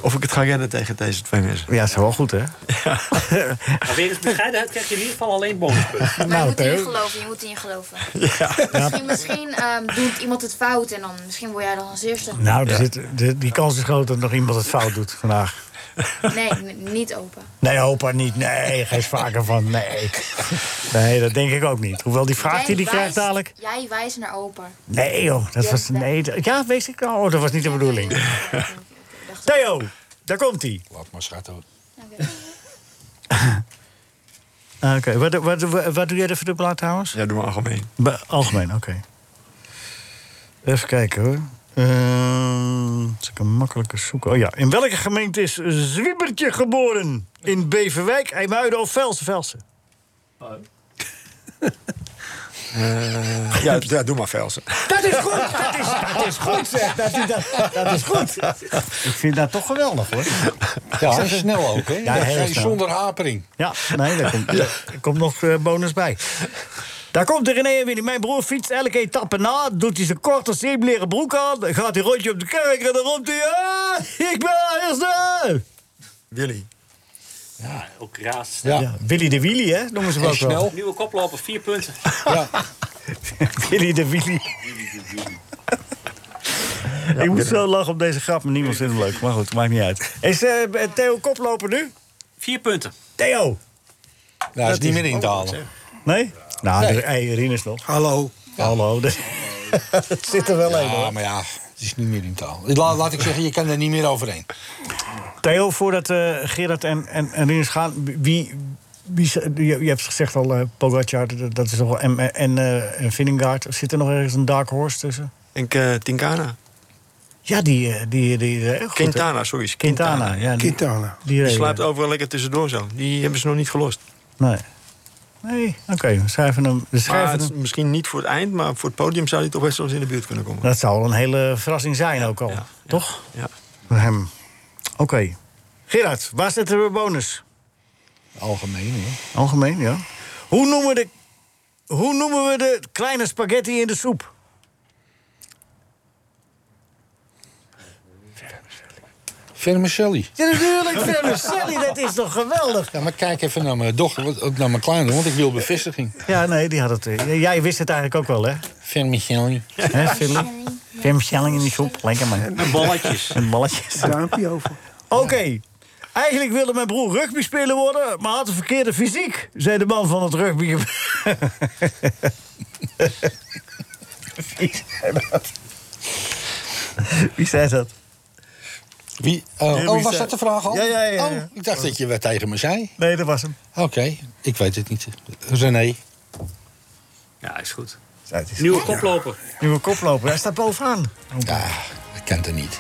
Speaker 5: Of ik het ga redden tegen deze twee mensen.
Speaker 3: Ja, dat is wel goed, hè?
Speaker 12: Maar weer eens bescheidenheid krijg je in ieder geval alleen bonuspunten.
Speaker 3: Nou,
Speaker 6: Maar je moet in geloven, je moet in geloven. Misschien, misschien ehm, doet iemand het fout en dan misschien word jij dan als eerste.
Speaker 3: Nou, er zit, de- die kans is groot dat nog iemand het fout doet vandaag.
Speaker 6: Nee, n- niet open.
Speaker 3: Nee, opa niet. Nee, geen sprake van. Nee. Nee, dat denk ik ook niet. Hoewel die vraag die
Speaker 6: Jij
Speaker 3: die krijgt
Speaker 6: wijst-
Speaker 3: dadelijk.
Speaker 6: Jij wijst naar open.
Speaker 3: Nee, joh. Dat was, nee, dat- ja, weet ik nou. Oh, dat was niet de bedoeling. Theo, daar komt hij.
Speaker 7: Laat maar schatten.
Speaker 3: Ah, Oké, wat, wat, wat, wat doe jij er voor de blaad trouwens?
Speaker 5: Ja, doe maar algemeen.
Speaker 3: Ba- algemeen, oké. Even kijken hoor. Ehm, Zal ik een makkelijke zoeken? Oh ja, in welke gemeente is Zwiebertje geboren? In Beverwijk, IJmuiden of Velsen? Velsen.
Speaker 5: Eh, ja, ja, doe maar Velsen.
Speaker 3: Dat is goed! Dat is, dat is goed, zeg. Dat, is- dat, dat is goed. Ik vind dat toch geweldig, hoor.
Speaker 7: Ja, dat is snel ook, hè?
Speaker 3: Ja,
Speaker 7: Dat
Speaker 3: heel
Speaker 7: is
Speaker 3: snel.
Speaker 7: Zonder hapering.
Speaker 3: Ja, nee, daar komt, daar komt nog eh, bonus bij. Daar komt de René en Winnie. Mijn broer fietst elke etappe na. Doet hij zijn korte zeemleren broek aan. Dan gaat hij een rondje op de kerk en dan roept hij... "Ah, ik ben de eerste!
Speaker 5: Willy.
Speaker 12: Ja, ook raas.
Speaker 3: Ja. Willy de Willy, hè? Noemen ze hem ook wel.
Speaker 12: Nieuwe koploper, vier punten.
Speaker 3: Willy de Willy. ik moet zo lachen op deze grap, maar niemand vindt hem leuk. Maar goed, maakt niet uit. Is eh, Theo koploper nu?
Speaker 12: Vier punten.
Speaker 3: Theo! Oh,
Speaker 7: Nou, is niet meer in te halen.
Speaker 3: Nee? Nou,
Speaker 7: Nee.
Speaker 3: de- hey, Rinus nog.
Speaker 4: Hallo.
Speaker 3: Hallo. dat- Het zit er wel in,
Speaker 7: Ja,
Speaker 3: hoor.
Speaker 7: maar ja, het is niet meer in taal. Laat, laat ik zeggen, je kan er niet meer overheen.
Speaker 3: Theo, voordat eh, Gerard en, en, en Rinus gaan, wie, wie, z- je, je hebt gezegd al, eh Pogacar, dat- dat is toch wel, en, en, eh, en Vingegaard. Zit er nog ergens een dark horse tussen?
Speaker 5: Ik eh Tinkana.
Speaker 3: Ja, die... eh, die, die eh, goed, hè?
Speaker 5: Quintana, sorry. is
Speaker 3: Quintana, ja. Die,
Speaker 4: Quintana.
Speaker 3: Die,
Speaker 5: Die
Speaker 3: reden.
Speaker 5: slaapt overal lekker tussendoor zo. Die hebben ze nog niet gelost.
Speaker 3: Nee. Nee, oké, we schrijven hem. We
Speaker 5: Maar
Speaker 3: schrijven
Speaker 5: het is
Speaker 3: hem.
Speaker 5: misschien niet voor het eind, maar voor het podium zou hij toch best wel eens in de buurt kunnen komen.
Speaker 3: Dat zou wel een hele verrassing zijn ook al, toch?
Speaker 5: Ja.
Speaker 3: Voor hem. Oké. Gerard, waar zitten we bonus?
Speaker 7: Algemeen, hoor.
Speaker 3: Algemeen, ja. Hoe noemen, de, hoe noemen we de kleine spaghetti in de soep?
Speaker 7: Vermicelli.
Speaker 3: Ja, natuurlijk, vermicelli, dat is toch geweldig?
Speaker 7: Ja, maar kijk even naar mijn dochter, want- ook naar mijn kleine, want ik wil bevestiging.
Speaker 3: Ja, nee, die had het. eh, Jij wist het eigenlijk ook wel, hè?
Speaker 7: Vermicelli.
Speaker 3: Hè, Philly? Vermicelli in de soep, lekker man.
Speaker 12: Met balletjes.
Speaker 3: Met balletjes.
Speaker 4: Duimpje over.
Speaker 3: Oké. Eigenlijk wilde mijn broer rugbyspeler worden, maar had een verkeerde fysiek, zei de man van het rugby. Wie zei dat? Wie zei dat?
Speaker 7: Wie? Oh,
Speaker 3: Nee, wie
Speaker 7: oh, was
Speaker 3: zei-
Speaker 7: dat de vraag al?
Speaker 3: Ja, ja, ja,
Speaker 7: Oh,
Speaker 3: ja.
Speaker 7: ik dacht dat je wat tegen me zei.
Speaker 3: Nee, dat was hem.
Speaker 7: Oké, ik weet het niet. René.
Speaker 12: Ja, is goed.
Speaker 3: is-
Speaker 12: Nieuwe koploper.
Speaker 3: Nieuwe koploper, hij staat bovenaan.
Speaker 7: Ja, ik ken het niet.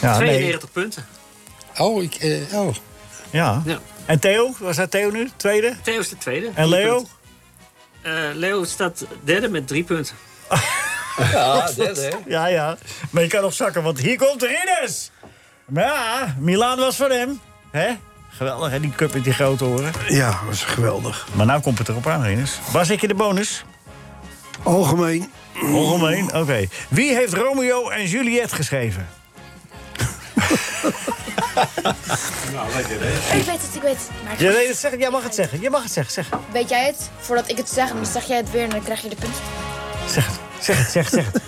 Speaker 3: Ja, nee.
Speaker 12: 92 punten.
Speaker 7: Oh, ik... eh, oh.
Speaker 3: ja.
Speaker 12: Ja.
Speaker 3: En Theo, was dat Theo nu? Tweede?
Speaker 12: Theo is de tweede. Drie
Speaker 3: En Leo?
Speaker 12: punten. Eh, Leo staat derde met drie punten.
Speaker 11: Ja,
Speaker 3: Ja, ja. Maar je kan nog zakken, want hier komt de Ridders. Maar ja, Milaan was van hem. hè? Geweldig, hè? Die cup met die grote oren.
Speaker 4: Ja, dat is geweldig.
Speaker 3: Maar nou komt het erop aan, Ridders. Waar zit je de bonus?
Speaker 4: Algemeen.
Speaker 3: Algemeen, oké. Wie heeft Romeo en Juliet geschreven?
Speaker 7: Nou,
Speaker 6: Ik weet het, ik weet het. Maar ik
Speaker 3: Ja, nee, dat zeg, jij mag het zeggen. Je mag het zeggen. Zeg,
Speaker 6: Weet jij het? Voordat ik het zeg, dan zeg jij het weer en dan krijg je de punt.
Speaker 3: zeg het. Zeg het, zeg het, zeg het.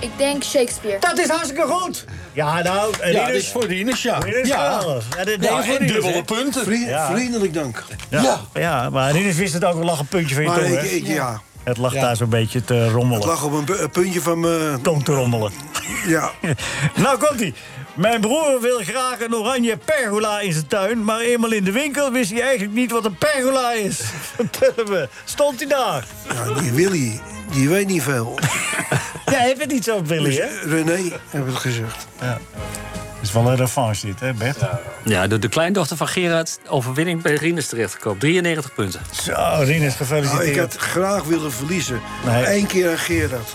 Speaker 6: Ik denk Shakespeare.
Speaker 3: Dat is hartstikke goed! Ja, nou, en
Speaker 7: Ja, dat
Speaker 3: Ridders.
Speaker 7: is voor Rinus, ja.
Speaker 3: Ridders
Speaker 7: Ja,
Speaker 3: geweldig. Ja, dit-
Speaker 7: ja
Speaker 3: deze voor
Speaker 7: en
Speaker 3: Ridders,
Speaker 7: dubbele
Speaker 3: hè?
Speaker 7: punten.
Speaker 4: Vri-
Speaker 3: Ja.
Speaker 4: Vriendelijk dank.
Speaker 3: Ja.
Speaker 7: Ja.
Speaker 3: Ja. maar Ridders wist het ook. Er lag een puntje van je
Speaker 4: Maar
Speaker 3: tong,
Speaker 4: ik,
Speaker 3: hè?
Speaker 4: ik- ja.
Speaker 3: Het lag
Speaker 7: Ja.
Speaker 3: daar zo'n beetje te rommelen.
Speaker 4: Het lag op een, pu- een puntje van mijn...
Speaker 3: Tong te rommelen.
Speaker 4: Ja.
Speaker 3: nou komt ie. Mijn broer wil graag een oranje pergola in zijn tuin, maar eenmaal in de winkel wist hij eigenlijk niet wat een pergola is. Vertel me, stond hij daar?
Speaker 4: ja, die Willy, die weet niet veel. Dus
Speaker 3: Jij hebt het niet zo, Billy, hè?
Speaker 4: René, hebben we het gezegd.
Speaker 3: is wel een revanche dit, hè, Bert?
Speaker 12: Ja, door de kleindochter van Gerard overwinning bij Rinus terechtgekomen. 93 punten.
Speaker 3: Zo, Rinus,
Speaker 4: Nou, ik
Speaker 3: Oh, gefeliciteerd.
Speaker 4: had graag willen verliezen.
Speaker 3: Nee.
Speaker 4: Eén keer aan Gerard.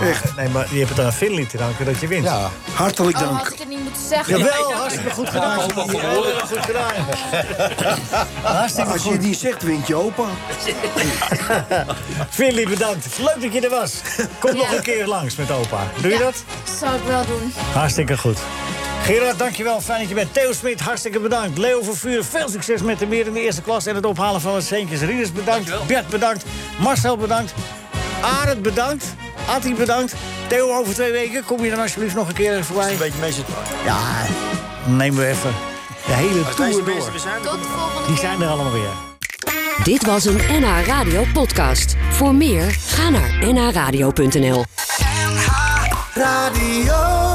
Speaker 4: Echt,
Speaker 3: Nee, maar je hebt het aan Finley te danken dat je wint.
Speaker 7: Ja,
Speaker 4: hartelijk
Speaker 6: Oh,
Speaker 4: dank.
Speaker 6: had ik het niet moeten zeggen.
Speaker 3: Jawel, hartstikke goed gedaan. Heel goed gedaan. Hartstikke
Speaker 4: Als je
Speaker 3: goed.
Speaker 4: het niet zegt, wint je opa.
Speaker 3: Finley, bedankt. Leuk dat je er was. Kom nog
Speaker 6: Ja.
Speaker 3: een keer langs met opa. Doe je
Speaker 6: Ja.
Speaker 3: dat?
Speaker 6: Zou ik wel doen.
Speaker 3: Hartstikke goed. Gerard, dankjewel. Fijn dat je bent. Theo Smit, hartstikke bedankt. Leo Vervuur, veel succes met de meer in de eerste klas... en het ophalen van het centjes. Rieders, bedankt. Bert, bedankt. Marcel, bedankt. Arend, bedankt. Atti, bedankt. Theo, over twee weken kom je dan alsjeblieft nog een keer even voorbij. Een beetje meester. Ja, nemen we even de hele tour door. Die zijn er allemaal weer.
Speaker 1: Dit was een NH Radio podcast. Voor meer, ga naar nhradio.nl.
Speaker 16: Radio.